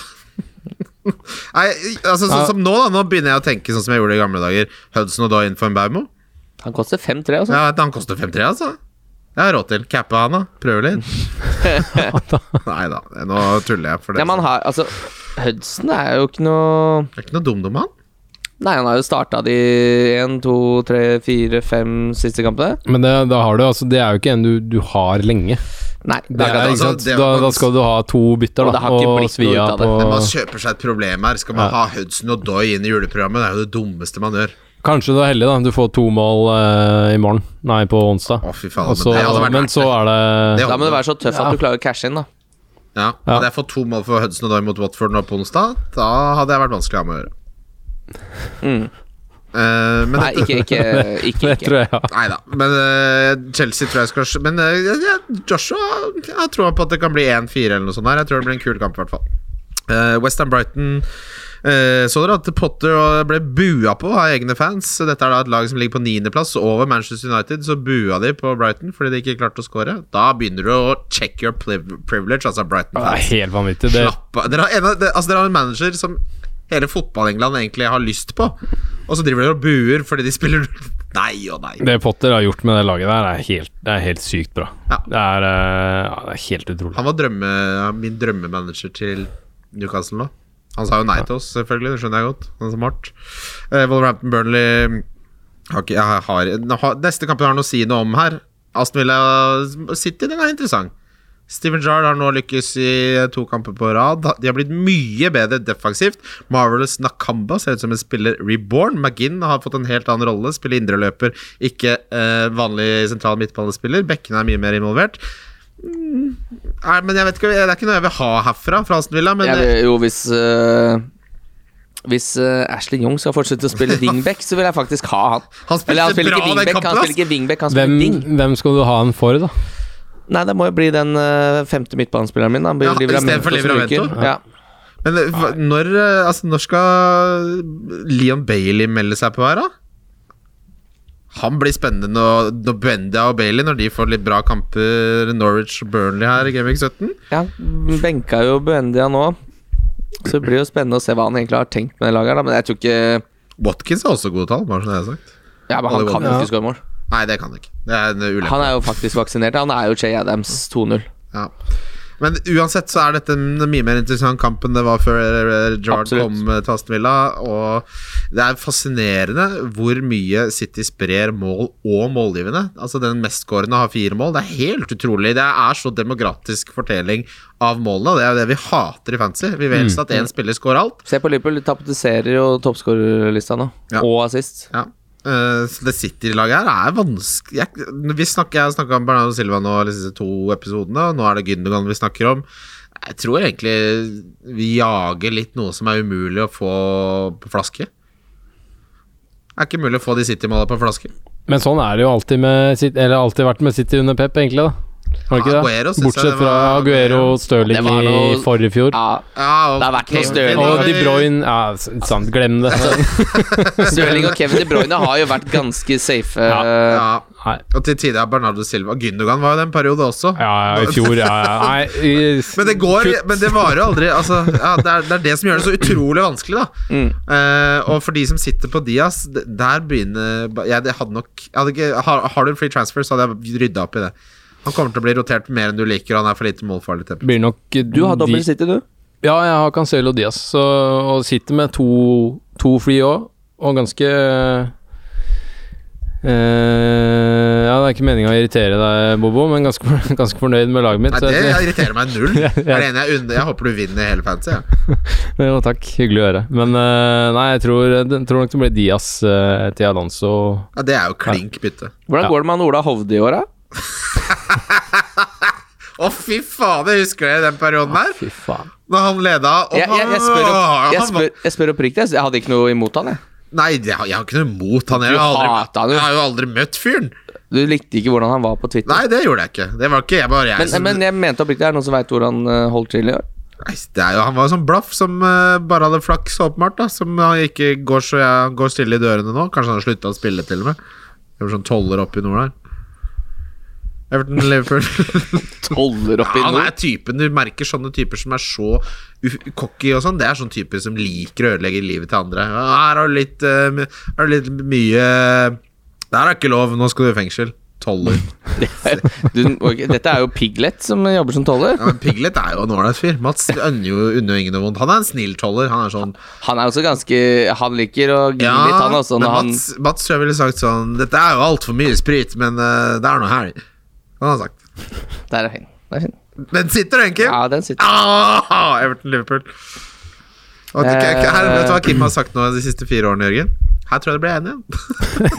[SPEAKER 3] Nei, altså sånn
[SPEAKER 4] Ja.
[SPEAKER 3] som nå, da. Nå begynner jeg å tenke sånn som jeg gjorde i gamle dager. Hudson O'Day inn for en Baumo.
[SPEAKER 2] Han koster 5-3, altså.
[SPEAKER 3] Ja, vet du, han koster 5-3, altså. Jeg har råd til. Cappe han, da. Prøve litt. Nei da, nå tuller jeg for det.
[SPEAKER 2] Ja, men han har, altså, Hudson er jo ikke noe
[SPEAKER 3] Det er ikke noe dum-dum, han.
[SPEAKER 2] Nei, han har jo starta de én, to, tre, fire, fem siste kampene.
[SPEAKER 4] Men det, da har du, altså, det er jo ikke en du, du har lenge.
[SPEAKER 2] Nei.
[SPEAKER 4] Det er,
[SPEAKER 3] altså,
[SPEAKER 4] ikke sant?
[SPEAKER 3] det er-
[SPEAKER 4] Da, da skal du ha to bytter,
[SPEAKER 2] Og det
[SPEAKER 4] da.
[SPEAKER 2] har ikke
[SPEAKER 4] Og,
[SPEAKER 2] blitt noe
[SPEAKER 4] svi
[SPEAKER 2] ut
[SPEAKER 4] av
[SPEAKER 2] av det.
[SPEAKER 4] på
[SPEAKER 3] Men man kjøper seg et problem her. Skal man ha Hudson og Doy inn i juleprogrammet? Det er jo det dummeste man gjør.
[SPEAKER 4] Kanskje du er heldig, da. Du får to mål eh, i morgen. Nei, på onsdag.
[SPEAKER 3] Å, fy faen.
[SPEAKER 4] Og så-
[SPEAKER 3] men det hadde vært
[SPEAKER 4] Altså, men
[SPEAKER 3] verdt
[SPEAKER 4] så er det
[SPEAKER 3] Det
[SPEAKER 2] Da må du være så tøff at du klarer å cashe inn, da.
[SPEAKER 3] Ja, Hadde jeg fått to mål for Hudson og Doy mot Watford nå på onsdag, da hadde jeg vært vanskelig å ha med å gjøre. Eh, men
[SPEAKER 2] Nei, ikke,
[SPEAKER 3] dette-
[SPEAKER 2] ikke, ikke,
[SPEAKER 4] Det
[SPEAKER 2] ikke.
[SPEAKER 4] tror jeg, ja.
[SPEAKER 3] Nei da. Men eh, Chelsea tror jeg skal Men eh, jeg- Joshua jeg har troa på at det kan bli 1-4 eller noe sånt. her Jeg tror det blir en kul kamp, i hvert fall. Eh, Westham Brighton eh, Så dere at Potter og- ble bua på av egne fans? Dette er da et lag som ligger på niendeplass over Manchester United. Så bua de på Brighton fordi de ikke klarte å score. Da begynner du å check your priv- privilege, altså
[SPEAKER 4] Det er
[SPEAKER 3] Brighton-fans.
[SPEAKER 4] helt vanvittig. Det,
[SPEAKER 3] Slapp av. Dere har, en, av- det- altså, dere har en manager som hele fotball-England egentlig har lyst på, og så driver dere og buer fordi de spiller Nei og nei.
[SPEAKER 4] det Potter har gjort med det laget der, er helt, det er helt sykt bra.
[SPEAKER 3] Ja.
[SPEAKER 4] Det, er, eh, ja, det er helt utrolig.
[SPEAKER 3] Han var drømme, min drømmemanager til Newcastle nå. Han sa jo nei til oss, selvfølgelig. Det skjønner jeg godt. Han er så smart. Eh, Wolverhampton Burnley har ikke, jeg har, nå har, Neste kamp jeg har noe å si noe om her. Aston Villa City, den er interessant. Steven Jarl har nå lykkes i to kamper på rad. De har blitt mye bedre defensivt. Marvelous Nakamba ser ut som en spiller reborn. McGinn har fått en helt annen rolle. Spiller indreløper, ikke eh, vanlig sentral midtbanespiller. Bekkene er mye mer involvert. Mm, Nei, men jeg vet ikke, Det er ikke noe jeg vil ha herfra fra Aston Villa, men eh,
[SPEAKER 2] Jeg vil, jo, hvis øh, Hvis øh, Ashley Young skal fortsette å spille wingback, så vil jeg faktisk ha han.
[SPEAKER 3] Han spilte
[SPEAKER 2] Eller han spiller
[SPEAKER 3] bra
[SPEAKER 2] ikke
[SPEAKER 3] den
[SPEAKER 2] wingback,
[SPEAKER 3] kampen,
[SPEAKER 2] han
[SPEAKER 3] ass.
[SPEAKER 2] spiller ikke wingback, han spiller
[SPEAKER 4] Hvem,
[SPEAKER 2] wing.
[SPEAKER 4] hvem skal du ha han for, da?
[SPEAKER 2] Nei, det må jo bli den øh, femte midtbanespilleren min. Da. Han blir
[SPEAKER 3] Ja, i stedet for
[SPEAKER 2] Livramento som ryker.
[SPEAKER 3] Livramento.
[SPEAKER 2] Ja.
[SPEAKER 3] Men eh, hva- når, eh, altså, når skal Leon Bailey melde seg på her, da? Han blir spennende når, når Benda og Bailey Når de får litt bra kamper Norwich og Burnley her i Gameweek 17.
[SPEAKER 2] Ja, han benka jo Buendia nå. Så det blir jo spennende å se hva han egentlig har tenkt med det laget. her, Da. Men jeg tror ikke
[SPEAKER 3] Watkins har også gode tall. Bare sånn jeg har sagt.
[SPEAKER 2] Ja, men han
[SPEAKER 3] Hollywood.
[SPEAKER 2] kan jo
[SPEAKER 4] Ja.
[SPEAKER 2] ikke skåre mål.
[SPEAKER 3] Nei, det kan han ikke. Det er en ulempe.
[SPEAKER 2] Han er jo faktisk vaksinert. Han er jo Che Adams 2-0.
[SPEAKER 3] Ja. Men uansett så er dette en mye mer interessant kamp enn det var før eh, Gerrard
[SPEAKER 2] Absolutt.
[SPEAKER 3] kom eh, til Aston Villa. Og det er fascinerende hvor mye City sprer mål og målgivende. Altså Den mestskårende har fire mål. Det er helt utrolig. Det er så demokratisk fortelling av målene. og Det er jo det vi hater i fantasy. Vi vil helst at én spiller scorer alt.
[SPEAKER 2] Se på Liverpool, de tapetiserer jo toppskårerlista nå.
[SPEAKER 3] Ja.
[SPEAKER 2] Og assist.
[SPEAKER 3] Ja. Eh, så det City-laget her er vanskelig Jeg, vi snakker, jeg har snakka om Bernardo Silva nå de siste to episodene, og nå er det Gündogan vi snakker om. Jeg tror egentlig vi jager litt noe som er umulig å få på flaske. Er ikke mulig å få de City-måla på flaske.
[SPEAKER 4] Men sånn er det jo alltid med City, Eller alltid vært med City under Pep, egentlig, da. Har det ikke det?
[SPEAKER 3] Aguero synes jeg
[SPEAKER 4] Bortsett
[SPEAKER 3] det
[SPEAKER 4] fra
[SPEAKER 3] var-
[SPEAKER 4] Aguero og
[SPEAKER 2] Det
[SPEAKER 4] Stirling
[SPEAKER 2] var
[SPEAKER 4] i
[SPEAKER 2] noe-
[SPEAKER 4] forrige fjor.
[SPEAKER 2] Ja,
[SPEAKER 3] Ja, og
[SPEAKER 2] Det har vært noe
[SPEAKER 3] Kevin
[SPEAKER 2] støl.
[SPEAKER 3] var
[SPEAKER 4] Og De
[SPEAKER 3] i-
[SPEAKER 4] Bruyne Ja, s- sant, glem det.
[SPEAKER 2] Stirling og Kevin De Bruyne har jo vært ganske safe.
[SPEAKER 4] Ja.
[SPEAKER 2] eh,
[SPEAKER 3] Ja,
[SPEAKER 4] Nei,
[SPEAKER 3] og til tider er Bernardo Silva Gündogan var jo den periode også.
[SPEAKER 4] ja, ja, i fjor, ja. ja. Nei, i,
[SPEAKER 3] Men det går Men det varer jo aldri. Altså, ja, det, er, det er det som gjør det så utrolig vanskelig, da.
[SPEAKER 2] Mm.
[SPEAKER 3] Eh, og for de som sitter på Diaz, d- der begynner jeg, jeg hadde nok jeg hadde ikke, har, har du en free transfer, så hadde jeg rydda opp i det. Han kommer til å bli rotert mer enn du liker, og han er for lite målfarlig. til.
[SPEAKER 4] blir nok
[SPEAKER 2] Du har dobbel
[SPEAKER 4] de-
[SPEAKER 2] City, du.
[SPEAKER 4] Ja, jeg har Cancelo og Diaz, så, og sitter med to, to free òg, og ganske eh, Ja, det er ikke meninga å irritere deg, Bobo, men ganske, ganske fornøyd med laget mitt.
[SPEAKER 3] Nei,
[SPEAKER 4] så
[SPEAKER 3] det
[SPEAKER 4] jeg-
[SPEAKER 3] irriterer meg null. Det er det ene jeg unner. Jeg håper du vinner hele fancy. Ja.
[SPEAKER 4] Jo, takk. Hyggelig å høre. Men eh, nei, jeg tror, jeg tror nok det blir Diaz eh, til Alonso.
[SPEAKER 3] Ja, det er jo klink bytte.
[SPEAKER 2] Hvordan
[SPEAKER 4] Ja.
[SPEAKER 2] går det med han Ola Hovde i år, da?
[SPEAKER 3] Å, fy fader, husker dere den perioden der?
[SPEAKER 4] Fy faen.
[SPEAKER 3] Da han leda og
[SPEAKER 2] Jeg, jeg, jeg, spør opp, jeg,
[SPEAKER 3] han var-
[SPEAKER 2] spør, jeg spør oppriktig. Jeg hadde ikke noe imot han, jeg.
[SPEAKER 3] Nei, det har, jeg har ikke noe imot han. Jeg
[SPEAKER 2] Du
[SPEAKER 3] har,
[SPEAKER 2] hater han,
[SPEAKER 3] aldri,
[SPEAKER 2] du.
[SPEAKER 3] jeg har jo aldri møtt fyren.
[SPEAKER 2] Du likte ikke hvordan han var på Twitter.
[SPEAKER 3] Nei, altså, det gjorde jeg ikke. Det var ikke jeg, bare jeg
[SPEAKER 2] men,
[SPEAKER 3] som
[SPEAKER 2] men jeg mente oppriktig, er det noen som veit hvor han eh, holdt til i år?
[SPEAKER 3] Nei, det er jo, Han var jo sånn blaff som eh, bare hadde flaks, åpenbart. da Som han ikke går så jeg går stille i dørene nå. Kanskje han har slutta å spille, til og med. Det var sånn toller opp i nord der. Everton Liverpool.
[SPEAKER 2] Toller opp
[SPEAKER 3] Ja, han er typen du merker sånne typer som er så u- cocky og sånn. Det er sånne typer som liker å ødelegge livet til andre. Ja, Her har du litt, eh, my- her har du litt mye Der er ikke lov, nå skal du i fengsel. Toller.
[SPEAKER 2] Du, ok, dette er jo Piglet som jobber som toller.
[SPEAKER 3] Ja, men Piglet er jo en ålreit fyr. Mats unner jo unner jo ingen noe vondt. Han er en snill toller. Han er sånn
[SPEAKER 2] Han er også ganske Han liker å gni litt, han også.
[SPEAKER 3] men
[SPEAKER 2] Når han,
[SPEAKER 3] Mats, Mats tror jeg ville sagt sånn Dette er jo altfor mye sprit, men eh, det er noe helg. Han har han sagt.
[SPEAKER 2] der er fin. Der er fin.
[SPEAKER 3] Den sitter, den, Kim.
[SPEAKER 2] Ja, den sitter.
[SPEAKER 3] Ah, Everton Liverpool. Og at du ikke- ikke- her, vet du hva Kim har sagt nå de siste fire årene, Jørgen? Her tror jeg det blir enig igjen.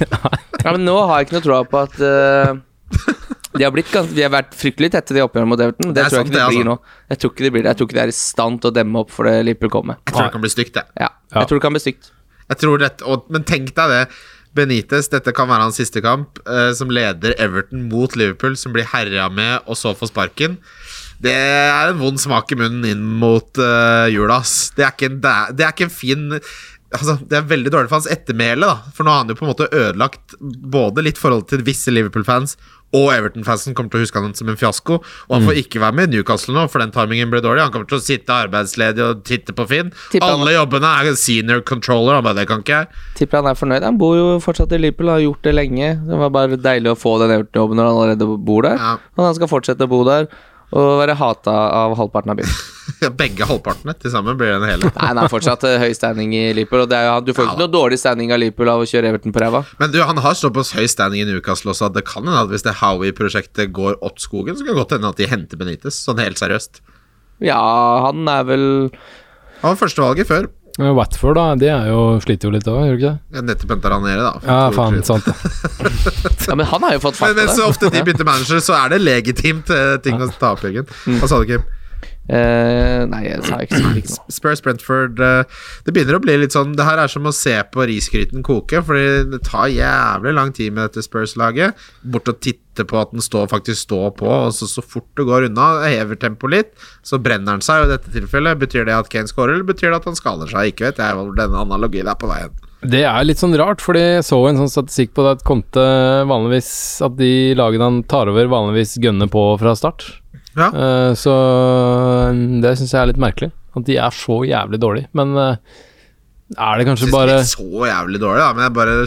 [SPEAKER 2] Ja, men nå har jeg ikke noe troa på at eh, de har blitt gans- Vi har vært fryktelig tette, de oppgjørene mot Everton. Det,
[SPEAKER 3] Det er
[SPEAKER 2] tror jeg
[SPEAKER 3] sant,
[SPEAKER 2] ikke det
[SPEAKER 3] det, altså.
[SPEAKER 2] blir nå. Jeg tror ikke det blir det. Jeg tror ikke de er i stand til å demme opp for det Liverpool kommer med.
[SPEAKER 3] Jeg tror det kan bli stygt, det.
[SPEAKER 2] Ja,
[SPEAKER 4] Ja.
[SPEAKER 2] Jeg tror det kan bli stygt.
[SPEAKER 3] Jeg tror dette, og, men tenk deg det. Benitez, dette kan være hans siste kamp, eh, som leder Everton mot Liverpool, som blir herja med, og så får sparken. Det er en vond smak i munnen inn mot eh, jula, ass. Det er ikke en, dæ- det er ikke en fin Altså, det er veldig dårlig for hans ettermæle, da. For nå har han jo på en måte ødelagt både litt forhold til visse Liverpool-fans og Everton-fansen kommer til å huske han som en fiasko. Og han får
[SPEAKER 2] Mm.
[SPEAKER 3] ikke være med i Newcastle nå, for den timingen ble dårlig. Han kommer til å sitte arbeidsledig og titte på Finn.
[SPEAKER 2] Tipper han-
[SPEAKER 3] Alle jobbene er senior controller, han bare det kan ikke jeg.
[SPEAKER 2] Tipper han er fornøyd. Han bor jo fortsatt i Liverpool, har gjort det lenge. Det var bare deilig å få den Everton-jobben når han allerede bor der.
[SPEAKER 3] Ja.
[SPEAKER 2] Og han skal fortsette å bo der og være hata av halvparten av byen.
[SPEAKER 3] Begge halvpartene til sammen blir den hele.
[SPEAKER 2] Nei, han er fortsatt eh, høy standing i Liverpool, og det er jo, han- du får jo
[SPEAKER 3] Ja
[SPEAKER 2] ikke
[SPEAKER 3] da.
[SPEAKER 2] noe dårlig standing av Liverpool av å kjøre Everton på ræva.
[SPEAKER 3] Men du, han har såpass høy standing i Newcastle også at det kan hende at hvis det Howie-prosjektet går opp skogen, så kan det godt hende at de henter Benitez, sånn helt seriøst.
[SPEAKER 2] Ja, han er vel
[SPEAKER 3] Han var førstevalget før.
[SPEAKER 4] Men Watford, da, de er jo, sliter jo litt òg, gjør de ikke det?
[SPEAKER 3] Jeg nettopp henta han nede, da.
[SPEAKER 4] Ja,
[SPEAKER 3] To-
[SPEAKER 4] faen,
[SPEAKER 3] tre-
[SPEAKER 4] sant det.
[SPEAKER 2] Ja, men han har jo fått fart
[SPEAKER 3] Men,
[SPEAKER 2] på
[SPEAKER 3] men så
[SPEAKER 2] det.
[SPEAKER 3] ofte de bytter manager, så er det legitimt eh, ting å ta opp, Jørgen.
[SPEAKER 4] Mm.
[SPEAKER 3] Hva sa du, Kim?
[SPEAKER 2] Eh, nei, jeg sa ikke så mye.
[SPEAKER 3] Spurs Brentford eh, Det begynner å bli litt sånn Det her er som å se på risgryten koke, Fordi det tar jævlig lang tid med dette Spurs-laget. Bort og titte på at den står, faktisk står på, og så, så fort det går unna, hever tempoet litt, så brenner han seg. Og i dette tilfellet, betyr det at Kane scorer, eller betyr det at han skader seg? Ikke vet jeg hvor den analogien er på veien.
[SPEAKER 4] Det er litt sånn rart, fordi jeg så en sånn statistikk på det at Conte vanligvis At de lagene han tar over, vanligvis gønner på fra start.
[SPEAKER 3] Ja.
[SPEAKER 4] Eh, så mm, det syns jeg er litt merkelig. At de er så jævlig dårlige. Men eh, er det kanskje
[SPEAKER 3] Synes
[SPEAKER 4] bare
[SPEAKER 3] ikke så jævlig dårlig, da, men jeg bare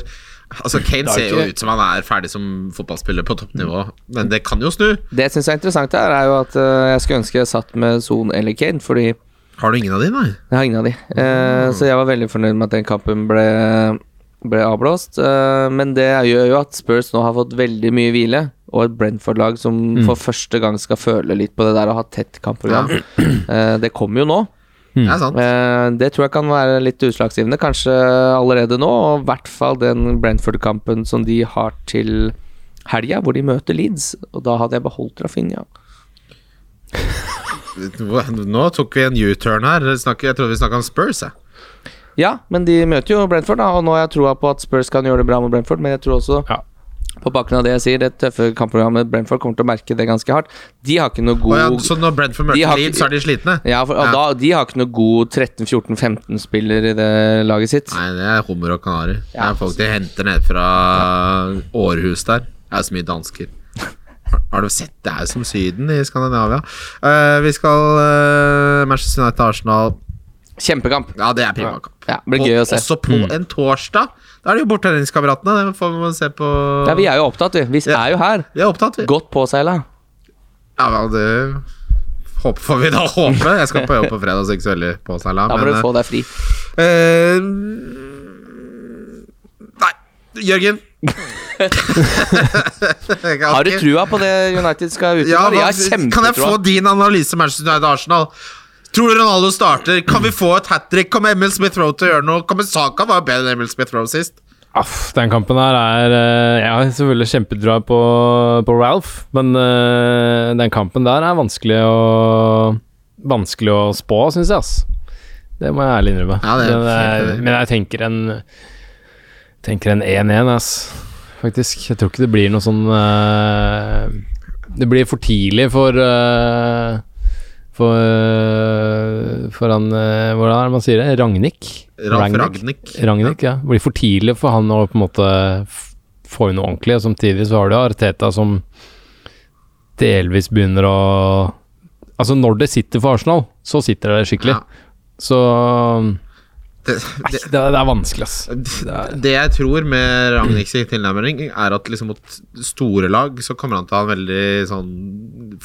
[SPEAKER 3] Altså, Kane
[SPEAKER 4] Det er
[SPEAKER 3] ser jo
[SPEAKER 4] ikke-
[SPEAKER 3] ut som han er ferdig som fotballspiller på toppnivå, men det kan jo snu.
[SPEAKER 2] Det jeg syns er interessant her, er jo at eh, jeg skulle ønske jeg satt med Son eller Kane, fordi
[SPEAKER 3] Har du ingen av de, nei?
[SPEAKER 2] Jeg har ingen av de. Eh, Så jeg var veldig fornøyd med at den kampen ble, ble avblåst. Eh, men det gjør jo at Spurs nå har fått veldig mye hvile, og et Brentford-lag som for første gang skal føle litt på det der å ha tett kampprogram. Eh, det kommer jo nå.
[SPEAKER 4] Hmm.
[SPEAKER 3] Det er sant.
[SPEAKER 2] Eh, det tror jeg kan være litt utslagsgivende, kanskje allerede nå. Og i hvert fall den Brentford-kampen som de har til helga, hvor de møter Leeds. Og da hadde jeg beholdt Rafinha.
[SPEAKER 3] Nå tok vi en U-turn her. Snakk- Jeg trodde vi snakka om Spurs, jeg.
[SPEAKER 2] Ja, men de møter jo Brentford, da, og nå har jeg troa på at Spurs kan gjøre det bra mot Brentford, men jeg tror også
[SPEAKER 4] Ja.
[SPEAKER 2] på bakgrunn av det jeg sier, det tøffe kampprogrammet Brentford kommer til å merke det ganske hardt. De har ikke noe
[SPEAKER 3] Å
[SPEAKER 2] god
[SPEAKER 3] ja, så når Brentford
[SPEAKER 2] De har
[SPEAKER 3] møter
[SPEAKER 2] ikke-
[SPEAKER 3] Leeds, så er de slitne?
[SPEAKER 2] ja, for, og
[SPEAKER 3] Ja.
[SPEAKER 2] Da, de har ikke noe god 13-14-15-spiller i det laget sitt.
[SPEAKER 3] Nei, det er hummer og kanari. Det
[SPEAKER 2] Ja.
[SPEAKER 3] er folk de henter ned fra Århus der. Det er jo så mye dansker. Har- Har du sett? Det er jo som Syden i Skandinavia. Eh, vi skal eh, Manchester United-Arsenal.
[SPEAKER 2] Kjempekamp.
[SPEAKER 3] Ja, det er primakamp.
[SPEAKER 2] Ja, det blir gøy å se. Mm.
[SPEAKER 3] Også på en torsdag. Da er det jo borttenningskameratene. Det får vi se på
[SPEAKER 2] Ja, vi er jo opptatt, vi. Vi
[SPEAKER 3] Ja.
[SPEAKER 2] er jo her.
[SPEAKER 3] Vi er opptatt, vi.
[SPEAKER 2] Godt påseila.
[SPEAKER 3] Ja, men det håper får vi da håpe. Jeg skal på jobb på fredag, så ikke så veldig påseila.
[SPEAKER 2] Da må du få deg fri.
[SPEAKER 3] Eh, Nei, Jørgen. Jeg kan
[SPEAKER 2] Har du
[SPEAKER 3] ikke-
[SPEAKER 2] trua på det United skal ut i?
[SPEAKER 3] Ja,
[SPEAKER 2] jeg har
[SPEAKER 3] hva- kan jeg få
[SPEAKER 2] kjempetroa.
[SPEAKER 3] din analyse Manchester United-Arsenal? Tror du Ronaldo starter? Kan vi få et hat trick? Kommer Emil Smith-Roe til å gjøre noe? Kommer Saka var jo bedre enn Emil Smith-Roe sist?
[SPEAKER 4] Aff, den kampen her er eh, Jeg har selvfølgelig kjempedra på, på Ralph, men eh, den kampen der er vanskelig å Vanskelig å spå, syns jeg, ass. Det må jeg ærlig innrømme.
[SPEAKER 3] Ja, det er
[SPEAKER 4] men,
[SPEAKER 3] helt
[SPEAKER 4] jeg,
[SPEAKER 3] enig.
[SPEAKER 4] men jeg tenker en Tenker en 1-1, ass. Faktisk. Jeg tror ikke det blir noe sånn eh, Det blir for tidlig for eh, for, eh, for han eh, Hvordan er det man sier det? Ragnhild?
[SPEAKER 3] Ralf Ragnhild.
[SPEAKER 4] Ragnhild, ja. Det blir for tidlig for han å på en måte f- få inn noe ordentlig. Og samtidig så har du Arteta som delvis begynner å Altså, når det sitter for Arsenal, så sitter det skikkelig.
[SPEAKER 3] Ja.
[SPEAKER 4] Så Nei,
[SPEAKER 3] Det,
[SPEAKER 4] det, det er vanskelig, ass.
[SPEAKER 3] det, det jeg tror med Ragnhilds tilnærming, er at liksom mot store lag så kommer han til å ha en veldig sånn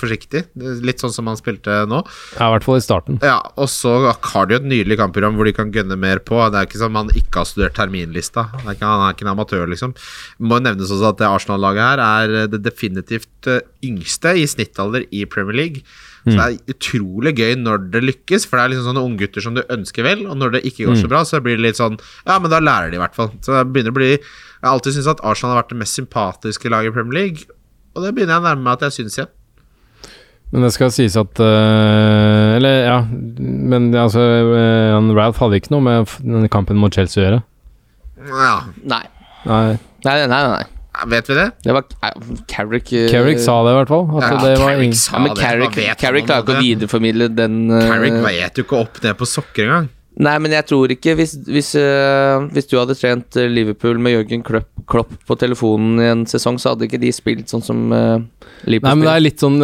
[SPEAKER 3] forsiktig. Litt sånn som han spilte nå.
[SPEAKER 4] Ja, I hvert fall i starten.
[SPEAKER 3] Ja, og så har de jo et nydelig kampprogram hvor de kan gønne mer på. Det er ikke som han ikke har studert terminlista. Det er ikke, han er ikke en amatør, liksom. Må jo nevnes også at det Arsenal-laget her er eh, det definitivt eh, yngste i snittalder i Premier League. Så det er utrolig gøy når det lykkes, for det er liksom sånne unggutter som du ønsker vel, og når det ikke går så bra, så blir det litt sånn Ja, men da lærer de i hvert fall. Så det begynner å bli Jeg har alltid syntes at Arsenal har vært det mest sympatiske laget i Premier League, og det begynner jeg å nærme meg at jeg syns igjen.
[SPEAKER 4] Men det skal sies at eh, Eller, ja Men altså, eh, han Ralph hadde ikke noe med f- den kampen mot Chelsea å gjøre.
[SPEAKER 3] Ja,
[SPEAKER 2] Nei.
[SPEAKER 4] Nei,
[SPEAKER 2] Nei, nei, nei. nei.
[SPEAKER 3] vet vi det?
[SPEAKER 2] Det var nei, Carrick eh,
[SPEAKER 4] Carrick sa det, i hvert fall. At
[SPEAKER 3] Ja,
[SPEAKER 4] det var
[SPEAKER 3] Carrick
[SPEAKER 4] ingen
[SPEAKER 3] sa
[SPEAKER 2] ja, men
[SPEAKER 3] det. Hva
[SPEAKER 2] Carrick,
[SPEAKER 3] vet
[SPEAKER 2] Carrick
[SPEAKER 3] han om
[SPEAKER 2] klarer ikke å
[SPEAKER 3] det?
[SPEAKER 2] videreformidle den eh,
[SPEAKER 3] Carrick vet jo ikke opp ned på sokker engang.
[SPEAKER 2] Nei, men jeg tror ikke Hvis, hvis, øh, hvis du hadde trent øh, Liverpool med Jørgen Klopp, Klopp på telefonen i en sesong, så hadde ikke de spilt sånn som øh,
[SPEAKER 4] Nei,
[SPEAKER 2] Liverpool
[SPEAKER 4] men det
[SPEAKER 2] spiller.
[SPEAKER 4] er litt sånn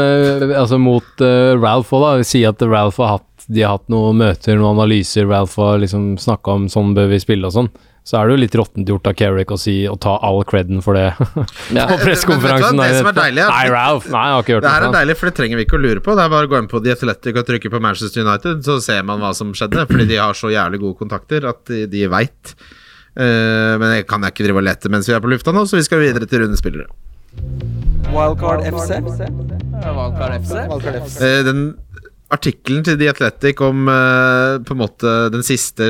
[SPEAKER 4] eh, altså mot eh, Ralph òg, da. Si at Ralph har hatt de har hatt noen møter, noen analyser. Ralph har liksom snakka om sånn bør vi spille og sånn. Så er det jo litt råttent gjort av Carrick å si å ta all creden for det på
[SPEAKER 2] Ja.
[SPEAKER 4] pressekonferansen.
[SPEAKER 3] Men vet du hva, det som er
[SPEAKER 4] dagen etterpå.
[SPEAKER 3] deilig er-
[SPEAKER 4] Nei, Ralph. Nei, jeg har ikke hørt
[SPEAKER 3] Det her
[SPEAKER 4] noe
[SPEAKER 3] er
[SPEAKER 4] fra han.
[SPEAKER 3] deilig, for det trenger vi ikke å lure på. Det er bare å gå inn på The Athletic og trykke på Manchester United, så ser man hva som skjedde. Fordi de har så jævlig gode kontakter at de, de veit. Eh, men det kan jeg ikke drive og lete mens vi er på lufta nå, så vi skal videre til runde spillere.
[SPEAKER 1] Wildcard FC.
[SPEAKER 3] Eh, den artikkelen til The Athletic om eh, på en måte den siste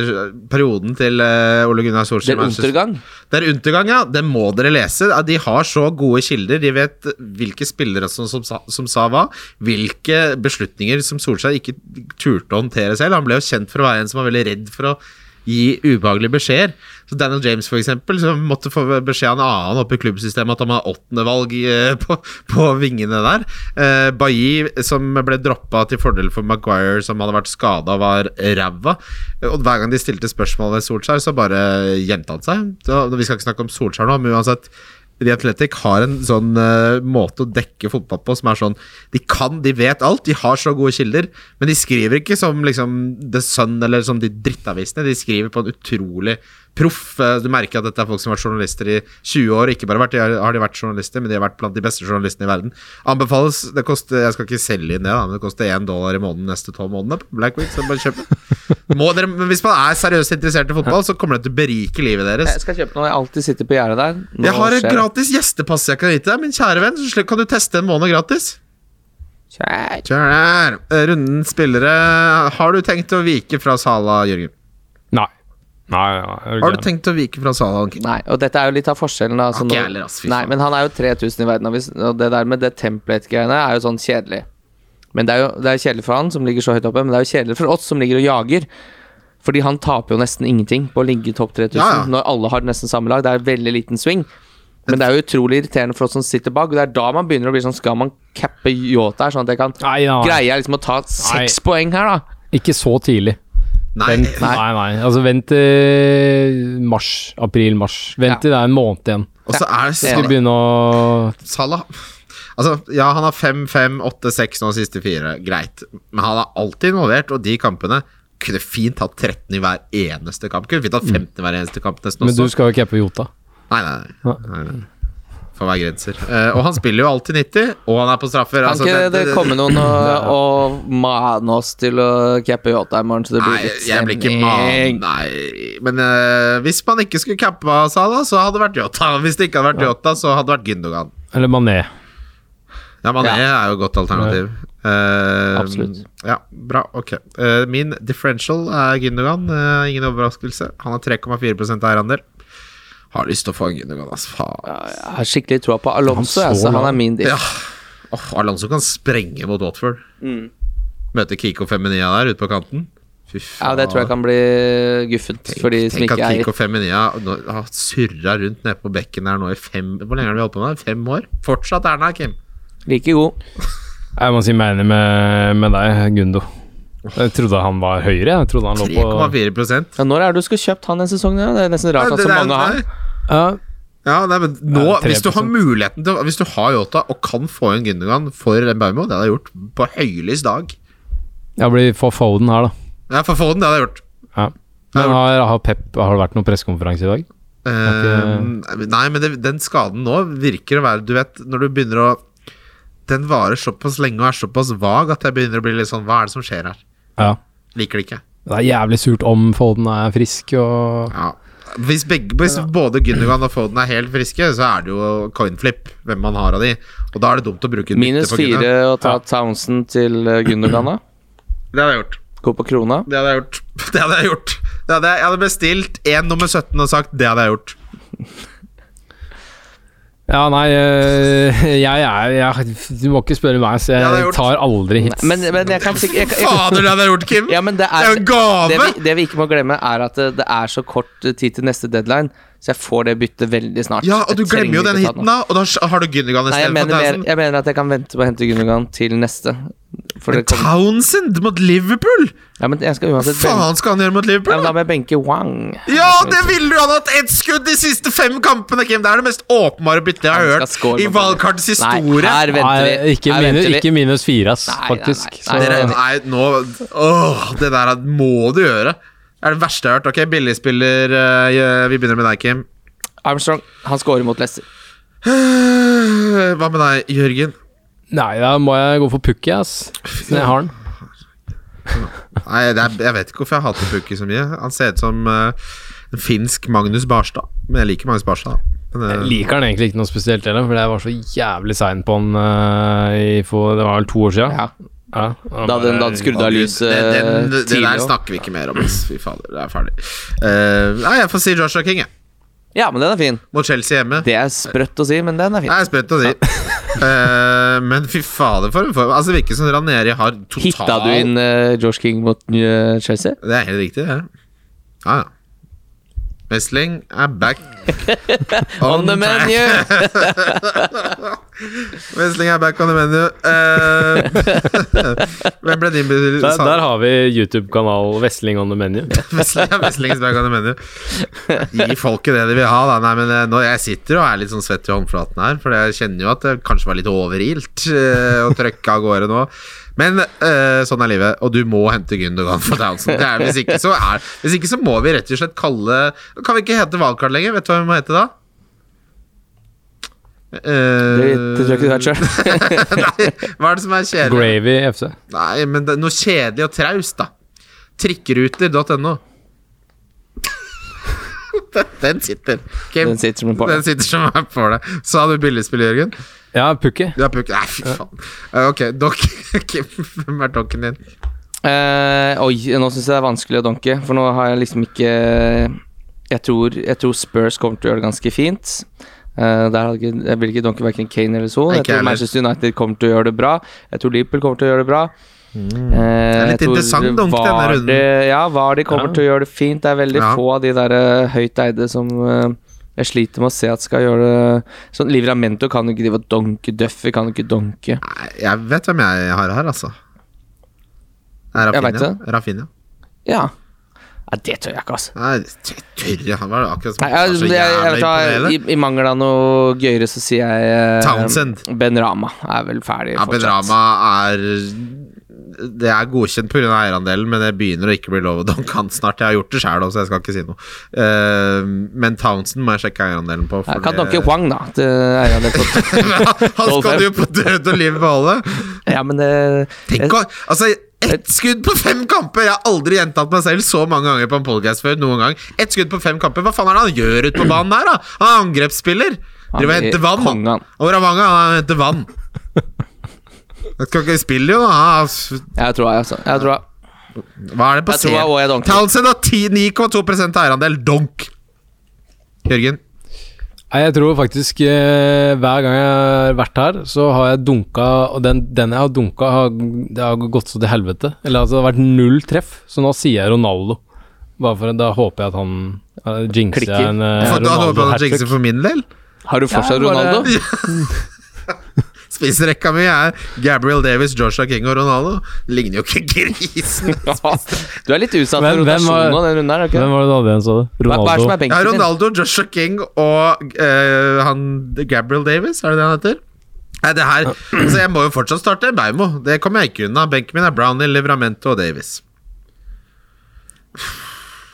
[SPEAKER 3] perioden til eh, Ole Gunnar
[SPEAKER 2] Det
[SPEAKER 3] Solskjær
[SPEAKER 2] er undergang.
[SPEAKER 3] Det er Untergang, ja. Det må dere lese. Ja, De har så gode kilder. De vet hvilke spillere som, som, sa- som sa hva. Hvilke beslutninger som Solskjær ikke turte å håndtere selv. Han ble jo kjent for å være en som var veldig redd for å gi ubehagelige beskjeder. Så Daniel James, for eksempel, som måtte få beskjed av en annen oppe i klubbsystemet at han var åttendevalg eh, på, på vingene der. Eh, Bailly, som ble droppa til fordel for Maguire, som hadde vært skada og var ræva. Og hver gang de stilte spørsmål ved Solskjær, så bare gjemte han seg. Så, vi skal ikke snakke om Solskjær nå, men uansett. The Athletic har en sånn eh, måte å dekke fotball på som er sånn De kan, de vet alt, de har så gode kilder, men de skriver ikke som liksom The Sun eller som de drittavisene. De skriver på en utrolig proff eh, Du merker at dette er folk som har vært journalister i 20 år. Ikke bare vært, de har, har de vært journalister, men de har vært blant de beste journalistene i verden. Anbefales det koster, Jeg skal ikke selge inn det, da, men det koster én dollar i måneden neste tolv månedene på Blackwick. Så bare kjøp. Må dere, men hvis man er seriøst interessert i fotball, så kommer det til å berike livet deres.
[SPEAKER 2] Jeg skal kjøpe noe. Jeg alltid sitter på gjerdet der. Nå
[SPEAKER 3] Jeg har et
[SPEAKER 2] skjer det.
[SPEAKER 3] gratis gjestepass jeg kan gi til deg, min kjære venn. Så slik kan du teste en måned gratis.
[SPEAKER 2] Kjære.
[SPEAKER 3] Kjære. Eh, Runden spillere. Har du tenkt å vike fra Sala, Jørgen?
[SPEAKER 4] Nei. Nei, ja, jeg
[SPEAKER 3] Har du tenkt å vike fra Sala? Anki?
[SPEAKER 2] Nei, og dette er jo litt av forskjellen. Da, så
[SPEAKER 3] Ikke
[SPEAKER 2] nå-
[SPEAKER 3] jeg heller, ass, fy
[SPEAKER 2] nei,
[SPEAKER 3] faen.
[SPEAKER 2] men han er jo 3000 i verden, og, hvis, og det der med det template-greiene er jo sånn kjedelig. Men det er jo det er kjedelig for han som ligger så høyt oppe, men det er jo kjedelig for oss som ligger og jager. Fordi han taper jo nesten ingenting på å ligge i topp 3000
[SPEAKER 3] Ja, ja.
[SPEAKER 2] når alle har nesten samme lag. Det er veldig liten swing. Men det er jo utrolig irriterende for oss som sitter bak. Og det er da man begynner å bli sånn Skal man cappe Yota her, sånn at jeg kan
[SPEAKER 4] Nei, nei, nei.
[SPEAKER 2] Greier jeg liksom å ta seks poeng her, da?
[SPEAKER 4] Ikke så tidlig.
[SPEAKER 3] Nei,
[SPEAKER 4] Vent, nei. nei, Altså, vent til mars. April-mars. Vent
[SPEAKER 2] Ja.
[SPEAKER 4] til det er en måned igjen.
[SPEAKER 3] og så er det
[SPEAKER 4] Skal
[SPEAKER 3] Sala-
[SPEAKER 4] begynne å
[SPEAKER 3] Salah Altså, ja, han har 5, 5, 8, 6 nå de siste fire. Greit. Men han er alltid involvert, og de kampene kunne fint hatt 13 i hver eneste kamp. Kunne fint hatt 15 i hver eneste kamp nesten
[SPEAKER 4] Men du
[SPEAKER 3] også.
[SPEAKER 4] skal jo cappe Jota.
[SPEAKER 3] Nei, nei, nei. nei. Får være grenser. Eh, og han spiller jo alltid 90, og han er på straffer.
[SPEAKER 2] Kan
[SPEAKER 3] altså,
[SPEAKER 2] ikke det,
[SPEAKER 3] det- det-
[SPEAKER 2] komme noen og, og mane oss til å cappe Yota i morgen, så det blir
[SPEAKER 3] Nei,
[SPEAKER 2] litt
[SPEAKER 3] jeg blir ikke
[SPEAKER 2] stemning?
[SPEAKER 3] mann, nei. Men eh, hvis man ikke skulle cappa Salah, så hadde det vært Jota. Hvis det ikke hadde vært Jota, så hadde det vært Gündogan.
[SPEAKER 4] Eller Mané.
[SPEAKER 3] Ja, Mané er jo et godt alternativ. Eh,
[SPEAKER 2] Absolutt.
[SPEAKER 3] Ja, bra. Ok. Eh, min differential er Gündogan. Eh, ingen overraskelse. Han har 3,4 eierandel. Har lyst til å få en Gündogan, altså. Faen.
[SPEAKER 2] Jeg har skikkelig troa på Alonso,
[SPEAKER 4] Han
[SPEAKER 2] jeg,
[SPEAKER 4] så
[SPEAKER 2] så han
[SPEAKER 4] lang.
[SPEAKER 2] er min diff.
[SPEAKER 3] Ja. Åh, Alonso kan sprenge mot Watford.
[SPEAKER 2] Mm.
[SPEAKER 3] Møte Kiko Feminia der ute på kanten. Fy faen.
[SPEAKER 2] Ja, det tror jeg kan bli guffent for de som
[SPEAKER 3] Tenk
[SPEAKER 2] ikke
[SPEAKER 3] at
[SPEAKER 2] eier.
[SPEAKER 3] Kiko Feminia nå- har surra rundt nede på bekken der nå i fem Hvor lenge har de holdt på med det? Fem år? Fortsatt er den her, Kim.
[SPEAKER 2] Like god.
[SPEAKER 4] Jeg må si meg enig med, med deg, Gundo. Jeg trodde han var høyere. Jeg trodde han lå på
[SPEAKER 3] 3,4
[SPEAKER 2] Ja, når er det du skal kjøpt han en sesong? Ja? Det er nesten rart
[SPEAKER 3] Ja,
[SPEAKER 2] at så
[SPEAKER 3] det- det er-
[SPEAKER 2] mange har.
[SPEAKER 4] Ja,
[SPEAKER 3] Ja, nei, men nå,
[SPEAKER 4] Ja, 3%.
[SPEAKER 3] hvis du har muligheten til å- Hvis du har Yota og kan få inn Gündogan for en Baumo, det hadde jeg gjort på høylys dag.
[SPEAKER 4] Jeg blir for Foden her, da.
[SPEAKER 3] Ja, for å få den, det hadde jeg gjort.
[SPEAKER 4] Ja. Men har, har Pep Har det vært noen pressekonferanse i dag?
[SPEAKER 3] Eh, nei, men det, den skaden nå virker å være Du vet, når du begynner å Den varer såpass lenge og er såpass vag at jeg begynner å bli litt sånn Hva er det som skjer her?
[SPEAKER 4] Ja.
[SPEAKER 3] Liker det ikke.
[SPEAKER 4] Det er jævlig surt om Foden er frisk og
[SPEAKER 3] Ja. Hvis, begge, hvis både Gündogan og Foden er helt friske, så er det jo coinflip hvem man har av de. Og da er det dumt å bruke bytte
[SPEAKER 2] Minus
[SPEAKER 3] for
[SPEAKER 2] fire
[SPEAKER 3] Gündogan.
[SPEAKER 2] og ta Townsend til eh, Gundogan, da.
[SPEAKER 3] Det hadde jeg gjort.
[SPEAKER 2] Gå på krona.
[SPEAKER 3] Det hadde jeg gjort. Det hadde jeg gjort. Det hadde jeg, jeg hadde bestilt én nummer 17 og sagt det hadde jeg gjort.
[SPEAKER 4] Ja, nei, øh, jeg er jeg, Du må ikke spørre meg, så
[SPEAKER 3] Ja, det er
[SPEAKER 4] jeg
[SPEAKER 3] gjort.
[SPEAKER 4] tar aldri hits.
[SPEAKER 2] Men, men jeg kan sikkert jeg kan- jeg-
[SPEAKER 3] Fader, det hadde jeg gjort, Kim!
[SPEAKER 2] Ja, men det
[SPEAKER 3] det er jo
[SPEAKER 2] er
[SPEAKER 3] en
[SPEAKER 2] det
[SPEAKER 3] gave!
[SPEAKER 2] vi, det vi ikke må glemme, er at eh, det, det er så kort tid til neste deadline, så jeg får det byttet veldig snart.
[SPEAKER 3] Ja, og du
[SPEAKER 2] Jeg trenger
[SPEAKER 3] glemmer jo den
[SPEAKER 2] ikke ta den
[SPEAKER 3] hiten, da. Og da s- har du Gündogan
[SPEAKER 2] Nei, jeg
[SPEAKER 3] istedenfor
[SPEAKER 2] mener, mer,
[SPEAKER 3] Townsend.
[SPEAKER 2] jeg mener at jeg kan vente på å hente Gundogan til neste. For det kommer,
[SPEAKER 3] sånn, Townsend mot Liverpool!
[SPEAKER 2] ja, men jeg skal
[SPEAKER 3] Hva
[SPEAKER 2] uansett benke,
[SPEAKER 3] faen skal han gjøre mot
[SPEAKER 2] ja, men
[SPEAKER 3] Liverpool?
[SPEAKER 2] Da
[SPEAKER 3] da?
[SPEAKER 2] må jeg benke Wang.
[SPEAKER 3] Ja, det ville du! Han har hatt ett skudd de siste fem kampene, Kim! Det er det mest åpenbare byttet jeg
[SPEAKER 2] Han
[SPEAKER 3] har
[SPEAKER 2] skal score
[SPEAKER 3] hørt i
[SPEAKER 2] mot
[SPEAKER 3] valgkartets
[SPEAKER 2] Nei,
[SPEAKER 3] historie.
[SPEAKER 2] her venter vi.
[SPEAKER 4] Nei, ikke,
[SPEAKER 2] Her
[SPEAKER 4] minus,
[SPEAKER 2] venter vi.
[SPEAKER 4] ikke minus fire, ass,
[SPEAKER 2] Nei, nei, nei,
[SPEAKER 4] faktisk.
[SPEAKER 2] nei,
[SPEAKER 4] Så-
[SPEAKER 3] Dere, nei, nå Åh, det der er- må du gjøre. Det er det verste jeg har hørt. Ok, billigspiller eh, Vi begynner med deg, Kim.
[SPEAKER 2] Armstrong, han scorer mot Leicester.
[SPEAKER 3] Eh, Hva med deg, Jørgen?
[SPEAKER 4] Nei, da må jeg gå for Pukki, ass. Så jeg har den.
[SPEAKER 3] Nei, det er, Jeg vet ikke hvorfor jeg hater Pukki så mye. Han ser ut som eh, en finsk Magnus Barstad. Men jeg liker Magnus Barstad. Men, eh,
[SPEAKER 4] Jeg liker den egentlig ikke noe spesielt heller, for jeg var så jævlig sein på den øh, i for, Det var vel to år siden.
[SPEAKER 2] Ja.
[SPEAKER 4] Ja, han
[SPEAKER 2] Da den, da
[SPEAKER 4] bare-
[SPEAKER 2] den skrudde av
[SPEAKER 3] Gud,
[SPEAKER 2] lyset eh,
[SPEAKER 3] det, den, det
[SPEAKER 2] tidlig
[SPEAKER 3] der
[SPEAKER 2] også.
[SPEAKER 3] snakker vi ikke mer om. ass. Fy fader, det er ferdig. Eh, nei, jeg får si Joshua King, jeg.
[SPEAKER 2] Ja, men den er fin.
[SPEAKER 3] Mot Chelsea hjemme.
[SPEAKER 2] Det er sprøtt å si, men den er fin.
[SPEAKER 3] Det er sprøtt å si. Eh, men fy fader, for en form. Altså, det virker som Raneri har total
[SPEAKER 2] Hitta du inn eh, Josh King mot eh, Chelsea?
[SPEAKER 3] Det er helt riktig, det. Ja, ja. Wrestling er back
[SPEAKER 2] On the menu!
[SPEAKER 3] Wrestling er back on the menu. Eh, hvem ble din betyr?
[SPEAKER 4] Der, der har vi YouTube-kanal Wesling on the menu.
[SPEAKER 3] Wrestling er Wrestlings back on the menu. Gi folket det de vil ha, da. Nei, men eh, nå, jeg sitter og er litt sånn svett i håndflaten her, for jeg kjenner jo at det kanskje var litt overilt eh, å trøkke av gårde nå. Men eh, sånn er livet, og du må hente Gündogan for Townsend. Det er, hvis, ikke, så er, hvis ikke så må vi rett og slett kalle Kan vi ikke hete Valkart lenger? Vet du hva vi må hete da? Eh,
[SPEAKER 2] Det, det tror jeg ikke du vet sjøl.
[SPEAKER 3] Nei, hva er det som er kjedelig?
[SPEAKER 4] Gravy FC.
[SPEAKER 3] Nei, men det, er noe kjedelig og traust, da. Trikkeruter.no. Den- Den sitter. Kim,
[SPEAKER 2] Den sitter som en
[SPEAKER 3] den
[SPEAKER 2] påle.
[SPEAKER 3] sitter som er på det. Så har du billigspill, Jørgen.
[SPEAKER 4] Ja, Pukki.
[SPEAKER 3] Du har puk... Nei, fy faen. Eh, Ok, dokk. Kim, hvem er dokken din?
[SPEAKER 2] Eh, oi, nå syns jeg det er vanskelig å donke, for nå har jeg liksom ikke Jeg tror, jeg tror Spurs kommer til å gjøre det ganske fint. Eh, der hadde ikke, jeg vil ikke donke verken Kane eller Son.
[SPEAKER 3] Nei,
[SPEAKER 2] Jeg
[SPEAKER 3] ikke
[SPEAKER 2] tror
[SPEAKER 3] heller.
[SPEAKER 2] Manchester United kommer til å gjøre det bra. Eh, Jeg tror Liverpool kommer til å gjøre det bra. Det
[SPEAKER 3] Mm. er litt interessant, Dunk, denne runden.
[SPEAKER 2] Ja, Vardy kommer
[SPEAKER 4] Ja.
[SPEAKER 2] til å gjøre det fint. Det er veldig
[SPEAKER 3] Ja.
[SPEAKER 2] få av de der eh, høyt eide som eh, jeg sliter med å se at skal gjøre det sånn. Livramento kan jo ikke drive og donke. Duffy kan jo ikke donke.
[SPEAKER 3] Nei, jeg vet hvem jeg har her, altså. Det er
[SPEAKER 2] Jeg vet
[SPEAKER 3] Rafinha. Rafinha.
[SPEAKER 2] Ja. Nei, det tør jeg ikke, altså.
[SPEAKER 3] Nei, jeg tør jeg. Han var akkurat som
[SPEAKER 2] Nei, jeg, jeg, jeg, vet hva, i, I mangel av noe gøyere, så sier jeg eh,
[SPEAKER 3] Townsend.
[SPEAKER 2] Ben Rama er vel ferdig
[SPEAKER 3] Ja, Benrama er Det er godkjent pga. eierandelen, men det begynner å ikke bli lov. Han kan snart. Jeg har gjort det sjæl, så jeg skal ikke si noe. Eh, men Townsend må jeg sjekke eierandelen på.
[SPEAKER 2] Jeg
[SPEAKER 3] for
[SPEAKER 2] kan
[SPEAKER 3] det-
[SPEAKER 2] donke Huang, da. Det er jo det på-
[SPEAKER 3] han skal du jo på død og liv beholde.
[SPEAKER 2] ja, men eh, det
[SPEAKER 3] Tenk å Altså, ett skudd på fem kamper! Jeg har aldri gjentatt meg selv så mange ganger på en podcast før. Noen gang. Ett skudd på fem kamper. Hva faen er det han gjør ute på banen der, da? Han er angrepsspiller. Driver og
[SPEAKER 2] er
[SPEAKER 3] henter vann.
[SPEAKER 2] kongen, han.
[SPEAKER 3] han. Og Ravanga, han henter vann. Jeg skal ikke spille, jo. da. Han er-
[SPEAKER 2] Jeg tror jeg, altså. Jeg tror jeg.
[SPEAKER 3] Hva er det på
[SPEAKER 2] Jeg tror jeg også er donk.
[SPEAKER 3] Townsend har 10 9,2 eierandel. Donk! Jørgen.
[SPEAKER 4] Nei, jeg tror faktisk eh, hver gang jeg har vært her, så har jeg dunka Og den, den jeg har dunka, har, det har gått så til helvete. Eller altså, det har vært null treff, så nå sier jeg Ronaldo. Bare for, da håper jeg at han uh, jinxer
[SPEAKER 2] Klikker.
[SPEAKER 4] jeg en eh,
[SPEAKER 3] Fått av
[SPEAKER 4] Ronaldo
[SPEAKER 3] håpet at
[SPEAKER 4] hat
[SPEAKER 3] jinxer
[SPEAKER 4] trick.
[SPEAKER 3] for min del.
[SPEAKER 2] Har du fortsatt
[SPEAKER 4] Ja, bare-
[SPEAKER 2] Ronaldo?
[SPEAKER 3] Spissrekka mi er Gabriel Davis, Joshua King og Ronaldo. Ligner jo ikke grisen.
[SPEAKER 2] Du er litt utsatt for
[SPEAKER 4] Hvem- hvem var-
[SPEAKER 2] rotasjon nå, den runden her. er du ikke
[SPEAKER 4] Hvem
[SPEAKER 2] det?
[SPEAKER 4] var det du hadde igjen, sa du?
[SPEAKER 2] Hva, hva er det som er
[SPEAKER 3] Jeg
[SPEAKER 4] Ronaldo.
[SPEAKER 3] har
[SPEAKER 2] benken din?
[SPEAKER 3] Ronaldo, Joshua King og eh, han Gabriel Davis, er det det han heter? Nei, det her Så jeg må jo fortsatt starte Beimo. Det kommer jeg ikke unna. Benken min er Brownie, Livramento og Davis.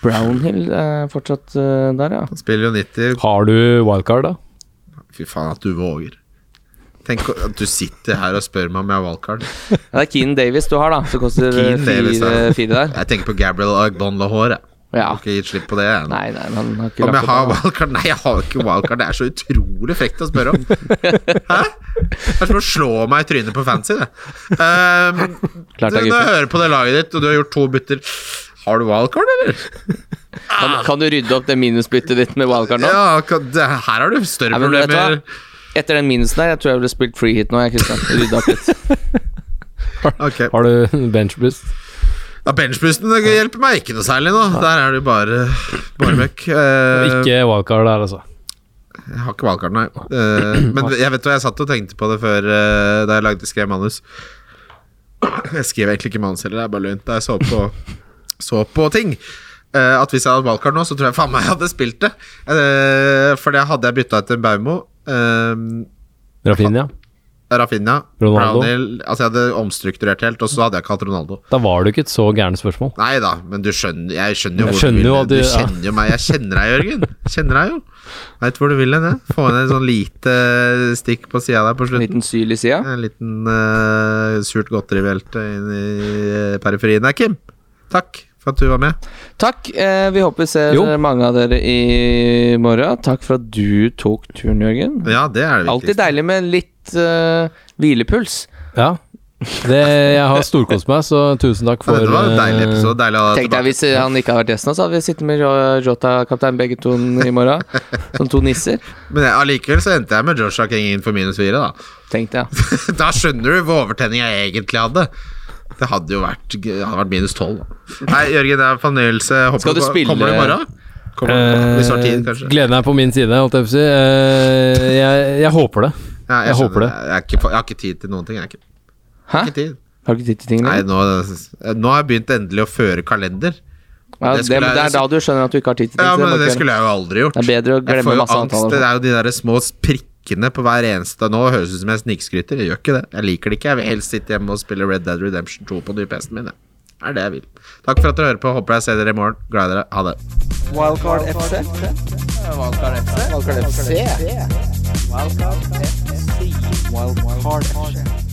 [SPEAKER 2] Brownhill er fortsatt eh, der, ja.
[SPEAKER 3] Han spiller jo 90
[SPEAKER 4] Har du wildcard, da?
[SPEAKER 3] Fy faen, at du våger. Tenk at du sitter her og spør meg om jeg har wildcard.
[SPEAKER 2] Ja, Det er Keen Davis du har, da. Som koster eh,
[SPEAKER 3] Keane Davis,
[SPEAKER 2] fire,
[SPEAKER 3] ja.
[SPEAKER 2] fire der.
[SPEAKER 3] Jeg tenker på Gabriel Agbon Lahore.
[SPEAKER 2] Ja.
[SPEAKER 3] Har ikke gitt slipp på det. jeg.
[SPEAKER 2] Nei, nei, men han har ikke
[SPEAKER 3] Om
[SPEAKER 2] lagt
[SPEAKER 3] jeg
[SPEAKER 2] opp
[SPEAKER 3] har
[SPEAKER 2] ennå.
[SPEAKER 3] wildcard? Nei, jeg har jo ikke wildcard. Det er så utrolig frekt å spørre om. Hæ? Det er som å slå meg i trynet på fancy, det. Ehm,
[SPEAKER 2] Klart det er
[SPEAKER 3] du, når jeg
[SPEAKER 2] gutter.
[SPEAKER 3] hører på det laget ditt, og du har gjort to bytter Har du wildcard, eller?
[SPEAKER 2] Kan, kan du rydde opp det minusbyttet ditt med wildcard nå?
[SPEAKER 3] Ja, kan- det, her har du større
[SPEAKER 2] Nei, men vet du
[SPEAKER 3] problemer.
[SPEAKER 2] hva? Etter den minusen der, jeg tror jeg ville spilt free hit nå, jeg, Kristian. Rydde opp litt.
[SPEAKER 3] Ok.
[SPEAKER 4] Har du benchboost?
[SPEAKER 3] Ja, Benchboosten det hjelper meg ikke noe særlig nå. Der er det jo bare, bare møkk. Ehm,
[SPEAKER 4] Ikke wildcard der, altså.
[SPEAKER 3] Jeg har ikke valgkart, nei. Eh, men jeg vet hva, jeg satt og tenkte på det før eh, da jeg lagde skrev manus. Jeg skrev egentlig ikke manus heller, det er bare løgn. Da jeg så på, så på ting. eh, at hvis jeg hadde valgkart nå, så tror jeg faen meg jeg hadde spilt det. Eh, for det hadde jeg bytta ut en Baumo. eh,
[SPEAKER 4] Rafinha?
[SPEAKER 3] Rafinha,
[SPEAKER 4] Ronaldo.
[SPEAKER 3] Brownhill Altså, jeg hadde omstrukturert helt, og så hadde jeg ikke hatt Ronaldo.
[SPEAKER 4] Da var det jo ikke et så gærent spørsmål.
[SPEAKER 3] Nei da, men du skjønner Jeg skjønner jo
[SPEAKER 4] Jeg
[SPEAKER 3] hvor du
[SPEAKER 4] skjønner
[SPEAKER 3] vil
[SPEAKER 4] jo
[SPEAKER 3] hen.
[SPEAKER 4] at du-
[SPEAKER 3] Du
[SPEAKER 4] ja.
[SPEAKER 3] kjenner jo meg. Jeg kjenner deg, Jørgen. Kjenner deg jo. Veit hvor du vil hen, jeg. Få inn en sånn lite stikk på sida der på
[SPEAKER 2] En
[SPEAKER 3] slutten.
[SPEAKER 2] liten syl i sida.
[SPEAKER 3] En liten eh, surt godteribjelte inn i eh, periferien der, Kim. Takk for at du var med.
[SPEAKER 2] Takk. Eh, vi håper vi ser
[SPEAKER 4] Jo.
[SPEAKER 2] mange av dere i morgen. Takk for at du tok turen, Jørgen.
[SPEAKER 3] Ja, det er det
[SPEAKER 2] Alltid
[SPEAKER 3] viktigste.
[SPEAKER 2] deilig med litt eh, hvilepuls.
[SPEAKER 4] Ja. Det, jeg har storkost meg, så tusen takk
[SPEAKER 3] Ja,
[SPEAKER 4] for
[SPEAKER 3] dette var en deilig
[SPEAKER 4] eh,
[SPEAKER 3] episode. Deilig å ha deg
[SPEAKER 2] Tenk deg
[SPEAKER 3] tilbake.
[SPEAKER 2] Hvis han ikke hadde vært gjesten, så hadde vi sittet med Jo- Jota kaptein begge to i morgen. Som to nisser.
[SPEAKER 3] Men jeg- allikevel så endte jeg med Joshua King inn for minus fire, da.
[SPEAKER 2] Tenkte jeg.
[SPEAKER 3] da skjønner du hvor overtenning jeg egentlig hadde. Det hadde jo vært, det hadde vært minus tolv. Nei, Jørgen, det er en fornøyelse. Håper
[SPEAKER 2] Skal du
[SPEAKER 3] ko-
[SPEAKER 2] spille-
[SPEAKER 3] Kommer du i morgen? Kommer du, hvis du har tid, kanskje?
[SPEAKER 4] Eh, Gleden er på min side, holdt jeg på å si. Eh, jeg, jeg håper det.
[SPEAKER 3] Ja,
[SPEAKER 4] jeg
[SPEAKER 3] skjønner.
[SPEAKER 4] håper det.
[SPEAKER 3] Jeg, er ikke, jeg har ikke tid til noen ting. Jeg har ikke,
[SPEAKER 2] Hæ?
[SPEAKER 3] ikke tid.
[SPEAKER 2] Har du ikke tid til ting
[SPEAKER 3] Nei,
[SPEAKER 2] lenger?
[SPEAKER 3] nå, nå har jeg begynt endelig å føre kalender.
[SPEAKER 2] Ja,
[SPEAKER 3] det
[SPEAKER 2] det, men
[SPEAKER 3] skulle
[SPEAKER 2] det
[SPEAKER 3] jeg-
[SPEAKER 2] er da du skjønner at du ikke har tid til ting.
[SPEAKER 3] Ja,
[SPEAKER 2] så
[SPEAKER 3] men
[SPEAKER 2] må
[SPEAKER 3] Det
[SPEAKER 2] ikke
[SPEAKER 3] skulle jeg jo aldri gjort.
[SPEAKER 2] Det er bedre å
[SPEAKER 3] Jeg
[SPEAKER 2] glemme
[SPEAKER 3] får jo
[SPEAKER 2] masse
[SPEAKER 3] angst.
[SPEAKER 2] avtaler.
[SPEAKER 3] Det er jo de der små prikkene på hver eneste Nå høres det ut som jeg snikskryter. Jeg gjør ikke det. Jeg liker det ikke. Jeg vil helst sitte hjemme og spille Red Dead Redemption 2 på nye PC-en min. jeg. Det er det jeg vil. Takk for at dere hører på. Håper jeg ser dere i morgen. Glad i dere. Ha det.
[SPEAKER 1] Wildcard FC. Wildcard FC. Wildcard FC. Wildcard FC.